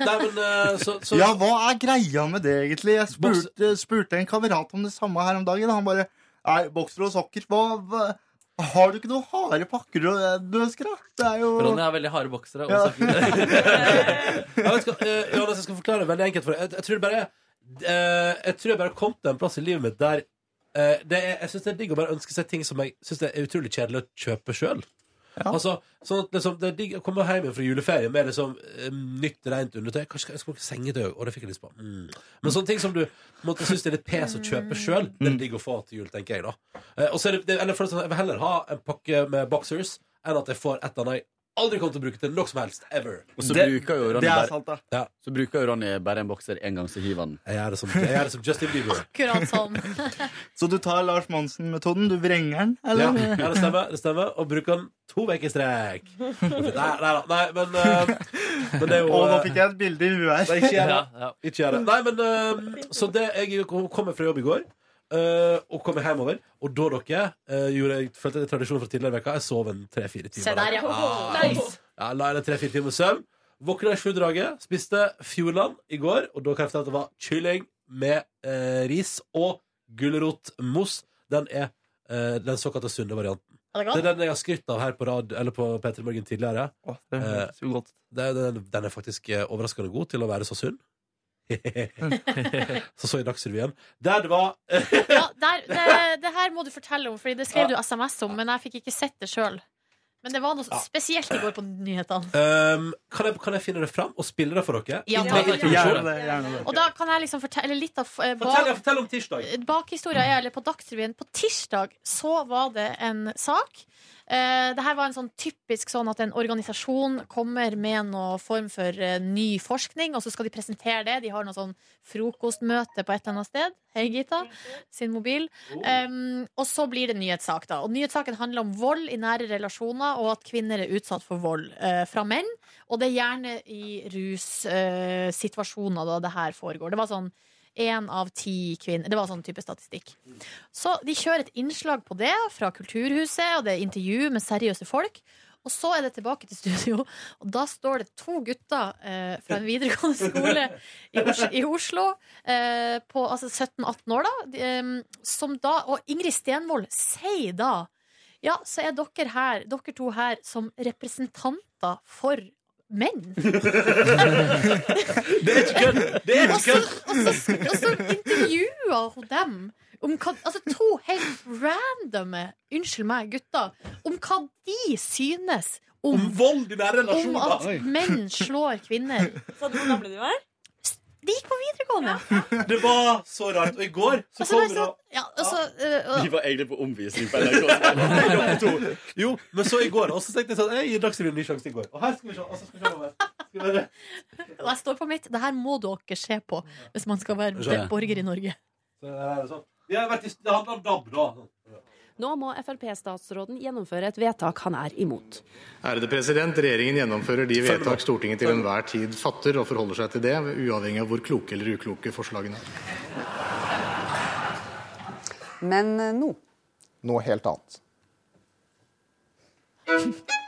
Speaker 2: nei, men eh, så, så
Speaker 12: Ja, hva er greia med det, egentlig? Jeg spurte, spurte en kamerat om det samme her om dagen. Han bare Nei, bokser og sokker. Hva, hva Har du ikke noen harde pakker du du ønsker, da? Det er jo
Speaker 4: Ronny har veldig harde boksere.
Speaker 12: Ja.
Speaker 4: Og sokker.
Speaker 2: [LAUGHS]
Speaker 4: [LAUGHS]
Speaker 2: Ja, vet du hva, eh, Johannes, jeg skal forklare det veldig enkelt for deg. Jeg, jeg tror det bare eh, Jeg tror jeg bare kom til en plass i livet mitt der eh, det er, Jeg syns det er digg å bare ønske seg ting som jeg syns det er utrolig kjedelig å kjøpe sjøl. Altså, sånn at liksom, det er digg å komme hjem fra juleferie med liksom, eh, nytt, rent undertøy. Kanskje jeg skulle ha sengetøy òg, og det fikk jeg lyst på. Mm. Men sånne ting som du måtte synes det er litt pes å kjøpe sjøl, det
Speaker 13: Mm.
Speaker 2: er digg å få til jul, tenker jeg, da. Eh, og så er det, det, eller for, å si det sånn, jeg vil heller ha en pakke med boxers enn at jeg får et eller annet jeg aldri kommer til å bruke til noe som helst. Ever.
Speaker 13: Og så bruker jo Ronny bare- Så bruker jo Ronny bare en bokser en gang, så hiver han.
Speaker 2: Jeg er det som, jeg er det som Justin Bieber.
Speaker 3: Akkurat sånn.
Speaker 12: Så du tar Lars Monsen-metoden? Du vrenger den,
Speaker 2: Ja,
Speaker 12: eller?
Speaker 2: ja, det stemmer. det stemmer Og bruker den to uker i strek. Nei, nei, da, nei men, eh, men det er jo
Speaker 12: Og nå
Speaker 2: eh,
Speaker 12: fikk jeg et bilde i huet her.
Speaker 2: Nei, ikke gjør det. Ikke gjør det. Nei, men eh, Så det Jeg kom fra jobb i går. eh, og kom hjemover. Og da dere eh, gjorde jeg følte det er tradisjon fra tidligere i veka. Jeg sov en tre-fire timer. Ah.
Speaker 3: Se der, ja.
Speaker 2: Ja,
Speaker 3: Nice.
Speaker 2: ja, la en tre-fire timer søvn. Våkna i sjudraget, spiste Fjordland i går, og da kan jeg fortelle at det var kylling med eh, ris og gulrotmos. Den er eh, den såkalte sunne varianten.
Speaker 3: Er det
Speaker 2: Det
Speaker 3: godt?
Speaker 2: er den jeg har skrytt av her på, rad, eller på P3 Morgen tidligere. Eh, det, den, den er faktisk eh, overraskende god til å være så sunn. så så i Dagsrevyen. Der det var
Speaker 3: Ja, der, det, det her må du fortelle om, Fordi det skrev du
Speaker 2: Ja.
Speaker 3: SMS om, men jeg fikk ikke sett det sjøl. Men det var noe
Speaker 2: Ja.
Speaker 3: spesielt i går på nyhetene.
Speaker 2: um, kan, jeg, kan jeg finne det fram og spille det for dere?
Speaker 3: Ja,
Speaker 2: Innlegg
Speaker 3: takk.
Speaker 2: i produksjon.
Speaker 3: Gjerne det, Og da kan jeg liksom fortelle litt av eh, bak-
Speaker 2: Fortell, fortell om tirsdag.
Speaker 3: Bakhistoria er, eller på Dagsrevyen På tirsdag så var det en sak eh, Det her var en sånn typisk sånn at en organisasjon Kommer med noen form for eh, ny forskning Og så skal de presentere det De har noen sånn frokostmøte på et eller annet sted Hei Gita, sin mobil Em, Og så blir det en nyhetssak da Og nyhetssaken handler om vold i nære relasjoner Og at kvinner er utsatt for vold eh, fra menn Og det er gjerne i russituasjoner eh, situasjoner da det her foregår Det var sånn Én av ti kvinner. Det var sånn type statistikk. Så de kjører et innslag på det fra Kulturhuset, og det er intervju med seriøse folk. Og så er det tilbake til studio, og da står det to gutter eh, fra en videregående skole i, Os i Oslo, eh, på altså 17-18 år, da, de, em, som da Og Ingrid Stenvold sier da Ja, så er dere her, dere to her, som representanter for menn.
Speaker 2: Det er ikke kødd! Det er ikke
Speaker 3: Og
Speaker 2: kødd!
Speaker 3: så intervjuer hun dem om hva, altså to helt randome unnskyld meg, gutter om hva de synes om,
Speaker 2: vold i nære
Speaker 3: Om
Speaker 14: relasjoner.
Speaker 3: at
Speaker 14: Oi.
Speaker 3: menn slår kvinner.
Speaker 14: Så hvor gamle du er?
Speaker 3: De gikk på videregående.
Speaker 2: Det var så rart. Og i går så
Speaker 3: Altså, det
Speaker 2: kom
Speaker 3: er
Speaker 2: det da
Speaker 3: sånn, ja, altså, øh,
Speaker 13: Vi var egentlig på omvisning på
Speaker 2: [LAUGHS]
Speaker 13: NRK.
Speaker 2: Jo, men så i går. Og så tenkte jeg sånn Jeg gir Dagsrevyen en ny sjanse i går. Og her skal vi se. Og så skal vi se hva det er. Skal vi se.
Speaker 3: og jeg står på mitt. Det her må dere se på hvis man skal være
Speaker 2: Skjønner.
Speaker 3: borger i Norge.
Speaker 2: Så her er det sånn. Vi har vært i Det handler om DAB, da.
Speaker 15: Nå må Frp-statsråden gjennomføre et vedtak han er imot.
Speaker 16: Ærede president, Regjeringen gjennomfører de vedtak Stortinget til enhver tid fatter, og forholder seg til det, uavhengig av hvor kloke eller ukloke forslagene er.
Speaker 17: Men eh, nå
Speaker 16: Noe helt annet.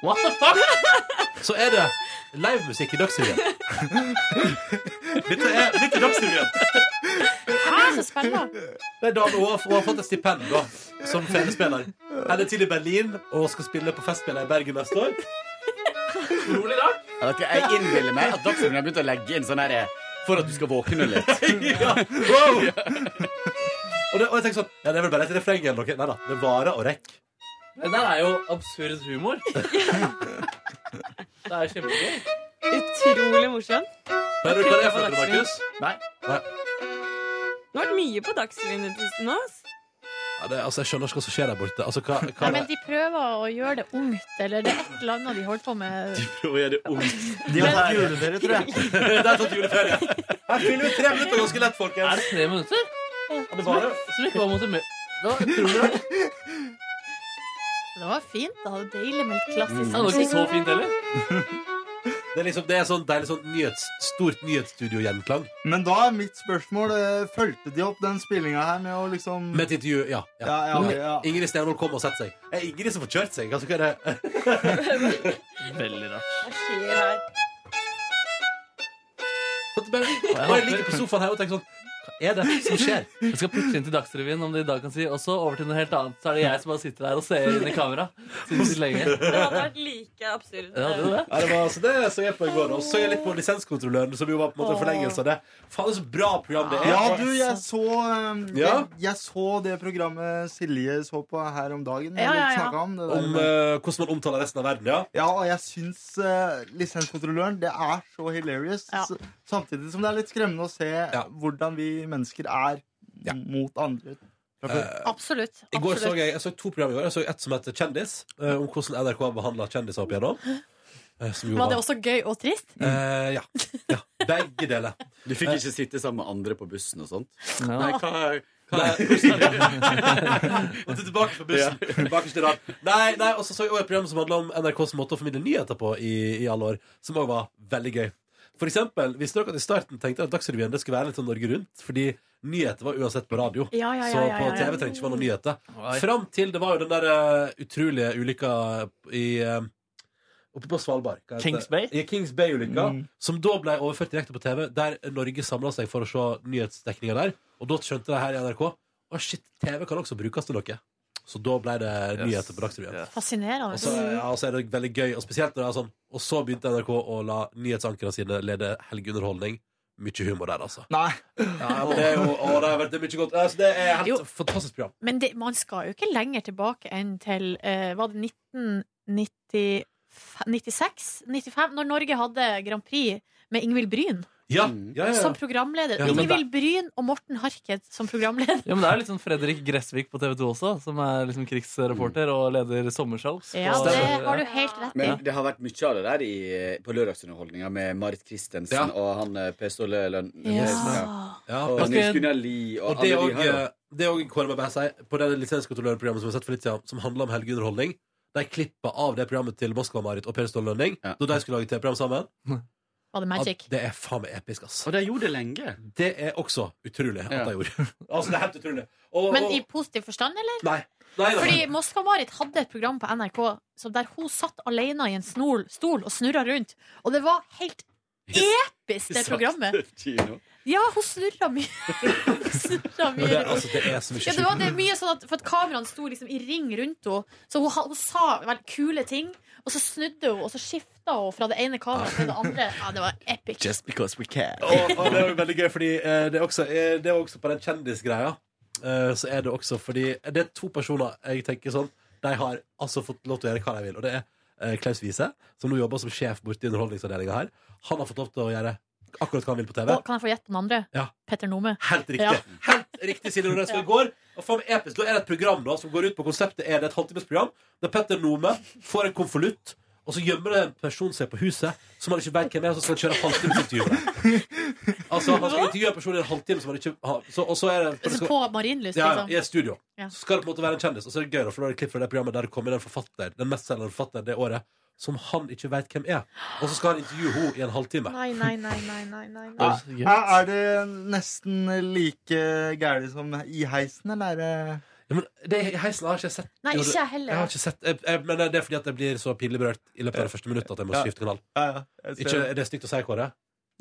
Speaker 2: What the fuck? Så er det livemusikk i
Speaker 3: [LAUGHS]
Speaker 2: Dagsrevyen. Dette er litt i Dagsrevyen.
Speaker 3: Hvem er det som spiller?
Speaker 2: Det er da hun har, hun har fått et stipend da som felespiller. Henne til i Berlin og skal spille på Festspillene i Bergen neste år. Rolig rart.
Speaker 13: Jeg vet ikke, jeg innbiller meg at Dagsrevyen har begynt å legge inn sånn herre for at du skal våkne litt.
Speaker 2: ja. wow. og, det, og jeg tenker sånn Ja, det er vel bare et refreng eller noe. Nei da. Det varer og rekk.
Speaker 4: Det der er jo absurd humor. Det er kjempegøy.
Speaker 14: Utrolig morsomt.
Speaker 4: Hva er det- hva er det for noe, Markus?
Speaker 13: Nei.
Speaker 2: Nei.
Speaker 14: Det har vært mye på Dagsrevyen i det siste nå. ass.
Speaker 2: Ja, det, altså, jeg skjønner ikke hva som skjer der borte. Altså, hva,
Speaker 3: Nei,
Speaker 2: hva
Speaker 3: men de prøver å gjøre det ungt, eller det er et eller annet de holder på med.
Speaker 13: Prøv å gjøre det ungt.
Speaker 12: De har tatt juleferie, tror jeg.
Speaker 2: Det er tatt juleferie. Her fyller vi tre minutter ganske lett, folkens.
Speaker 4: Er det tre minutter?
Speaker 2: det bare-
Speaker 4: Som ikke var motivert. Det var utrolig rart.
Speaker 3: Det var fint. Det var deilig med litt klassisk
Speaker 4: Ja, det var ikke så fint heller.
Speaker 2: Det er liksom, det er sånn deilig sånn nyhets, stort nyhetsstudio-gjenklang.
Speaker 12: Men da er mitt spørsmål eh, Fulgte de opp den spillinga her med å liksom
Speaker 2: Med et intervju, ja.
Speaker 12: Ja, ja, ja.
Speaker 2: Ingrid Stenvold kom og setter seg. Er Ingrid som får kjørt seg? Altså, [LAUGHS] hva er det?
Speaker 4: Veldig rart.
Speaker 14: Hva skjer her?
Speaker 2: Og jeg ligger på sofaen her og tenker sånn Hva er det som skjer?
Speaker 4: Jeg skal putte inn til Dagsrevyen om det i dag kan si. Og så over til noe helt annet. Så er det jeg som bare sitter her og ser inn i kamera. Sinnssykt
Speaker 14: Det
Speaker 4: lenge.
Speaker 14: hadde vært like absurd.
Speaker 4: Ja, det er det.
Speaker 2: Ja, det var altså det så jeg på i går. Og så jeg litt på lisenskontrolløren, som jo var på en måte en forlengelse av det. Faen, det er så bra program det er.
Speaker 12: Ja, du, jeg så um,
Speaker 2: Ja.
Speaker 12: jeg, jeg så det programmet Silje så på her om dagen.
Speaker 2: Ja,
Speaker 12: eller
Speaker 2: ja, ja.
Speaker 12: snakket Om, det der
Speaker 2: Om
Speaker 12: med-
Speaker 2: eh, hvordan man omtaler resten av verden, ja.
Speaker 12: ja, og jeg syns eh, lisenskontrolløren det er så hilarious. S- Samtidig som det er litt skremmende å se hvordan vi mennesker er mot andre. fra før.
Speaker 2: Eh,
Speaker 3: Absolutt.
Speaker 2: I går så
Speaker 3: absolutt.
Speaker 2: jeg, jeg så to program i går. Jeg så et som heter Kjendis, eh, om hvordan NRK behandla kjendiser opp igjennom. Eh, som jo
Speaker 3: Var det også gøy og trist?
Speaker 2: Eh, ja. ja. Begge deler.
Speaker 13: Du fikk ikke sitte sammen med andre på bussen og sånt? Nei, hva, hva
Speaker 2: Nei. Måtte tilbake på bussen. [LAUGHS] Bakerste rad. Nei, nei, og så så jeg også et program som handla om NRKs måte å formidle nyheter på i, i alle år, som òg var veldig gøy. For eksempel, Visste dere at i starten tenkte jeg at Dagsrevyen det skulle være litt sånn Norge Rundt? Fordi nyheter var uansett på radio.
Speaker 3: Ja, ja, ja,
Speaker 2: så
Speaker 3: ja,
Speaker 2: på
Speaker 3: ja, ja.
Speaker 2: TV trengte ikke man noen nyheter.
Speaker 4: Nei.
Speaker 2: Fram til det var jo den der eh, utrolige ulykka i eh, Oppe på Svalbard. Hva heter
Speaker 4: Kings
Speaker 2: det?
Speaker 4: Bay?
Speaker 2: Ja, Kings Bay-ulykka.
Speaker 4: Mm.
Speaker 2: Som da ble overført direkte på TV, der Norge samla seg for å se nyhetsdekninga der. Og da skjønte de her i NRK Å shit, TV kan også brukes til noe. Så da ble det nyheter på Dagsrevyen.
Speaker 3: Fascinerende.
Speaker 2: Og så, ja, og så er det veldig gøy, og spesielt når det er sånn Og så begynte NRK å la nyhetsankerne sine lede helgeunderholdning. Mye humor der, altså.
Speaker 12: Nei.
Speaker 2: Ja, men det, er jo, å, det har vært mye godt. Altså, det er helt fantastisk program.
Speaker 3: Men det, man skal jo ikke lenger tilbake enn til eh, Var det 1996? 95? Når Norge hadde Grand Prix med Ingvild Bryn
Speaker 2: Ja, Mm. ja, ja, ja.
Speaker 3: som programleder.
Speaker 4: Ja, men
Speaker 3: Ingvild Bryn og Morten Harket som programleder.
Speaker 4: Ja, men Det er jo litt sånn Fredrik Gressvik på TV 2 også, som er liksom krigsreporter og leder sommershows.
Speaker 3: Ja,
Speaker 4: Og-
Speaker 3: det har du helt rett i.
Speaker 13: Men det har vært mye av det der i, på lørdagsunderholdninga med Marit Christensen og han eh, Per Ståle Lønn.
Speaker 2: Ja.
Speaker 13: Og
Speaker 2: Ok.
Speaker 13: Nils Gunnar Lie og,
Speaker 2: Og det er
Speaker 13: alle de her.
Speaker 2: også- det er òg Kåre må bare si, på det lisenskontrollørprogrammet som vi har sett for litt siden, som handler om helgeunderholdning. De klippa av det programmet til Moskva-Marit og Per Ståle Lønning da de skulle lage TV-program sammen.
Speaker 3: Var det
Speaker 2: At
Speaker 3: magic?
Speaker 2: det er faen meg episk, ass.
Speaker 13: Og de gjorde det lenge.
Speaker 2: Det er også utrolig at de gjorde. [LAUGHS] altså, det er helt utrolig. Og,
Speaker 3: Men
Speaker 2: og-
Speaker 3: i positiv forstand, eller?
Speaker 2: Nei. Nei, nei.
Speaker 3: Fordi Moskva-Marit hadde et program på NRK som der hun satt alene i en snol, stol og snurra rundt. Og det var helt episk, det programmet. Ja, hun snurra mye. [LAUGHS] Hun snurra
Speaker 2: Men det,
Speaker 3: mye.
Speaker 2: er- altså, det er så mye
Speaker 3: Ja, det var det er mye sånn at, For at kameraene sto liksom i ring rundt henne. Så hun, ha- hun sa veldig kule ting, og så snudde hun, og så skifta hun fra det ene kameraet til det
Speaker 2: [LAUGHS]
Speaker 3: andre. Ja, det var epic.
Speaker 13: Just because we can.
Speaker 2: Og, og det er jo veldig gøy, fordi eh, det er også, eh, det er også på den kjendisgreia eh, Så er det også fordi eh, Det er to personer jeg tenker sånn De har altså fått lov til å gjøre hva de vil Og det er eh, Klaus Wiese, som nå jobber som sjef borte i underholdningsavdelinga her Han har fått lov til å gjøre akkurat hva han vil på TV
Speaker 3: Og, kan jeg få gjette den andre?
Speaker 2: Ja.
Speaker 3: Petter Nome.
Speaker 2: Helt riktig.
Speaker 3: Ja.
Speaker 2: Helt riktig, Silje Nordnes. Så i går og faen meg episk, Da er det et program da, som går ut på konseptet er det et halvtimesprogram der Petter Nome får en konvolutt, og så gjemmer det en person seg på huset som han ikke vet hvem er, og så skal han kjøre halvtimesintervju med dem. Altså, han skal intervjue en person i en halvtime, som han ikke har så, Og så er det for det
Speaker 3: Så
Speaker 2: skal-
Speaker 3: på Marienlyst,
Speaker 2: ja,
Speaker 3: liksom.
Speaker 2: ja, i et studio.
Speaker 3: Ja.
Speaker 2: Så skal det på en måte være en kjendis, og så er det gøy, da, for da er det klipp fra det programmet der det kommer en forfatter, den mestselgende forfatter det året, som han ikke vet hvem er. Og så skal han intervjue henne i en halvtime.
Speaker 3: Nei, nei, nei, nei, nei, nei.
Speaker 12: Ja. Er er det nesten like gærent som i heisen, eller er det
Speaker 2: Ja, men det, Heisen har ikke jeg sett.
Speaker 12: Nei,
Speaker 2: Jo, det-
Speaker 12: ikke jeg heller.
Speaker 2: Jeg har ikke sett jeg, jeg, men det er fordi at jeg blir så pinlig berørt i løpet av det første minuttet at jeg må
Speaker 13: Ja.
Speaker 2: skifte kanal.
Speaker 13: ser
Speaker 2: ikke,
Speaker 13: det.
Speaker 2: er det stygt å si, Kåre?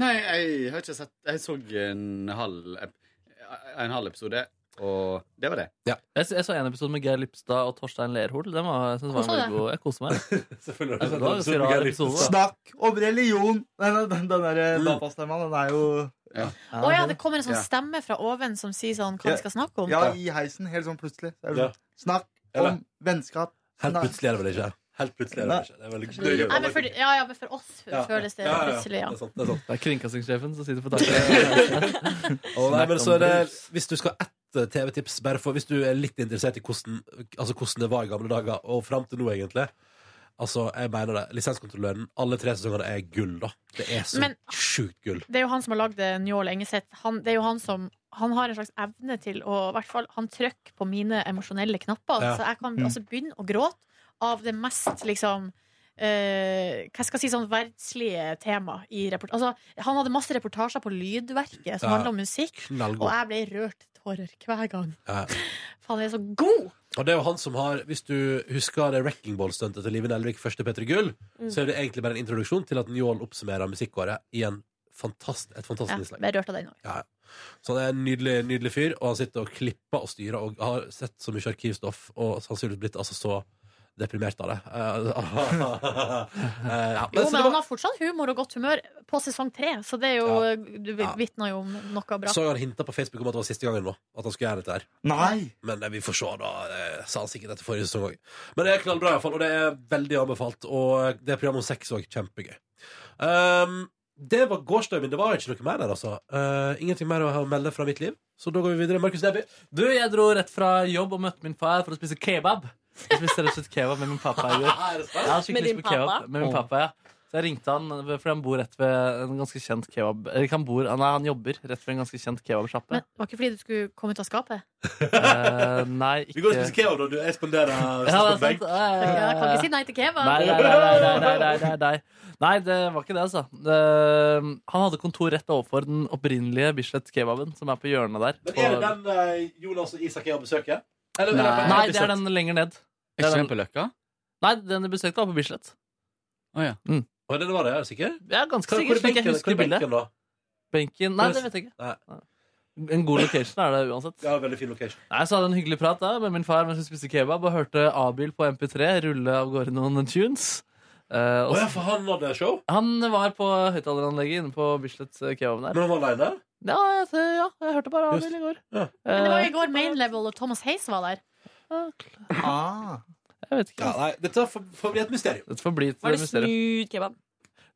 Speaker 13: Nei, jeg har ikke sett Jeg så en halv, ep- en halv episode, og det var det.
Speaker 4: Jeg, så- jeg så en episode med Geir Lipstad og Torstein Lerhol. Den var, jeg synes den var
Speaker 12: Kosa
Speaker 4: veldig
Speaker 12: deg.
Speaker 4: god. Jeg koser meg.
Speaker 2: [LAUGHS] Selvfølgelig
Speaker 4: Jeg synes det var en ganske rar episode. da.
Speaker 12: Snakk om religion! Nei, nei, Den, den der dapastemma, den er jo
Speaker 13: ja.
Speaker 3: Å ja, det kommer en sånn stemme fra oven som sier sånn hva vi skal snakke om.
Speaker 12: Ja, i heisen, helt sånn plutselig. Så er det
Speaker 2: Ja.
Speaker 12: sånn, Snakk
Speaker 2: Eller-
Speaker 12: om vennskap.
Speaker 2: Helt
Speaker 12: Snakk-
Speaker 2: plutselig er det vel ikke. Helt plutselig er det
Speaker 12: Nei.
Speaker 2: vel ikke. Det er veldig
Speaker 3: Nei, men for, ja, ja, men for oss
Speaker 2: Ja.
Speaker 3: føles det
Speaker 2: Ja, ja, ja.
Speaker 3: plutselig, ja.
Speaker 2: Det er sant, det er sant.
Speaker 4: Det er kringkastingssjefen som sitter på [LAUGHS] taket.
Speaker 2: Å, nei, men så er det, hvis du skal ha ett eh, TV-tips, bare for, hvis du er litt interessert i hvordan, altså, hvordan det var i gamle dager, og fram til nå, egentlig Altså, jeg mener det. Lisenskontrolløren, alle tre sesongene er gull, da. Det er så
Speaker 3: Men-
Speaker 2: sjukt gull.
Speaker 3: Det er jo han som har lagd det, Njål Engeseth. Han, det er jo han som han har en slags evne til å i hvert fall, Han trykker på mine emosjonelle knapper.
Speaker 18: Ja.
Speaker 3: Så jeg kan
Speaker 18: Mm.
Speaker 3: altså begynne å gråte av det mest liksom eh, hva skal jeg si, sånn verdslige tema i report altså, Han hadde masse reportasjer på Lydverket som
Speaker 2: Ja.
Speaker 3: handla om musikk,
Speaker 2: Knallgod.
Speaker 3: og jeg ble rørt til tårer hver gang.
Speaker 2: Ja.
Speaker 3: Faen, jeg er så god!
Speaker 2: Og det er jo han som har, hvis du husker det Wrecking Ball-stuntet til Live Nelvik første Petter Gull,
Speaker 3: Mm.
Speaker 2: så er det egentlig bare en introduksjon til at Njål oppsummerer musikkåret i en fantast, et
Speaker 3: Ja,
Speaker 2: fantastisk innslag.
Speaker 3: ble rørt av den òg.
Speaker 2: Ja, ja. Så han er en nydelig, nydelig fyr, og han sitter og klipper og styrer og har sett så mye arkivstoff og sannsynligvis blitt altså så deprimert av det. [LAUGHS] Eh, ja, men
Speaker 3: Jo,
Speaker 2: så det
Speaker 3: men
Speaker 2: var-
Speaker 3: han har fortsatt humor og godt humør på sesong tre, så det er jo Du vitner jo om noe bra.
Speaker 2: Så har han hinta på Facebook om at det var siste gangen nå. At han skulle gjøre dette her.
Speaker 12: Nei.
Speaker 2: Men eh, vi får se, da. eh, Sa han sikkert etter forrige sesong òg. Men det er knallbra, iallfall. Og det er veldig anbefalt. Og eh, det programmet om sex òg. Kjempegøy. Ehm, det var gårsdagen min. Det var ikke noe mer der, altså. Eh, ingenting mer å ha å melde fra mitt liv. Så da går vi videre. Markus Neby.
Speaker 4: Du, jeg dro rett fra jobb og møtte min far for å spise kebab. Jeg spiste rett og slett kebab med min pappa i går.
Speaker 2: Er det sant?
Speaker 4: Jeg har skikkelig
Speaker 2: Med din
Speaker 4: lyst på kebab
Speaker 2: pappa?
Speaker 4: Med min
Speaker 2: Åh.
Speaker 4: pappa, ja. Så jeg ringte han, for han bor rett ved en ganske kjent kebab... Eller ikke han bor, nei, han jobber rett ved en ganske kjent kebabsjappe.
Speaker 3: Men det var ikke fordi du skulle komme ut av skapet?
Speaker 4: Eh, nei, ikke
Speaker 2: Vi går og spiser kebab, da. Du jeg spanderer
Speaker 4: Ja, det er
Speaker 2: på meg.
Speaker 4: sant. Eh,
Speaker 3: Jeg kan ikke si nei til kebab.
Speaker 4: Nei, nei, nei, nei, nei, nei, nei, nei. nei, det var ikke det, altså. Eh, han hadde kontor rett overfor den opprinnelige Bislett kebaben, som er på hjørnet der.
Speaker 2: Men er det
Speaker 4: På-
Speaker 2: den eh, Jonas og Isak er og besøker? Eller- eller-
Speaker 4: Nei, det er den lenger ned.
Speaker 2: Er ikke den
Speaker 4: på Løkka? Nei, den du besøkte var på Bislett.
Speaker 2: Mm. Var det det var det, er du sikker?
Speaker 4: Jeg er ganske
Speaker 2: Hvor-
Speaker 4: sikker,
Speaker 2: hvor er
Speaker 4: slik jeg
Speaker 2: benken-
Speaker 4: husker
Speaker 2: hvor er
Speaker 4: bildet.
Speaker 2: benken da?
Speaker 4: Benken Nei, det vet jeg ikke. En god location er det uansett.
Speaker 2: Ja, veldig fin location
Speaker 4: Nei, Så hadde jeg en hyggelig prat da med min far mens vi spiste kebab og hørte Abil på MP3 rulle av gårde noen tunes. Eh, og
Speaker 2: Å ja,
Speaker 4: så-
Speaker 2: for han hadde show?
Speaker 4: Han var på høyttaleranlegget inne på Bislett kebab der.
Speaker 2: Men han var aleine?
Speaker 4: Ja, jeg, ja, jeg hørte bare Abil i går. Eh,
Speaker 3: Men det var i går Main Level og Thomas Hayes var der.
Speaker 12: Ah.
Speaker 4: [LAUGHS] Jeg vet ikke.
Speaker 2: Ja, nei, dette får, får bli et mysterium.
Speaker 4: Dette får bli et
Speaker 14: Var det
Speaker 4: mysterium.
Speaker 14: smooth kebab?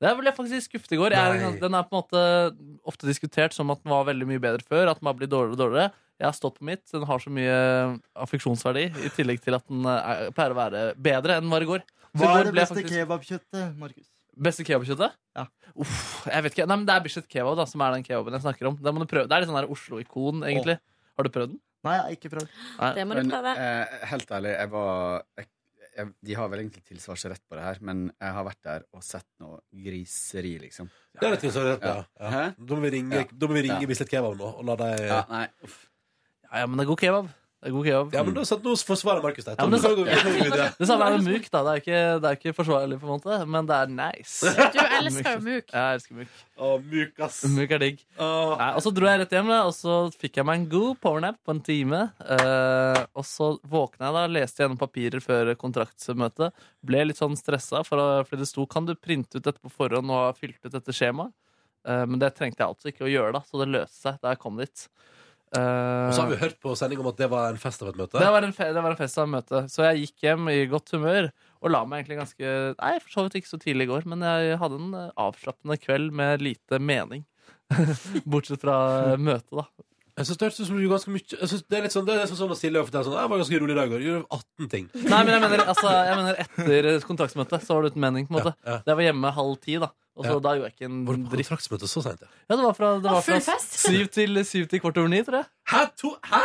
Speaker 4: Der ble jeg faktisk skuffet i går. Jeg er en
Speaker 14: Nei.
Speaker 4: gans- den er på en måte ofte diskutert som at den var veldig mye bedre før. At den har blitt dårligere og dårligere. Jeg har stått på mitt. Den har så mye affeksjonsverdi, i tillegg til at den eh, er, pleier å være bedre enn den var i går. Så i
Speaker 12: Hva
Speaker 4: går
Speaker 12: er det
Speaker 4: ble jeg
Speaker 12: beste
Speaker 4: faktisk-
Speaker 12: kebabkjøttet, Markus?
Speaker 4: Beste kebabkjøttet? Uff, jeg vet ikke. Nei, men det er Bislett kebab da, som er den kebaben jeg snakker om. Det, må du prøve. det er litt sånn der Oslo-ikon, egentlig. Har du prøvd den?
Speaker 12: Nei, jeg har ikke prøvd.
Speaker 4: Nei. Det må du prøve.
Speaker 13: Eh, helt ærlig, jeg var jeg, jeg, De har vel egentlig tilsvarsrett på det her, men jeg har vært der og sett noe griseri, liksom.
Speaker 2: Det er litt tilsvarende, ja. ja. Da må vi ringe,
Speaker 13: Ja.
Speaker 2: da må vi ringe
Speaker 13: Ja.
Speaker 2: Bislett Kebab nå og la deg
Speaker 13: Ja, nei,
Speaker 4: Ja, ja, men det er god kebab. Det er god kebab.
Speaker 2: Ja, men da satt nå forsvarer Markus deg.
Speaker 4: Ja, men det,
Speaker 2: Kan vi gå- kan vi gå videre?
Speaker 4: det samme er med Muk, da. Det er ikke, det er ikke forsvarlig, på en måte, men det er nice.
Speaker 3: Du elsker jo Muk.
Speaker 4: Jeg elsker Muk.
Speaker 2: muk, ass.
Speaker 4: Muk er digg. Nei, og så dro jeg rett hjem, da, og så fikk jeg meg en god powernap på en time. Eh, og så våkna jeg, da, leste gjennom papirer før kontraktsmøtet. Ble litt sånn stressa, for, å- fordi det sto 'Kan du printe ut dette på forhånd og ha fylt ut dette skjemaet?' Eh, men det trengte jeg altså ikke å gjøre, da, så det løste seg da jeg kom dit. Eh,
Speaker 2: Og så har vi hørt på sending om at det var en fest av et møte.
Speaker 4: Det var, en fe det var en fest av en møte. Så jeg gikk hjem i godt humør og la meg egentlig ganske Nei, for så vidt ikke så tidlig i går, men jeg hadde en eh, avslappende kveld med lite mening. [LAUGHS] Bortsett fra eh, møtet, da.
Speaker 2: Jeg synes det hørtes ut som du gjorde ganske mye jeg synes det, er litt sånn, det er sånn som når Silje forteller sånn Jeg var ganske rolig i dag i går. Gjorde 18 ting.
Speaker 4: Nei, men jeg mener, altså, jeg mener etter kontraktsmøtet så var det uten mening, på en måte. Det var hjemme halv ti, da. Og så
Speaker 2: Ja.
Speaker 4: da gjorde jeg ikke en
Speaker 2: Var det på
Speaker 4: dritt.
Speaker 2: kontraktsmøte så seint, ja?
Speaker 4: Ja, det var fra, det
Speaker 2: Ah,
Speaker 4: var
Speaker 2: full
Speaker 4: fra
Speaker 2: fest?
Speaker 4: syv til, syv til kvart over ni, tror jeg.
Speaker 2: Hæ? To,
Speaker 4: [LAUGHS]
Speaker 2: hæ?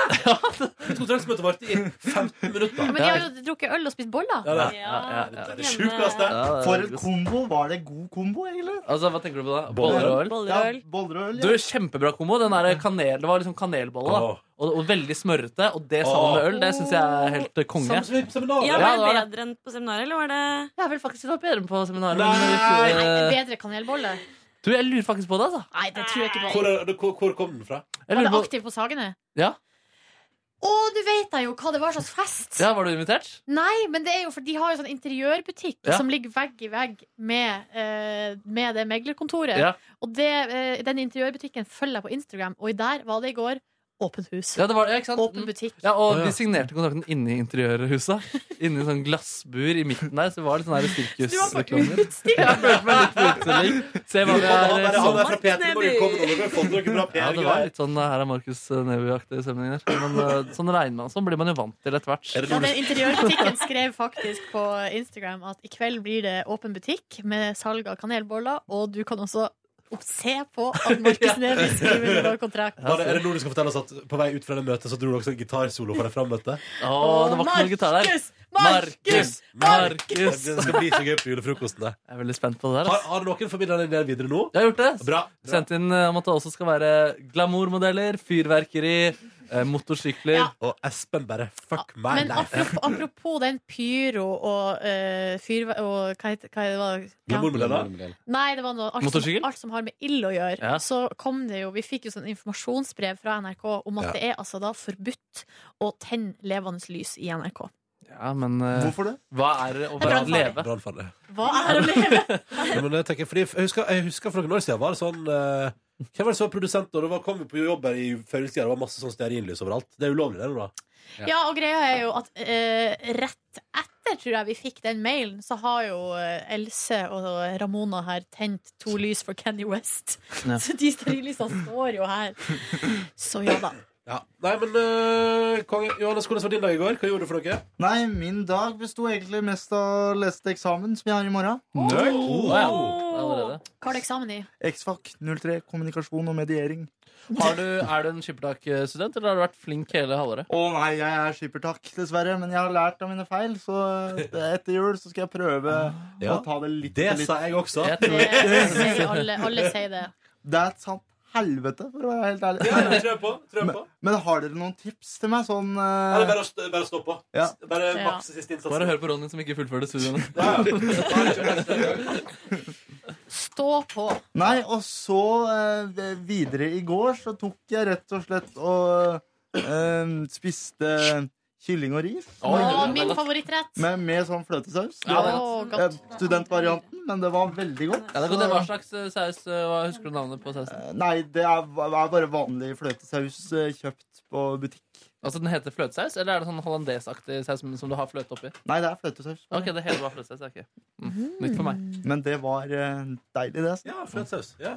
Speaker 2: Kontraktsmøtet varte i 15 minutter.
Speaker 3: Ja, men de har jo drukket øl og spist boller.
Speaker 4: Ja, det- ja, ja, ja.
Speaker 2: Det er det sjukeste.
Speaker 4: Ja, det er
Speaker 12: For en
Speaker 4: godt.
Speaker 12: kombo! Var det god kombo, egentlig?
Speaker 4: Altså, Hva tenker du på da? Boller og øl?
Speaker 12: Ja, boller og øl,
Speaker 4: Du,
Speaker 12: ja.
Speaker 4: Kjempebra kombo. Den der kanel, det var liksom kanelbolle. Da.
Speaker 12: Åh.
Speaker 4: Og, og veldig smørrete. Og det sammen med øl, det syns jeg er helt eh, konge.
Speaker 12: Samme som i seminaret.
Speaker 14: Ja,
Speaker 4: Ja, det
Speaker 14: var
Speaker 4: var
Speaker 14: det
Speaker 4: det.
Speaker 14: bedre enn på seminaret, eller var det
Speaker 4: Jeg vil faktisk si det var bedre enn på seminaret.
Speaker 2: Nei!
Speaker 4: men-
Speaker 3: Bedre kanelbolle?
Speaker 4: Du, Eh, jeg lurer faktisk på det, altså.
Speaker 3: Nei, det tror jeg ikke
Speaker 2: Hvor,
Speaker 3: på.
Speaker 2: er- hvor, hvor kom den fra?
Speaker 3: Var
Speaker 4: Jeg lurer
Speaker 3: det
Speaker 4: på
Speaker 3: aktiv på Sagene?
Speaker 4: ja.
Speaker 3: Å, du vet da jo hva det var slags fest!
Speaker 4: ja, var du invitert?
Speaker 3: Nei, men det er jo for de har jo sånn interiørbutikk
Speaker 4: Ja.
Speaker 3: som ligger vegg i vegg med, eh, med det meglerkontoret.
Speaker 4: Ja.
Speaker 3: Og det, eh, den interiørbutikken følger jeg på Instagram, og der var det i går åpent hus.
Speaker 4: Ja, det var det, ikke sant?
Speaker 3: Åpen butikk.
Speaker 4: Ja,
Speaker 2: Å,
Speaker 4: Og
Speaker 2: ja.
Speaker 4: de signerte kontrakten inni interiørhuset. Inni sånn glassbur i midten der. Så det var litt sånn der sirkusreklamer. Ja, jeg følte meg litt på utstilling. Se hva det
Speaker 2: Han
Speaker 4: er. sånn.
Speaker 2: er han er fra P3, må du komme nå. Du har fått noe
Speaker 13: [LAUGHS]
Speaker 2: bra
Speaker 4: Ja, det var
Speaker 2: PR-greier.
Speaker 4: litt sånn eh, her er Markus eh, Neby-aktig stemning der. Men eh, sånn regner man, sånn blir man jo vant til etter hvert.
Speaker 3: Ja, den interiørbutikken skrev faktisk på Instagram at i kveld blir det åpen butikk med salg av kanelboller, og du kan også opp- se på at
Speaker 4: [LAUGHS]
Speaker 3: Markus Neby skriver under kontrakt.
Speaker 2: Var det, er det nå du skal fortelle oss at på vei ut fra det møtet så dro du også en gitarsolo for deg frammøte?
Speaker 4: [LAUGHS] Å, det var ikke noe gitar der.
Speaker 2: Markus!
Speaker 4: Markus!
Speaker 2: Det skal bli så gøy på julefrokosten. Det.
Speaker 4: Jeg er veldig spent på det der.
Speaker 2: Har,
Speaker 4: ass.
Speaker 2: har noen formidla den ideen videre nå?
Speaker 4: Jeg har gjort det.
Speaker 2: Bra.
Speaker 4: Sendt inn eh, om at det også skal være glamourmodeller, fyrverkeri, eh, motorsykler
Speaker 3: Ja.
Speaker 2: Og Espen bare fuck Eh,
Speaker 3: Men ah, apropos, apropos den pyro og uh, fyr... Og hva heter hva var det? Ja. Nei, det var noe alt
Speaker 4: Motorsykkel?
Speaker 3: som, alt som har med ild å gjøre.
Speaker 4: Ja.
Speaker 3: Så kom det jo Vi fikk jo sånn informasjonsbrev fra NRK om at
Speaker 4: Ja.
Speaker 3: det er altså da forbudt å tenne levende lys i NRK.
Speaker 4: Ja, men eh,
Speaker 2: Hvorfor det?
Speaker 4: Hva er det å være leve?
Speaker 2: Brannfarlig.
Speaker 3: Hva er det å leve?
Speaker 2: Ja, men jeg, tenker, fordi jeg, husker, jeg husker for noen år siden var det sånn eh, Hvem var det som var produsent da? Det var- kom vi på jobb her i førjulstida, det var masse sånn stearinlys overalt. Det er ulovlig, det nå, da.
Speaker 3: [LAUGHS] Ja, og greia er jo at eh, rett etter, tror jeg, vi fikk den mailen, så har jo eh, Else og Ramona her tent to lys for Kenny West. [LAUGHS]
Speaker 2: Ja.
Speaker 3: Så de stearinlysene står jo her. Så ja da.
Speaker 2: Ja. Nei, men eh, konge Johannes, hvordan var din dag i går? Hva gjorde du for noe?
Speaker 12: Nei, min dag besto egentlig mest av å lese til eksamen, som jeg har i morgen.
Speaker 2: Nei. Oh.
Speaker 3: Hva har du eksamen i?
Speaker 12: X-Fac 03, kommunikasjon og mediering.
Speaker 4: Har du, er du en skippertak-student, eller har du vært flink hele halvåret?
Speaker 12: Å nei, jeg er skippertak, dessverre. Men jeg har lært av mine feil, så det- etter jul så skal jeg prøve
Speaker 2: Ja,
Speaker 12: å ta det litt
Speaker 2: det
Speaker 12: litt.
Speaker 2: sa jeg også.
Speaker 3: Det sier alle, alle sier det.
Speaker 12: That's sant. helvete, for å være helt ærlig.
Speaker 18: Ja, nei, tror jeg på. Tror jeg på.
Speaker 12: [LAUGHS] Men har dere noen tips til meg? Sånn
Speaker 18: Ja, det er
Speaker 12: eh,
Speaker 18: bare, å, st- bare å stå på.
Speaker 12: Ja.
Speaker 18: S- Bare
Speaker 12: Ja.
Speaker 18: makse siste innsatsen.
Speaker 4: Bare hør på Ronny som ikke fullførte
Speaker 2: [LAUGHS]
Speaker 4: studiene.
Speaker 3: Stå på.
Speaker 12: Nei, og så eh, videre i går så tok jeg rett og slett og eh, spiste kylling og ris.
Speaker 3: Å, min favorittrett.
Speaker 12: Med, med sånn fløtesaus.
Speaker 4: Ja, det er
Speaker 3: godt.
Speaker 12: Det var, eh, Studentvarianten, men det var veldig godt.
Speaker 4: Ja, det er godt. Det
Speaker 12: Så-
Speaker 4: Hva slags eh, saus eh, hva Husker du navnet på sausen?
Speaker 12: Nei, det er, er bare vanlig fløtesaus eh, kjøpt på butikk.
Speaker 4: Altså Den heter fløtesaus, eller er det sånn hollandesaktig saus som, som du har fløte oppi?
Speaker 12: Nei, det er fløtesaus.
Speaker 4: Ok, det hele var fløtesaus, ok mm. Nytt for meg.
Speaker 12: Men det var eh, deilig, det. altså.
Speaker 2: Ja, fløtesaus. Ja.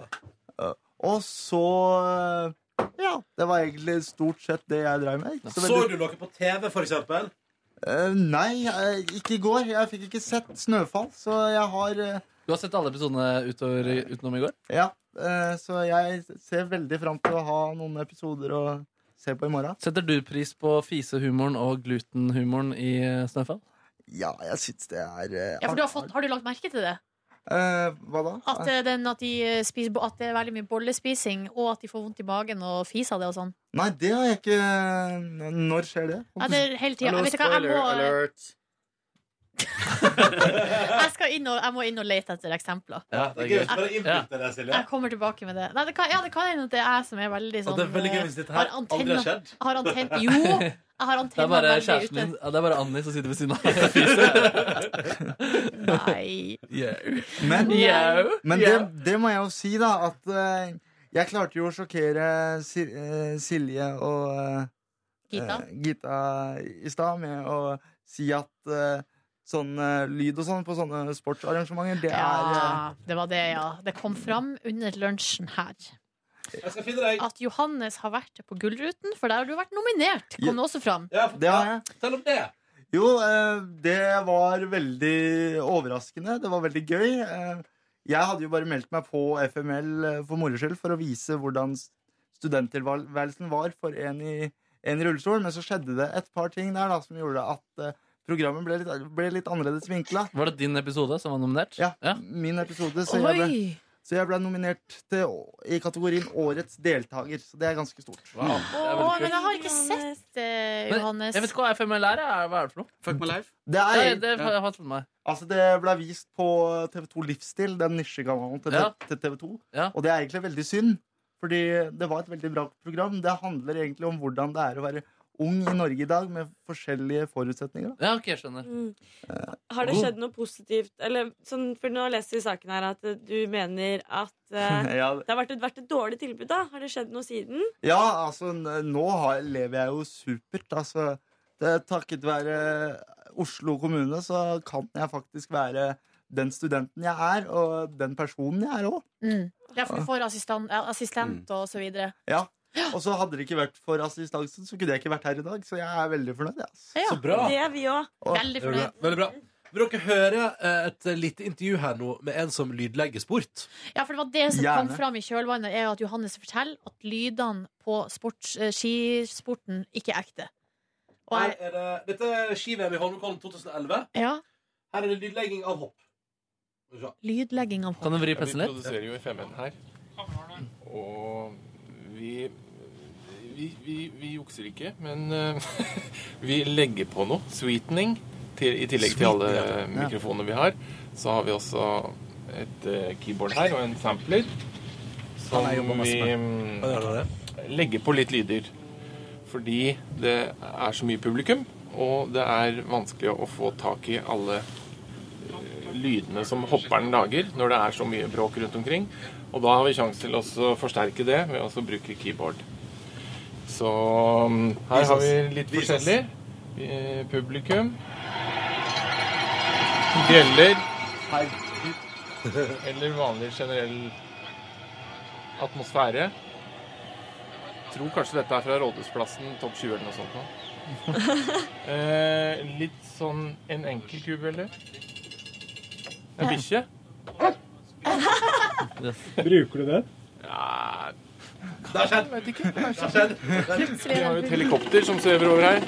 Speaker 12: Eh, Og så eh, Ja, det var egentlig stort sett det jeg drev med. Ikke
Speaker 2: Så, du noe på TV, for eksempel?
Speaker 12: Eh, nei, eh, ikke i går. Jeg fikk ikke sett Snøfall, så jeg har eh,
Speaker 4: Du har sett alle episodene utover, utenom i går?
Speaker 12: Ja, eh, så jeg ser veldig fram til å ha noen episoder å se på i morgen.
Speaker 4: Setter du pris på fisehumoren og glutenhumoren i eh, Snøfall?
Speaker 12: Ja, jeg syns det er eh,
Speaker 3: Ja, for du har, fått, har du lagt merke til det?
Speaker 12: Hva da?
Speaker 3: At, eh, den, at, de eh, spiser, bo- at det er veldig mye bollespising, og at de får vondt i magen og fiser av det og sånn?
Speaker 12: Nei, det har jeg ikke Når skjer det?
Speaker 3: Ja, det er hele tiden. Hallo, Vet du hva, jeg må- spoiler alert. [LAUGHS] Jeg, skal inn og, jeg må inn og lete etter eksempler.
Speaker 2: Ja, det er gøy. Bare innpynt det der, Silje.
Speaker 3: Jeg kommer tilbake med det. Nei, det kan, ja, det kan hende at det er jeg som er veldig
Speaker 2: Og
Speaker 3: sånn
Speaker 2: det er veldig gøy hvis dette
Speaker 3: eh,
Speaker 2: her
Speaker 3: har antenna-
Speaker 2: aldri har skjedd.
Speaker 3: Har antenna Jo! Jeg har
Speaker 4: Det er
Speaker 3: antenna
Speaker 4: bare
Speaker 3: veldig
Speaker 4: kjæresten
Speaker 3: ute.
Speaker 4: din ja, Det er bare Annie som sitter
Speaker 3: [LAUGHS]
Speaker 4: ved siden av og fiser.
Speaker 3: Nei. [LAUGHS]
Speaker 12: Men,
Speaker 4: Jau.
Speaker 12: men det,
Speaker 4: Jau.
Speaker 12: det må jeg jo si, da, at eh, jeg klarte jo å sjokkere Si- eh, Silje og eh,
Speaker 3: Gita.
Speaker 12: eh, Gita i stad med å si at eh, sånn eh, lyd og sånn på sånne sportsarrangementer, det er
Speaker 3: Ja,
Speaker 12: eh,
Speaker 3: det var det, ja. Det kom fram under lunsjen her. At Johannes har vært på Gullruten, for der har du vært nominert, kom det også fram.
Speaker 12: eh, Det har jeg.
Speaker 2: Selv om det.
Speaker 12: Jo, eh, det var veldig overraskende. Det var veldig gøy. Eh, Jeg hadde jo bare meldt meg på FML eh, for moro skyld for å vise hvordan s- studenttilværelsen var for en i, en i rullestol, men så skjedde det et par ting der da, som gjorde at eh, programmet ble litt, ble litt annerledes vinkla.
Speaker 4: Var det din episode som var nominert?
Speaker 12: Ja, min episode. Så jeg, ble,
Speaker 3: Oi.
Speaker 12: så jeg ble nominert til, å- i kategorien Årets deltaker, så det er ganske stort.
Speaker 3: Å, men jeg har ikke sett eh, Johannes.
Speaker 4: Jeg vet ikke hva FML er. jeg. Hva er det for noe? Fuck my life.
Speaker 12: Det er-
Speaker 4: ja, det har jeg fått med meg.
Speaker 12: Altså, det ble vist på TV2 Livsstil, den nisjekanalen til,
Speaker 4: Ja.
Speaker 12: til TV2. Og det er egentlig veldig synd, fordi det var et veldig bra program. Det handler egentlig om hvordan det er å være ung i Norge i dag, med forskjellige forutsetninger. Da.
Speaker 4: Ja, ok, jeg skjønner.
Speaker 14: Har det skjedd noe positivt? Eller, sånn, for nå leser vi i saken her at eh, du mener at eh,
Speaker 12: Ja.
Speaker 14: det har vært et, vært et dårlig tilbud, da. Har det skjedd noe siden?
Speaker 12: Ja, altså, n- nå har, lever jeg jo supert. Altså, det, er takket være Oslo kommune så kan jeg faktisk være den studenten jeg er, og den personen jeg er òg.
Speaker 3: Mm. Ja,
Speaker 2: Ah.
Speaker 3: for du får assistent, ja,
Speaker 2: Mm.
Speaker 3: assistent og så videre.
Speaker 12: Ja. Og så hadde det ikke vært for assistansen, så kunne jeg ikke vært her i dag. Så jeg er veldig fornøyd. jeg, Altså.
Speaker 2: Så bra.
Speaker 14: Det er vi òg.
Speaker 2: Det er bra. Veldig bra. Vil dere høre eh, et lite intervju her nå med en som lydlegger sport?
Speaker 3: Ja, for det var det som
Speaker 2: Gjerne.
Speaker 3: kom fram i kjølvannet, er jo at Johannes forteller at lydene på sports, eh, skisporten ikke er ekte. Og
Speaker 2: Her
Speaker 3: jeg,
Speaker 2: er det, dette er ski-VM i Holmenkollen 2011.
Speaker 3: ja,
Speaker 2: Her er det lydlegging av hopp.
Speaker 3: lydlegging av
Speaker 4: Kan du vri
Speaker 19: Vi
Speaker 4: pressen litt?
Speaker 19: produserer jo i femmen her. Og vi vi, vi, vi jukser ikke, men eh, vi legger på noe. Sweetening. Til, I tillegg til alle
Speaker 20: Sweetening, ja.
Speaker 19: mikrofonene vi har. Så har vi også et eh, keyboard her og en sampler. Som
Speaker 20: Han har jobbet
Speaker 19: vi
Speaker 20: masse med.
Speaker 19: mm, legger på litt lyder. Fordi det er så mye publikum, og det er vanskelig å få tak i alle eh, lydene som hopperen lager når det er så mye bråk rundt omkring. Og da har vi sjanse til også å forsterke det ved også å bruke keyboard. Så mm, her
Speaker 20: Vis
Speaker 19: har
Speaker 20: oss.
Speaker 19: vi litt
Speaker 20: Vis oss.
Speaker 19: forskjellig. Eh, Publikum. Bjeller. Eller vanlig generell atmosfære. Tror kanskje dette er fra Rådhusplassen, topp 20 eller noe sånt. nå. eh, litt sånn en enkel kube, eller? En bikkje?
Speaker 20: Bruker du det?
Speaker 19: Ja,
Speaker 20: Det har skjedd.
Speaker 19: Vet ikke. Det
Speaker 20: har skjedd.
Speaker 19: Vi har jo et helikopter som svever over her,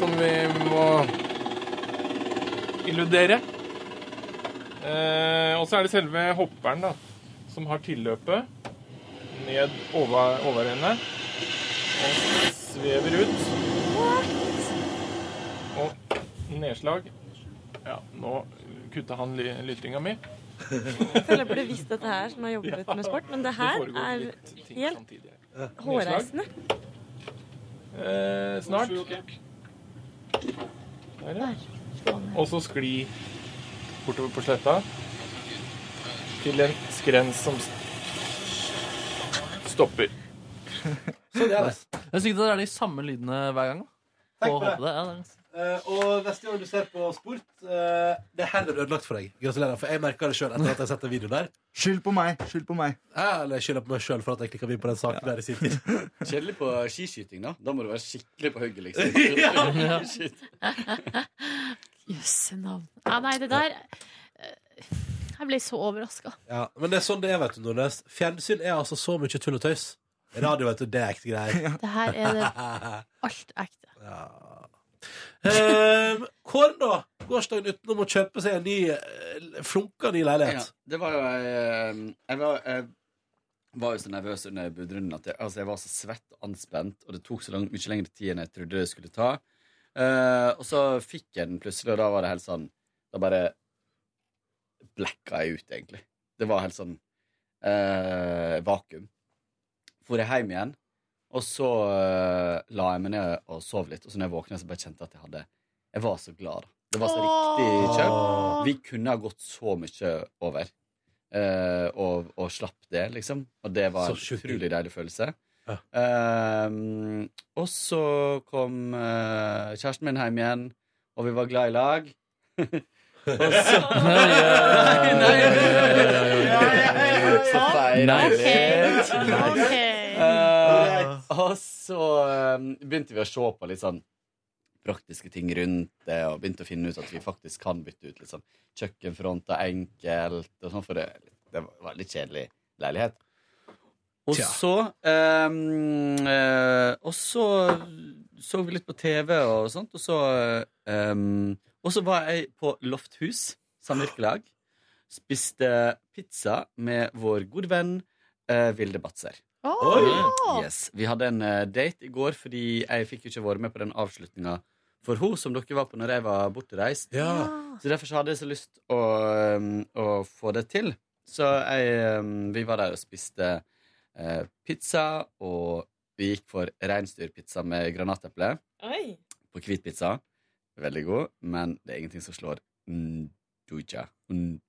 Speaker 19: som vi må illudere. Eh, og så er det selve hopperen, da, som har tilløpet. ned over, over henne og svever ut. Og nedslag. Ja, nå kutta han ly lyttinga mi.
Speaker 14: Jeg føler jeg burde visst dette her, som har jobbet med sport, men det her
Speaker 19: foregår
Speaker 14: er
Speaker 19: litt ting
Speaker 14: helt
Speaker 19: samtidig.
Speaker 14: hårreisende.
Speaker 19: Eh, snart. Der, ja. Og så skli bortover på sletta til en skrens som s- stopper.
Speaker 2: Så det Sånn er det.
Speaker 4: Jeg syns ikke det er de samme lydene hver gang. da. Og
Speaker 2: Takk for det.
Speaker 4: håper det. Ja, det [LAUGHS] er-
Speaker 2: Eh, og neste gang du ser på sport, eh, det er herved ødelagt for deg. Gratulerer. For jeg merka det sjøl etter at jeg har sett den videoen der.
Speaker 12: Skyld på meg. Skyld på meg.
Speaker 2: Eh, Eller jeg skylder på meg sjøl for at jeg klikka inn på den saken der i sin tid.
Speaker 13: Kjedelig på skiskyting, da. Da må du være skikkelig på hugget, [LAUGHS] liksom.
Speaker 2: Ja.
Speaker 13: Shit.
Speaker 3: Jøsse navn. Ja, nei, det der eh, Jeg ble så overraska.
Speaker 2: Ja, men det er sånn det er, vet du, Nordnes. Fjernsyn er altså så mye tull og tøys. Radio, vet du, det er ekte greier.
Speaker 3: Det her er det alt ekte.
Speaker 2: Ehm, Kåren, da? Gårsdagen utenom å kjøpe seg en ny eh, flunka ny leilighet.
Speaker 13: Ja, det var jo eh, jeg var, jeg var jo så nervøs under budrunden at jeg, altså, jeg var så svett og anspent, og det tok så lang, mye lengre tid enn jeg trodde det skulle ta. Eh, og så fikk jeg den plutselig, og da var det helt sånn Da bare blacka jeg ut, egentlig. Det var helt sånn eh, vakuum. For jeg hjem igjen, og så eh, la jeg meg ned og sov litt. Og så når jeg våkna, så bare kjente jeg at jeg hadde Jeg var så glad, da. Det var så riktig kjøp. Vi kunne ha gått så mye over. eh, og, og slapp det, liksom. Og det var en
Speaker 2: Så sjukt.
Speaker 13: utrolig deilig følelse. Eh, og så kom eh, kjæresten min hjem igjen, og vi var glad i lag. [LAUGHS] og så Nei, [LAUGHS] nei, nei! Så feira vi litt. Eh, Og så eh, begynte vi å se på litt sånn praktiske ting rundt det, og begynte å finne ut at vi faktisk kan bytte ut litt sånn kjøkkenfronter enkelt, og sånn, for det, det var litt kjedelig leilighet. Og
Speaker 11: Tja.
Speaker 13: så ehm, eh, Og så så vi litt på TV og sånt, og så ehm, Og så var jeg på Lofthus samvirkelag. Spiste pizza med vår gode venn eh, Vilde Batzer.
Speaker 11: Oi!
Speaker 13: Yes. Vi hadde en eh, date i går fordi jeg fikk jo ikke vært med på den avslutninga for hun som dere var på når jeg var bortreist. Så derfor så hadde jeg så lyst å, um, å få det til. Så jeg, um, vi var der og spiste eh, pizza, og vi gikk for reinsdyrpizza med granateple
Speaker 14: Oi.
Speaker 13: på hvit pizza. Veldig god, men det er ingenting som slår nduja.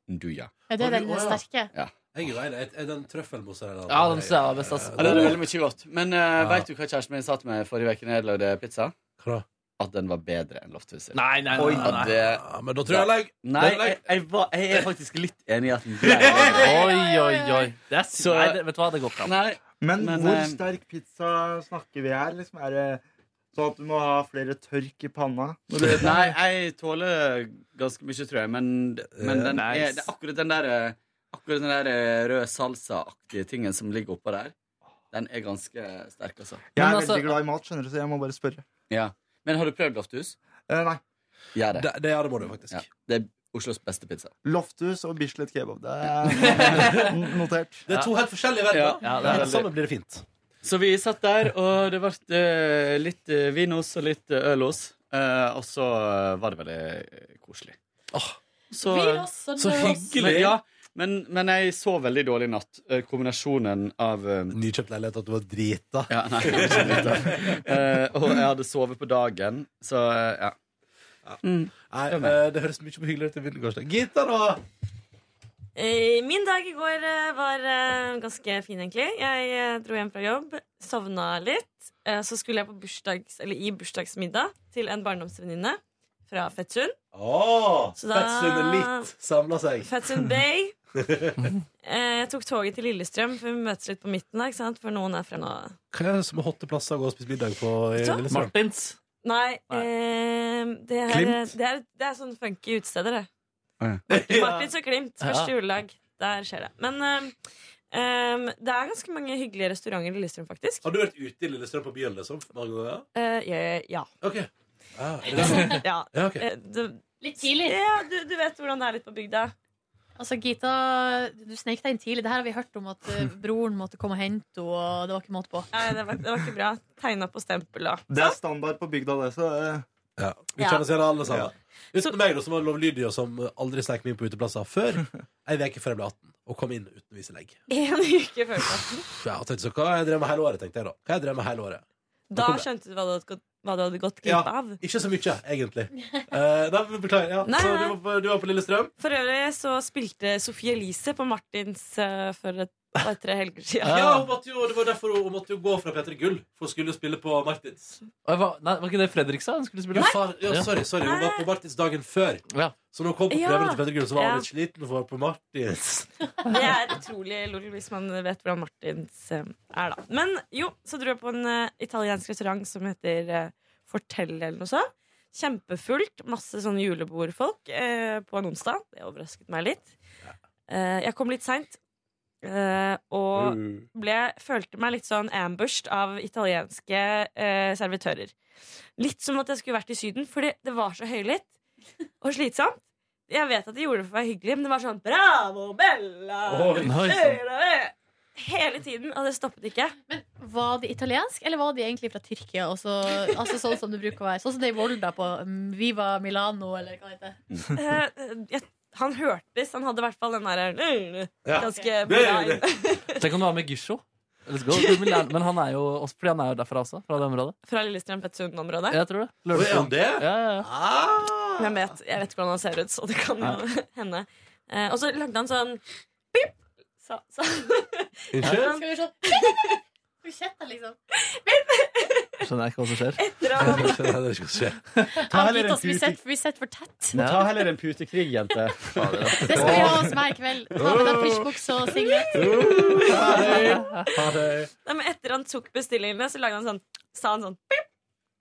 Speaker 13: Nduja.
Speaker 3: Er det den sterke?
Speaker 13: Ja.
Speaker 2: Jeg er jo enig. Er den trøffelmozzarella?
Speaker 13: Ja, den ser jeg best, ass. Ja, den er veldig mye godt. Men uh,
Speaker 2: Ja.
Speaker 13: veit du hva kjæresten min sa til meg forrige uke når jeg lagde pizza?
Speaker 2: Hva da?
Speaker 13: At den var bedre enn Lofthuset.
Speaker 4: Nei, nei, nei,
Speaker 13: Oi,
Speaker 4: nei, nei.
Speaker 13: Det...
Speaker 4: Ja, men da tror jeg jeg legger-
Speaker 13: Nei,
Speaker 4: den legger-
Speaker 13: jeg, jeg, var, jeg er faktisk litt enig i
Speaker 4: [LAUGHS]
Speaker 13: at den ble
Speaker 4: Oi, oi, oi. Det er, s-
Speaker 13: Så-
Speaker 4: nei, det, vet du hva, det går ikke an.
Speaker 13: Nei,
Speaker 12: Men,
Speaker 13: Men,
Speaker 12: hvor
Speaker 13: eh,
Speaker 12: sterk pizza snakker vi her? Liksom, er det sånn at du må ha flere tørk i panna? Når du
Speaker 13: Nei, jeg tåler ganske mye, tror jeg, men, men
Speaker 4: Eh,
Speaker 13: den
Speaker 12: Nice.
Speaker 13: er, det er akkurat den der eh, Akkurat den der eh, røde salsa-aktige tingen som ligger oppå der, den er ganske sterk, altså.
Speaker 12: Jeg er veldig glad i mat, skjønner du, så jeg må bare spørre. Eh,
Speaker 13: Ja. Men har du prøvd Lofthus?
Speaker 12: nei.
Speaker 13: Gjør det.
Speaker 2: Det- det- ja, det må du faktisk.
Speaker 13: Det er Oslos beste pizza.
Speaker 12: Lofthus og Bislett kebab. Det er notert.
Speaker 13: Det er to helt
Speaker 2: forskjellige
Speaker 13: verdener.
Speaker 2: Ja,
Speaker 13: det er
Speaker 2: Men
Speaker 13: veldig-
Speaker 2: sammen blir det fint.
Speaker 13: Så vi satt der, og det ble eh, litt eh, vinos og litt eh, øl hos. Eh, og så eh, var det veldig eh, koselig. Så,
Speaker 11: Vinos og
Speaker 13: så
Speaker 11: øl hos.
Speaker 13: hyggelig! Men, ja, men, men jeg sov veldig dårlig i natt. Eh, kombinasjonen av eh,
Speaker 21: [LAUGHS]
Speaker 2: Nykjøpt leilighet, at du var drita.
Speaker 13: Ja, nei, jeg var ikke drita. [LAUGHS] Eh, og jeg hadde sovet på dagen, så eh, ja.
Speaker 2: Nei, eh, det høres mye hyggeligere ut enn Vilde Gårdstein. Gitar og
Speaker 14: Eh, Min dag i går eh, var eh, ganske fin, egentlig. Jeg eh, dro hjem fra jobb, sovna litt. eh, Så skulle jeg på bursdags, eller i bursdagsmiddag til en barndomsvenninne fra Fettsund.
Speaker 2: Åh,
Speaker 14: Så da-
Speaker 2: Fettsund Elite samla seg.
Speaker 14: Fettsund Bay. [LAUGHS] Eh, Jeg tok toget til Lillestrøm, for vi møtes litt på midten. da, ikke sant? For noen er fra nå.
Speaker 2: Hva er det som er hotte plasser å gå og spise middag på? i
Speaker 14: Vet du hva?
Speaker 2: Lillestrøm?
Speaker 4: Martins.
Speaker 14: Nei, eh, det, er,
Speaker 2: Klimt?
Speaker 14: det, er, det er sånn funky utesteder, det. Martins og Klimt.
Speaker 2: Ja.
Speaker 14: Første juledag. Der skjer det. Men eh, eh, det er ganske mange hyggelige restauranter i Lillestrøm, faktisk.
Speaker 2: [LAUGHS] Har du vært ute i Lillestrøm på byen, liksom? Mange ganger?
Speaker 14: Eh, ja, ja.
Speaker 2: Ah, er det sånn?
Speaker 14: ja. Eh,
Speaker 2: Ja, ok.
Speaker 14: litt tidlig. Ja, du, du vet hvordan det er litt på bygda.
Speaker 3: Altså, Gita, du snek deg inn tidlig. Det her har vi hørt om at eh, broren måtte komme og hente henne, og det var ikke måte på.
Speaker 14: Nei, det var, det var ikke bra. Tegna på stempel og
Speaker 12: Det er standard på bygda, det. Så eh,
Speaker 2: Ja. Vi
Speaker 14: Ja.
Speaker 2: kjenner oss igjen alle sammen. Utenom meg, da, som var lovlydig og som aldri snek meg inn på uteplasser før ei uke før jeg ble 18, og kom inn uten å vise legg.
Speaker 14: én uke før klassen.
Speaker 2: Ja, og tenkte, så, hva har jeg drevet med hele året, tenkte jeg da. Hva har jeg drevet med hele året?
Speaker 14: Da
Speaker 2: kom det.
Speaker 14: skjønte du hva du hadde gått, hva du hadde gått
Speaker 2: ja,
Speaker 14: glipp av.
Speaker 2: Ikke så mye, egentlig.
Speaker 14: [LAUGHS]
Speaker 2: Eh, nei, men beklager. Ja.
Speaker 14: Nei,
Speaker 2: så
Speaker 14: nei.
Speaker 2: du var, på, du var på Lillestrøm?
Speaker 14: For øvrig så spilte Sofie Elise på Martins eh, for et par-tre helger siden.
Speaker 2: Ja, hun måtte jo, det var derfor hun måtte jo gå fra P3 Gull, for hun skulle jo spille på Martins.
Speaker 4: Var, nei, var ikke det Fredrikstad hun skulle spille?
Speaker 2: Ja, far, ja, sorry, sorry, hun var på Martins dagen før. Så når hun kom på
Speaker 14: Ja.
Speaker 2: prøven til P3 Gull, så var hun
Speaker 14: Ja.
Speaker 2: litt sliten for å være på Martins.
Speaker 14: [LAUGHS] Det er utrolig lol hvis man vet hvordan Martins eh, er, da. Men jo, så dro jeg på en eh, italiensk restaurant som heter eh, Fortell eller noe sånt. Kjempefullt. Masse sånn julebordfolk eh, på en onsdag. Det overrasket meg litt. Eh, jeg kom litt seint. eh, og
Speaker 22: Mm.
Speaker 14: ble, følte meg litt sånn ambushed av italienske eh, servitører. Litt som at jeg skulle vært i Syden, fordi det var så høylytt og slitsomt. Jeg vet at de gjorde det for å være hyggelig, men det var sånn Bravo, Bella!
Speaker 3: Oi, nei, sant.
Speaker 14: Høyre! Hele tiden, og det stoppet ikke.
Speaker 3: Var de italiensk, eller var de egentlig fra Tyrkia? Og så, altså Sånn som det bruker å være. Sånn som det er i Volda på mm, Viva Milano, eller hva det heter.
Speaker 14: Eh, jeg, han hørtes. Han hadde i hvert fall den der "Mm,
Speaker 4: Ja.
Speaker 14: ganske bra
Speaker 4: Veldig. Tenk om du var med Gisho. Let's go. Du, Men men han er jo også, fordi han er jo derfra også. Fra det området.
Speaker 14: fra Lillestrøm-Fettsund-området.
Speaker 4: Jeg tror det. Lørdagsskolen.
Speaker 2: Er han det? Ah.
Speaker 4: Ja, ja, ja.
Speaker 14: Men jeg vet, jeg vet ikke hvordan han ser ut, så det kan
Speaker 4: Ja.
Speaker 14: jo hende. Eh, og så lagde han sånn pip! Sa, sa.
Speaker 4: Unnskyld?
Speaker 3: Skal vi se. [LAUGHS] Du kjetter, liksom.
Speaker 4: Skjønner jeg ikke hva som skjer.
Speaker 2: Skjønner jeg ikke hva som skjer.
Speaker 3: Ja,
Speaker 21: heller
Speaker 3: Gita,
Speaker 21: en
Speaker 3: så vi
Speaker 21: pute-
Speaker 3: sitter vi sitter for tett. [LAUGHS]
Speaker 21: Må ta heller en putekrig,
Speaker 13: [LAUGHS]
Speaker 21: jente.
Speaker 3: Det skal vi ha oss med i kveld. Ta med deg pysjbukse og singlet.
Speaker 2: Uh,
Speaker 14: Nei, men etter han tok bestillingene, så lagde han sånn, sa han sånn pip!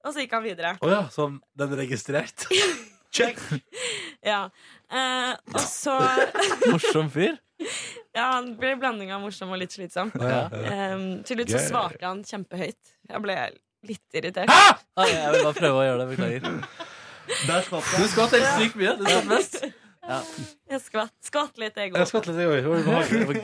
Speaker 14: Og så gikk han videre.
Speaker 2: Å ja, sånn den er
Speaker 14: [LAUGHS]
Speaker 2: registrert? Check!
Speaker 14: Ja. Eh, og så [LAUGHS]
Speaker 4: Morsom fyr.
Speaker 14: Ja, han ble en blanding av morsom og litt slitsom.
Speaker 4: Ja.
Speaker 14: Eh, til slutt så
Speaker 4: Gøy.
Speaker 14: svarte han kjempehøyt. Jeg ble litt irritert.
Speaker 4: Nei, jeg vil bare prøve å gjøre det. Beklager. Du skvatt helt sykt mye. Du skvatt mest. Ja.
Speaker 14: Jeg skvatt, skvatt litt, jeg
Speaker 2: Jeg
Speaker 14: òg.
Speaker 2: skvatt litt, jeg òg. Det var
Speaker 4: ubehagelig.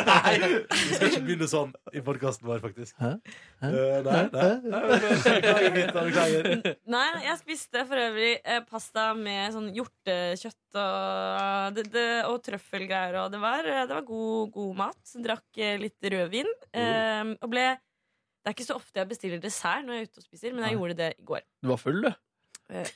Speaker 2: Nei, vi skal ikke begynne sånn i podkasten vår, faktisk. Eh, nei, nei, nei, eh, Beklager, Gita. Beklager.
Speaker 14: Nei, jeg spiste for øvrig eh, pasta med sånn hjortekjøtt og, det, det, og trøffelgreier. Og det var, eh, det var god, god mat. Så drakk eh, litt rødvin.
Speaker 4: Mm.
Speaker 14: Eh, og ble Det er ikke så ofte jeg bestiller dessert når jeg er ute og spiser, men jeg gjorde det i går.
Speaker 4: Du var full, du. [LAUGHS]
Speaker 14: Eh,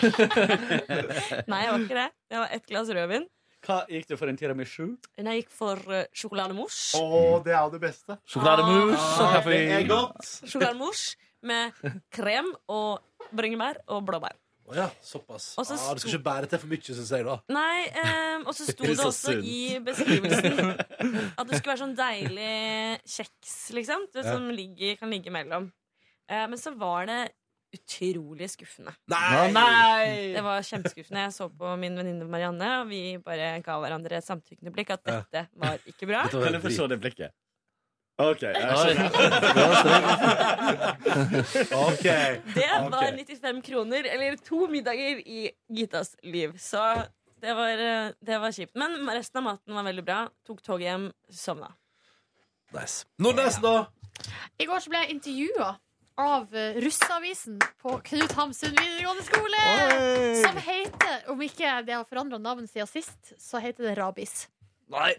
Speaker 14: Nei, jeg var ikke det. Det var ett glass rødvin.
Speaker 21: Hva gikk du for en tiramisu?
Speaker 14: Men jeg gikk for eh, sjokolademousse.
Speaker 21: Å, det er jo det beste.
Speaker 4: Sjokolademousse og kaffe.
Speaker 21: Det er godt.
Speaker 14: Sjokolademousse med krem og bringebær og blåbær.
Speaker 2: Å ja, såpass.
Speaker 14: Og så
Speaker 2: Ah, du skal ikke bære til for mye, syns jeg, da.
Speaker 14: Nei, ehm, og så sto det
Speaker 2: Så
Speaker 14: også
Speaker 2: sunt.
Speaker 14: i beskrivelsen at det skulle være sånn deilig kjeks, liksom. Du, vet,
Speaker 2: Ja.
Speaker 14: Som ligger, kan ligge mellom. Eh, men så var det utrolig skuffende.
Speaker 2: Nei!
Speaker 14: Det var kjempeskuffende. Jeg så på min venninne Marianne, og vi bare ga hverandre et samtykkende blikk at dette var ikke bra.
Speaker 21: Kan jeg få se det blikket? OK. Jeg skjønner.
Speaker 2: [LAUGHS] OK.
Speaker 14: Det var 95 kroner, eller to middager, i Gitas liv. Så det var, eh, det var kjipt. Men resten av maten var veldig bra. Tok toget hjem, sovna.
Speaker 2: Nice. Nordnes, da?
Speaker 3: I går så ble jeg intervjua av eh, Russeavisen på Knut Hamsun videregående skole.
Speaker 4: Oi!
Speaker 3: Som heter, om ikke det har forandra navn siden sist, så heter det Rabis.
Speaker 4: Nei.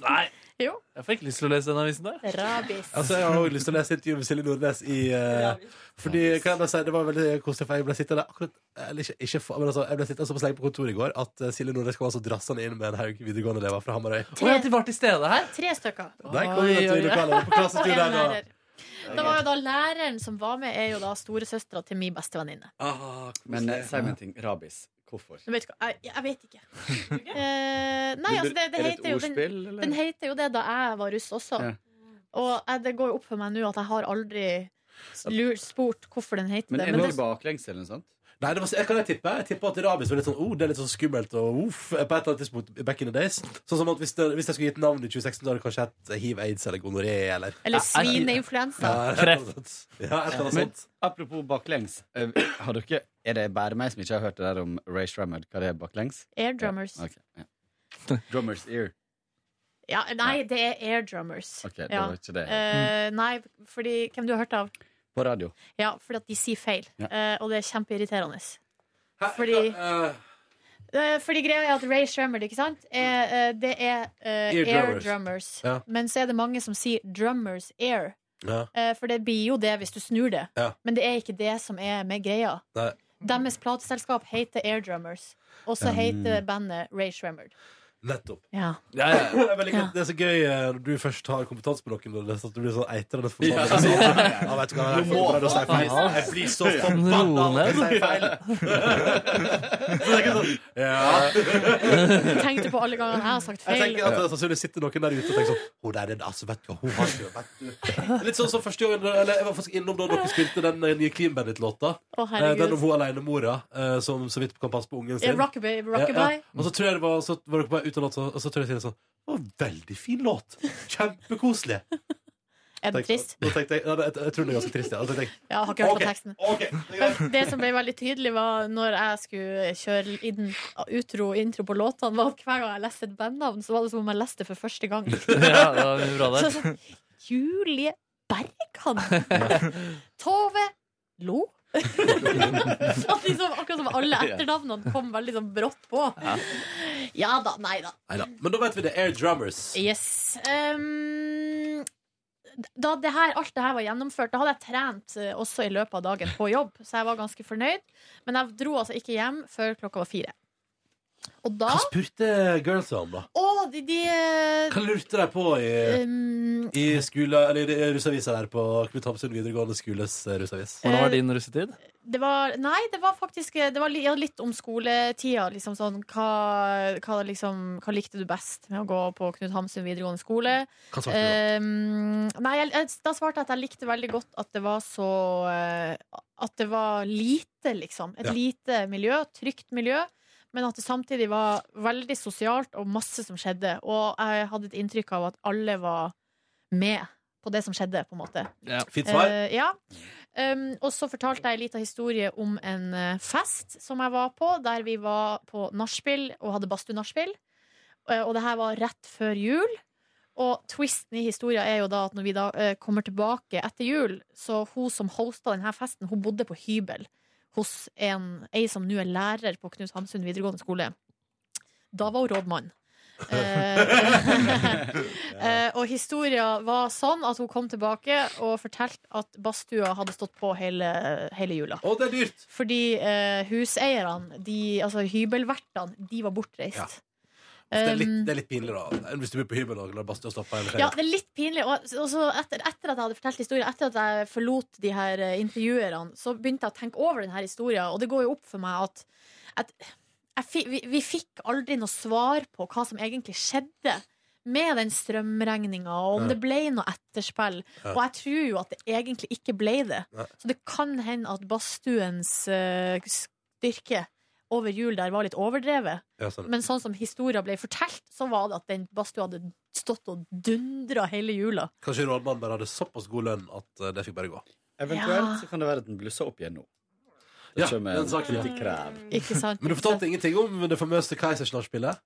Speaker 4: Nei.
Speaker 3: Jo.
Speaker 4: Jeg fikk lyst til å lese den avisen der.
Speaker 3: Rabis.
Speaker 2: Altså, jeg har også lyst til å lese intervjuet med Silje Nordnes i eh, Fordi, kan jeg bare si, Det var veldig koselig, for jeg ble sittende akkurat Eller ikke, ikke fa- men altså, jeg ble sittende såpass lenge på kontoret i går at eh, Silje Nordnes kom altså drassende inn med en haug videregående elever fra Hamarøy.
Speaker 4: Å ja, de var til stede her?
Speaker 3: Tre stykker.
Speaker 2: Der kom vi til lokalet på
Speaker 14: [LAUGHS]
Speaker 3: Og
Speaker 2: klassetur
Speaker 3: en
Speaker 2: der, da.
Speaker 3: lærer. Det var jo da læreren som var med, er jo da storesøstera til min bestevenninne.
Speaker 2: Ah,
Speaker 21: Men eh, si meg en ting. Rabis. Hvorfor?
Speaker 3: Jeg vet, ikke- jeg, jeg vet ikke. Eh, nei, altså, det,
Speaker 21: Er det
Speaker 3: det
Speaker 21: et
Speaker 3: heter jo
Speaker 21: ordspill,
Speaker 3: den,
Speaker 21: eller?
Speaker 3: den heter jo det da jeg var russ også.
Speaker 21: Ja.
Speaker 3: Og eh, det går jo opp for meg nå at jeg har aldri lur- spurt hvorfor den heter
Speaker 21: Men
Speaker 3: det.
Speaker 21: er det
Speaker 3: Men
Speaker 21: ikke
Speaker 3: det,
Speaker 21: baklengs eller noe sånt?
Speaker 2: Nei, det var, jeg kan jeg tippe Jeg tipper at rabis var litt sånn oh, det er litt sånn skummelt og uff, på et eller annet tidspunkt back in the days. Sånn som at hvis, det, hvis jeg skulle gitt navn i 2016, da hadde det kanskje hett hiv, aids eller gonoré eller
Speaker 3: eller svineinfluensa.
Speaker 2: Ja,
Speaker 21: Kreft.
Speaker 2: Ja, et eller annet
Speaker 21: Men
Speaker 2: sånt.
Speaker 21: apropos baklengs. eh, Har dere, er det bare meg som ikke har hørt det der om Ray Shrammed? Hva det er baklengs?
Speaker 3: Air drummers.
Speaker 21: Ok, ja.
Speaker 13: Drummer's ear.
Speaker 3: Ja, nei, det er Air Drummers.
Speaker 13: Ok, det
Speaker 3: ja.
Speaker 13: var ikke det.
Speaker 3: Eh, nei, fordi Hvem du har hørt av?
Speaker 13: På radio.
Speaker 3: Ja, fordi at de sier feil.
Speaker 13: Ja.
Speaker 3: Eh, og det er kjempeirriterende. Fordi Eh, Fordi greia er at Ray Shremmer, ikke sant? Er, eh, det er eh,
Speaker 2: Ear
Speaker 3: Air
Speaker 2: Drummers.
Speaker 3: Drummers.
Speaker 2: Ja.
Speaker 3: Men så er det mange som sier Drummers Air.
Speaker 2: Ja.
Speaker 3: Eh, for det blir jo det hvis du snur det.
Speaker 2: Ja.
Speaker 3: Men det er ikke det som er med greia.
Speaker 2: Nei.
Speaker 3: Deres plateselskap heter Air Drummers. Og så
Speaker 2: Mm.
Speaker 3: heter bandet Ray Shremmer.
Speaker 2: Nettopp.
Speaker 3: Ja.
Speaker 2: Ja, [LAUGHS] ja. Det, er veldig gøy. det er så gøy eh, når du først har kompetanse på noen, Nordnes, at du blir sånn eitrende forbanna.
Speaker 13: Ja.
Speaker 2: Sånn, Ja, vet du hva, jeg er
Speaker 13: Du må-
Speaker 2: forberedt å si feil. Jeg blir så forbanna når jeg sier feil. [LAUGHS] Så det er ikke sånn
Speaker 3: Jeg
Speaker 2: ja.
Speaker 3: tenkte på alle gangene jeg har sagt
Speaker 2: Jeg
Speaker 3: feil.
Speaker 2: tenker at det sannsynligvis sitter noen der ute og tenker sånn Hun der er det, altså, vet du, hun har det, vet du. Litt sånn som første gangen Eller jeg var faktisk innom da dere spilte den eh, nye Clean Bandit-låta.
Speaker 3: Å,
Speaker 2: Eh,
Speaker 3: herregud.
Speaker 2: den om hun alenemora eh, som så vidt kan passe på ungen sin.
Speaker 3: Ja, Rockabye, Rockabye.
Speaker 2: Og så tror jeg det var, så var dere på vei ut av låta, og så tror jeg jeg sier sånn Å, veldig fin låt. Kjempekoselig.
Speaker 3: Er det
Speaker 2: Tenkte-
Speaker 3: trist?
Speaker 2: Da tenkte jeg, ja, det- jeg, jeg tror det er ganske trist. Ja. Da tenkte jeg,
Speaker 3: Ja, jeg har ikke hørt
Speaker 2: Ok,
Speaker 3: på teksten. Men det som ble veldig tydelig, var når jeg skulle kjøre inn, utro og intro på låtene, var at hver gang jeg leste et bandnavn, så var det som om jeg leste det for første gang.
Speaker 4: Ja, det var mye bra der.
Speaker 3: Så sånn, Julie
Speaker 2: [LAUGHS]
Speaker 3: Bergan. Tove Lo. Så at liksom, akkurat som alle etternavnene kom veldig sånn brått på.
Speaker 2: Ja.
Speaker 3: Ja da, nei da.
Speaker 2: Neida. Men da vet vi det. Air Drummers.
Speaker 3: Yes. Um, da det her, alt det her var gjennomført, da hadde jeg trent eh, også i løpet av dagen på jobb, så jeg var ganske fornøyd. Men jeg dro altså ikke hjem før klokka var fire. Og da
Speaker 2: Hva spurte girlsa om, da?
Speaker 3: Å, de, de eh,
Speaker 2: Hva lurte de på i,
Speaker 3: um,
Speaker 2: i skole, eller i russavisa der på Knut Hamsun videregående skoles eh, russavis?
Speaker 3: Hvordan var
Speaker 2: din russetid?
Speaker 3: Det var, nei, det var faktisk eh, det var li- ja, litt om skoletida. Liksom sånn, hva, hva, liksom, hva likte du best med å gå på Knut Hamsun videregående skole?
Speaker 1: Hva svarte du da?
Speaker 3: Ehm, nei, jeg, jeg, da svarte jeg at jeg likte veldig godt at det var så eh, At det var lite, liksom. Et
Speaker 1: Ja.
Speaker 3: lite miljø. et Trygt miljø. Men at det samtidig var veldig sosialt og masse som skjedde. Og jeg hadde et inntrykk av at alle var med på det som skjedde, på en måte.
Speaker 2: Ja. Fint svar.
Speaker 3: Eh, ja. Um, og så fortalte jeg en liten historie om en eh, fest som jeg var på, der vi var på nachspiel og hadde badstue-nachspiel. Eh, og det her var rett før jul. Og twisten i historien er jo da at når vi da eh, kommer tilbake etter jul, så hun som hosta denne festen, hun bodde på hybel hos en, ei som nå er lærer på Knut Hamsun videregående skole. Da var hun rådmann. [LAUGHS] Eh, Eh, og historia var sånn at hun kom tilbake og fortalte at badstua hadde stått på hele, hele jula.
Speaker 2: Og det er dyrt!
Speaker 3: Fordi eh, huseierne, de, altså hybelvertene, de var bortreist.
Speaker 2: Altså,
Speaker 3: Um,
Speaker 2: Det er, litt, det er litt pinlig, da. Enn Hvis du bor på hybel og lar badstua stoppe. hele
Speaker 3: eh, Ja,
Speaker 2: ferien.
Speaker 3: det er litt pinlig. Og og så etter, etter at jeg hadde fortalt historien, etter at jeg forlot de her eh, intervjuerne, så begynte jeg å tenke over denne historien, og det går jo opp for meg at, at jeg, fi- vi, vi fikk aldri noe svar på hva som egentlig skjedde. Med den strømregninga, og om
Speaker 1: Nei.
Speaker 3: det ble noe etterspill.
Speaker 1: Ja.
Speaker 3: Og jeg tror jo at det egentlig ikke ble det.
Speaker 1: Nei.
Speaker 3: Så det kan hende at badstuens eh, styrke over jul der var litt overdrevet.
Speaker 1: Ja, sånn.
Speaker 3: Men sånn som historia ble fortalt, så var det at den badstua hadde stått og dundra hele jula.
Speaker 2: Kanskje rådmannen bare hadde såpass god lønn at eh, det fikk bare gå.
Speaker 13: Eventuelt
Speaker 3: Ja.
Speaker 13: så kan det være at den blusser opp igjen nå. Det
Speaker 2: Ja,
Speaker 13: kommer
Speaker 2: den saken, ja.
Speaker 13: en krev.
Speaker 3: [LAUGHS] Ikke sant?
Speaker 2: Men du fortalte ingenting om det famøse Keisersnarspillet?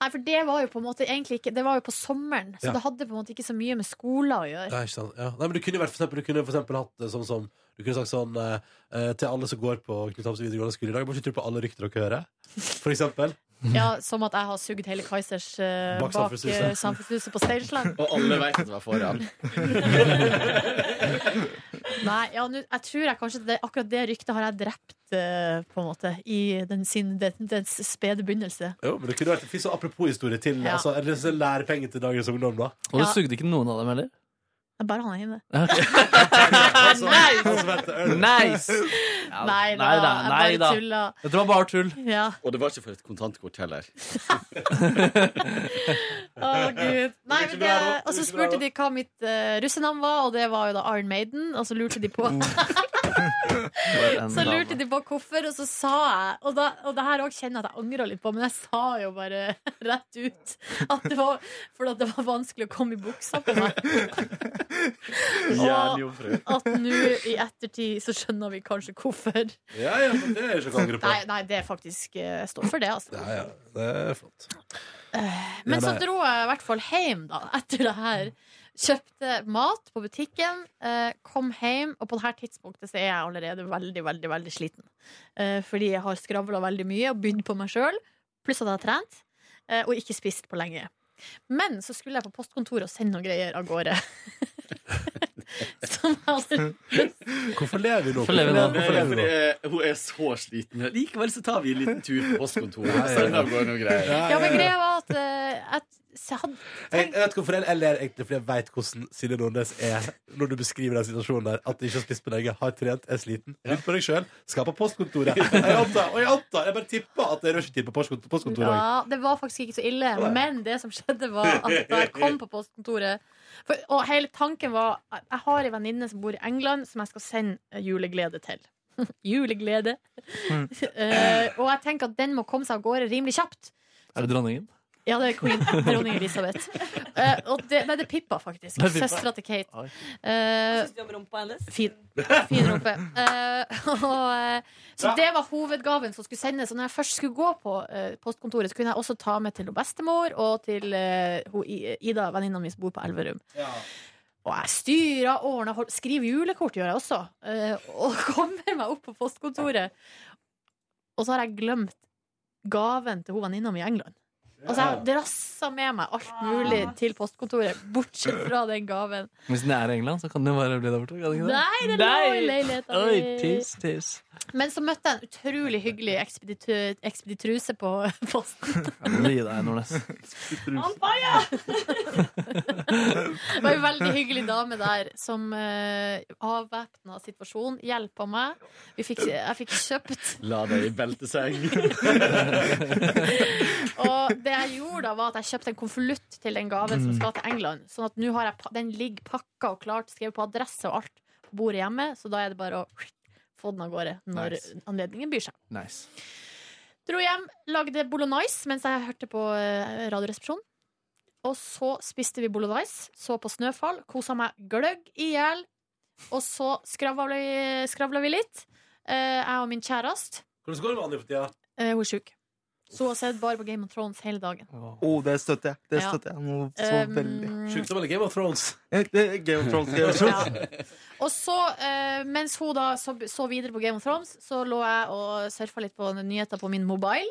Speaker 3: Nei, for det var jo på en måte egentlig ikke Det var jo på sommeren, så
Speaker 2: Ja.
Speaker 3: det hadde på en måte ikke så mye med skole å gjøre.
Speaker 2: Nei, ikke sant. Ja. Nei, men du kunne vært for eksempel, du kunne for eksempel hatt det sånn som Du kunne sagt sånn eh, eh, til alle som går på Knut Hamsun videregående skole i dag, må ikke tro på alle rykter dere hører, for eksempel.
Speaker 3: Ja, Som at jeg har sugd hele Kaizers eh, bak
Speaker 2: Bak
Speaker 3: eh,
Speaker 2: Samfunnshuset.
Speaker 3: samfunnshuset på
Speaker 2: [LAUGHS]
Speaker 3: Steinsland.
Speaker 13: Og alle vet at det var foran.
Speaker 3: Nei, ja, nå- jeg tror jeg kanskje det, akkurat det ryktet har jeg drept, eh, på en måte, i den sin, den, dens spede begynnelse.
Speaker 2: Jo, men det kunne vært en fin sånn apropos-historie til
Speaker 3: Ja. Ah,
Speaker 2: altså, eller så lærepenger til dagens ungdom, da.
Speaker 4: Og du sugde ikke noen av dem heller?
Speaker 3: Det er bare han ene.
Speaker 4: [LAUGHS]
Speaker 2: Altså,
Speaker 3: [LAUGHS]
Speaker 2: [LAUGHS]
Speaker 4: Nice!
Speaker 13: Ja,
Speaker 3: Nei da, jeg bare tuller.
Speaker 13: Dette var bare tull.
Speaker 3: Ja.
Speaker 13: Og det var ikke for et kontantkort heller.
Speaker 21: [LAUGHS]
Speaker 3: Å, gud. Nei, men det, og så spurte de hva mitt eh, russenavn var, og det var jo da Iron Maiden. Og så lurte de [LAUGHS] på Så lurte de på hvorfor, og så sa jeg Og, da, og det her òg kjenner jeg at jeg angrer litt på, men jeg sa jo bare [LAUGHS] rett ut at det var fordi at det var vanskelig å komme i buksa på meg. [LAUGHS]
Speaker 13: Jævlig jomfru.
Speaker 3: At nå i ettertid så skjønner vi kanskje hvorfor.
Speaker 2: Ja, ja, men det er jo ikke å angre på.
Speaker 3: Nei, nei, det er faktisk eh, Jeg står for det, altså.
Speaker 2: Ja, ja, det er flott.
Speaker 3: Men
Speaker 2: Ja,
Speaker 3: så
Speaker 2: det-
Speaker 3: dro jeg i hvert fall hjem da, etter det her. Kjøpte mat på butikken, eh, kom hjem, og på det her tidspunktet så er jeg allerede veldig, veldig, veldig sliten. Eh, fordi jeg har skravla veldig mye og bydd på meg sjøl, pluss at jeg har trent, eh, og ikke spist på lenge. Men så skulle jeg på postkontoret og sende noen greier av gårde. [LAUGHS] Som jeg aldri
Speaker 2: Hvorfor lever vi nå?
Speaker 3: Hvorfor lever vi nå?
Speaker 2: Hvorfor
Speaker 13: Eh,
Speaker 2: lever vi nå?
Speaker 21: Fordi hun er så sliten. Likevel så tar vi en liten tur på postkontoret.
Speaker 2: Ja, ja, ja.
Speaker 21: Så da går det noe greier.
Speaker 3: Ja, men greia var at eh, at jeg hadde
Speaker 2: Jeg, jeg vet ikke hvorfor jeg jeg ler egentlig fordi jeg vet hvordan Silje Nordnes er når du beskriver den situasjonen der. At de ikke har spist på deg, har trent, er sliten. Lytt på deg sjøl, skal på postkontoret. Jeg antar, og jeg antar, jeg bare tipper at det er rushetid på postkont- postkontoret òg.
Speaker 3: Ja, det var faktisk ikke så ille.
Speaker 2: Nei.
Speaker 3: Men det som skjedde, var at da jeg kom på postkontoret for, Og hele tanken var at Jeg har ei venninne som bor i England, som jeg skal sende juleglede til. [LAUGHS] juleglede.
Speaker 4: Mm.
Speaker 3: [LAUGHS] Eh, og jeg tenker at den må komme seg av gårde rimelig kjapt.
Speaker 4: Er det dronningen?
Speaker 3: Ja, det er queen. Dronning
Speaker 4: [LAUGHS]
Speaker 3: Elisabeth. Eh, og det, nei, det er Pippa, faktisk.
Speaker 4: Det er Pippa.
Speaker 3: Søstera til Kate.
Speaker 4: Oi.
Speaker 3: Eh,
Speaker 14: Syns du om rumpa hennes?
Speaker 3: Fin, fin rumpe. Eh, [LAUGHS] og, eh, så det var hovedgaven som skulle sendes. Og når jeg først skulle gå på eh, postkontoret, så kunne jeg også ta med til bestemor og til eh, ho- I- Ida, venninna mi som bor på Elverum. Og jeg styrer, ordner, hold- skriver julekort, gjør jeg også. eh, og [LAUGHS] kommer meg opp på postkontoret. Og så har jeg glemt gaven til hun venninna mi i England. Altså, jeg drassa med meg alt mulig til postkontoret, bortsett fra den gaven.
Speaker 4: Hvis den er i England, så kan den jo bare bli der borte. kan den ikke det?
Speaker 3: Nei, det lå i leiligheten
Speaker 4: Oi,
Speaker 3: min.
Speaker 4: tis, tis.
Speaker 3: Men så møtte jeg en utrolig hyggelig ekspeditu- ekspeditruse på [LAUGHS] posten.
Speaker 4: Jeg må gi deg, Nordnes.
Speaker 3: On
Speaker 4: [LAUGHS]
Speaker 3: Det var en veldig hyggelig dame der som uh, avvæpna situasjonen, hjelpa meg. Vi fikk, jeg fikk kjøpt.
Speaker 21: La deg i belteseng.
Speaker 3: Og det jeg gjorde da, var at jeg kjøpte en konvolutt til den gaven som
Speaker 21: Mm.
Speaker 3: skal til England. Sånn at nå har jeg pa- den ligger pakka og klart, skrevet på adresse og alt, på bordet hjemme. Så da er det bare å få den av gårde når
Speaker 4: Nice.
Speaker 3: anledningen byr seg.
Speaker 4: Nice.
Speaker 3: Dro hjem, lagde bolognese mens jeg hørte på eh, Radioresepsjonen. Og så spiste vi bolognese, så på snøfall, kosa meg gløgg i hjel. Og så skravla vi, skravla vi litt, eh, jeg og min kjæreste.
Speaker 2: Hvordan går det med Annie for tida?
Speaker 3: Eh, hun er sjuk. Så hun har sett bare på Game of Thrones hele dagen.
Speaker 12: Å, oh, det støtter jeg. Det
Speaker 3: Ja.
Speaker 12: støtter jeg noe så
Speaker 3: Um,
Speaker 12: veldig. Eh,
Speaker 2: Sjukdom eller Game of Thrones?
Speaker 12: Game of Thrones. Game of Thrones.
Speaker 3: Og så, eh, mens hun da så, så videre på Game of Thrones, så lå jeg og surfa litt på nyheter på min mobile,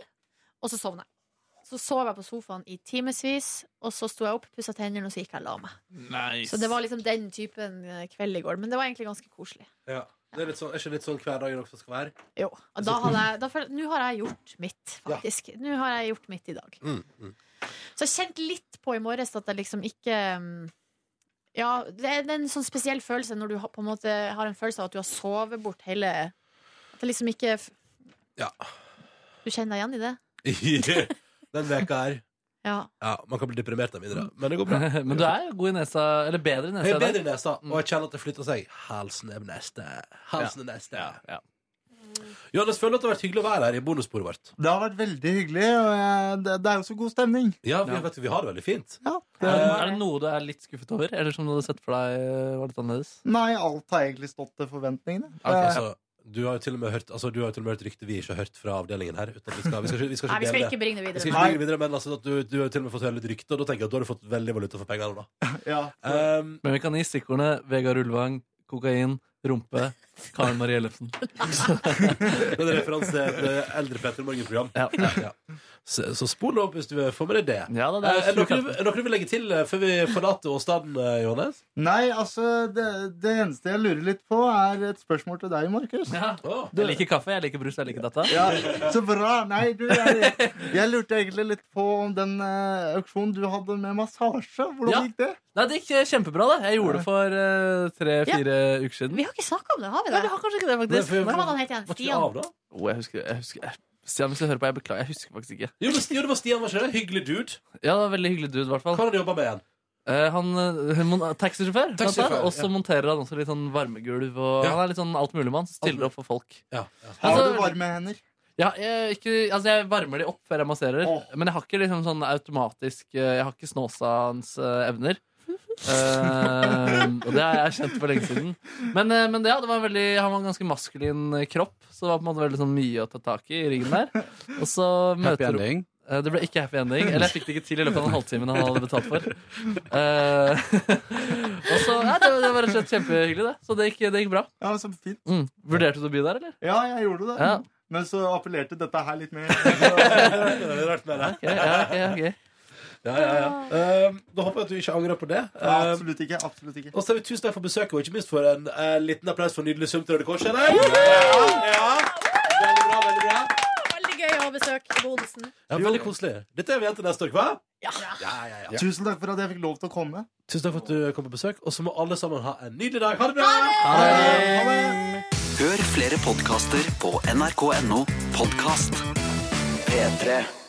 Speaker 3: og så sovna jeg. Så sov jeg på sofaen i timevis, og så sto jeg opp, pussa tennene, og så gikk jeg og la meg.
Speaker 4: Nice.
Speaker 3: Så det var liksom den typen eh, kveld i går. Men det var egentlig ganske koselig.
Speaker 2: Ja. Det er, litt sånn, er ikke litt sånn hverdagen også skal være?
Speaker 3: Jo. Og Da hadde jeg, da føl- Nå har jeg gjort mitt, faktisk. Nå har jeg gjort mitt i dag.
Speaker 2: Mm, mm.
Speaker 3: Så jeg kjente litt på i morges at jeg liksom ikke mm, Ja, det er det er en sånn spesiell følelse når du har- på en måte har en følelse av at du har sovet bort hele At det liksom ikke f-
Speaker 2: Ja.
Speaker 3: Du kjenner deg igjen i det?
Speaker 2: [LAUGHS] Den veka her.
Speaker 3: Ja.
Speaker 2: Ja, man kan bli deprimert av mindre, men det går
Speaker 4: [LAUGHS]
Speaker 2: bra.
Speaker 4: Men du er god i nesa, eller bedre i nesa.
Speaker 2: Jeg er
Speaker 4: i dag.
Speaker 2: bedre i nesa, og jeg kjenner at det flytter seg. Halsen er neste. Halsen er neste. Johannes, føler du at det har vært hyggelig å være her i bonussporet vårt?
Speaker 12: Det har vært veldig hyggelig, og jeg, det, det er jo så god stemning.
Speaker 2: Ja, vi, Vet, du, vi har det veldig fint.
Speaker 4: Er det, er det noe du er litt skuffet over, eller som du hadde sett for deg eh, var litt annerledes?
Speaker 12: Nei, alt har egentlig stått til forventningene.
Speaker 2: Ok,
Speaker 12: Eh,
Speaker 2: så altså, du har jo til og med hørt altså, Du har jo til og med hørt rykte vi ikke har hørt fra avdelingen her. Uten at vi skal, vi skal, ikke- vi skal,
Speaker 3: Nei, vi skal
Speaker 2: dele
Speaker 3: ikke bringe det videre.
Speaker 2: Vi skal ikke
Speaker 3: Nei.
Speaker 2: bringe det videre men altså, at du, du har jo til og med fått høre litt rykte, og da tenker jeg at du har du fått veldig valuta for pengene. da Ehm,
Speaker 4: Men vi kan gi stikkordene Vegard Ulvang, kokain, rumpe, Karen Marie [LAUGHS] Ellefsen.
Speaker 2: Det er en referanse til et eldre Petter Morgen-program. Ja. Så, så spol nå opp hvis du får med deg
Speaker 4: det er
Speaker 2: det. Eh, er det noe du- er det noe du vil legge til eh, før vi forlater åstaden, eh, Johannes?
Speaker 12: Nei, altså, det, det eneste jeg lurer litt på, er et spørsmål til deg, Markus.
Speaker 4: Jeg liker kaffe, jeg liker brus, jeg liker data.
Speaker 12: Ja, så bra! Nei, du, jeg, jeg lurte egentlig litt på om den eh, auksjonen du hadde med massasje. Hvordan
Speaker 4: Ja.
Speaker 12: gikk det?
Speaker 4: Nei, det gikk eh, kjempebra, det. Jeg gjorde det for tre-fire uker siden.
Speaker 3: Vi har ikke snakka om det, har vi det?
Speaker 4: Nei, vi har kanskje ikke det, faktisk.
Speaker 3: Hva var han het igjen? Stian?
Speaker 4: Oh, jeg husker, jeg husker jeg, Stian, hvis du hører på, jeg beklager. Jeg husker faktisk ikke.
Speaker 2: Jo, det- jo, det var Stian, var ikke det? Hyggelig dude.
Speaker 4: Ja, det var veldig hyggelig dude, i hvert fall.
Speaker 2: Hva har han jobba med igjen?
Speaker 4: han eh, mon Taxisjåfør. blant
Speaker 2: Taxisjåfør,
Speaker 4: annet. Og så
Speaker 2: ja.
Speaker 4: monterer han også litt sånn varmegulv. Og Han er litt sånn altmuligmann. Stiller opp for folk.
Speaker 12: Har
Speaker 4: Altså,
Speaker 12: du varme hender?
Speaker 4: Ja, jeg, ikke, altså jeg varmer de opp før jeg masserer. Men jeg har ikke liksom sånn automatisk eh, Jeg har ikke Snåsans eh, evner. Eh, og det har jeg kjent for lenge siden. Men, eh, men det, ja, det var en veldig, han var en ganske maskulin kropp, så det var på en måte veldig sånn mye å ta tak i i ryggen der. Og så møter
Speaker 13: ending?
Speaker 4: Eh, Det ble ikke happy ending. Eller jeg fikk det ikke til i løpet av den halvtimen han hadde betalt for. Eh, [LAUGHS] og så, ja, det, var- det var rett og slett kjempehyggelig, det. Så det gikk, det gikk bra.
Speaker 12: Ja, så fint.
Speaker 4: Mm. Vurderte du å by der, eller?
Speaker 12: Ja, jeg gjorde det.
Speaker 4: Ja.
Speaker 12: Men så appellerte dette her litt mer. [LAUGHS]
Speaker 4: Ok, ja, ok, ok.
Speaker 2: Ja, ja, ja. Um, da håper jeg at du ikke angrer på det. Ehm,
Speaker 12: Ja, absolutt ikke. absolutt ikke
Speaker 2: Og så er vi tusen takk for besøket, og ikke minst for en eh, liten applaus for nydelig sum til Røde Kors. Eller? Ja, Veldig bra, veldig bra.
Speaker 3: Veldig gøy å ha besøk i Bodøsen.
Speaker 2: Ja, veldig koselig. Dette er vi igjen til neste år, hva? Ja, ja, ja.
Speaker 12: Tusen takk for at jeg fikk lov til å komme.
Speaker 2: Tusen takk for at du kom på besøk, og så må alle sammen ha en nydelig dag. Ha det bra!
Speaker 1: Hør flere podkaster på nrk.no podkast. P3.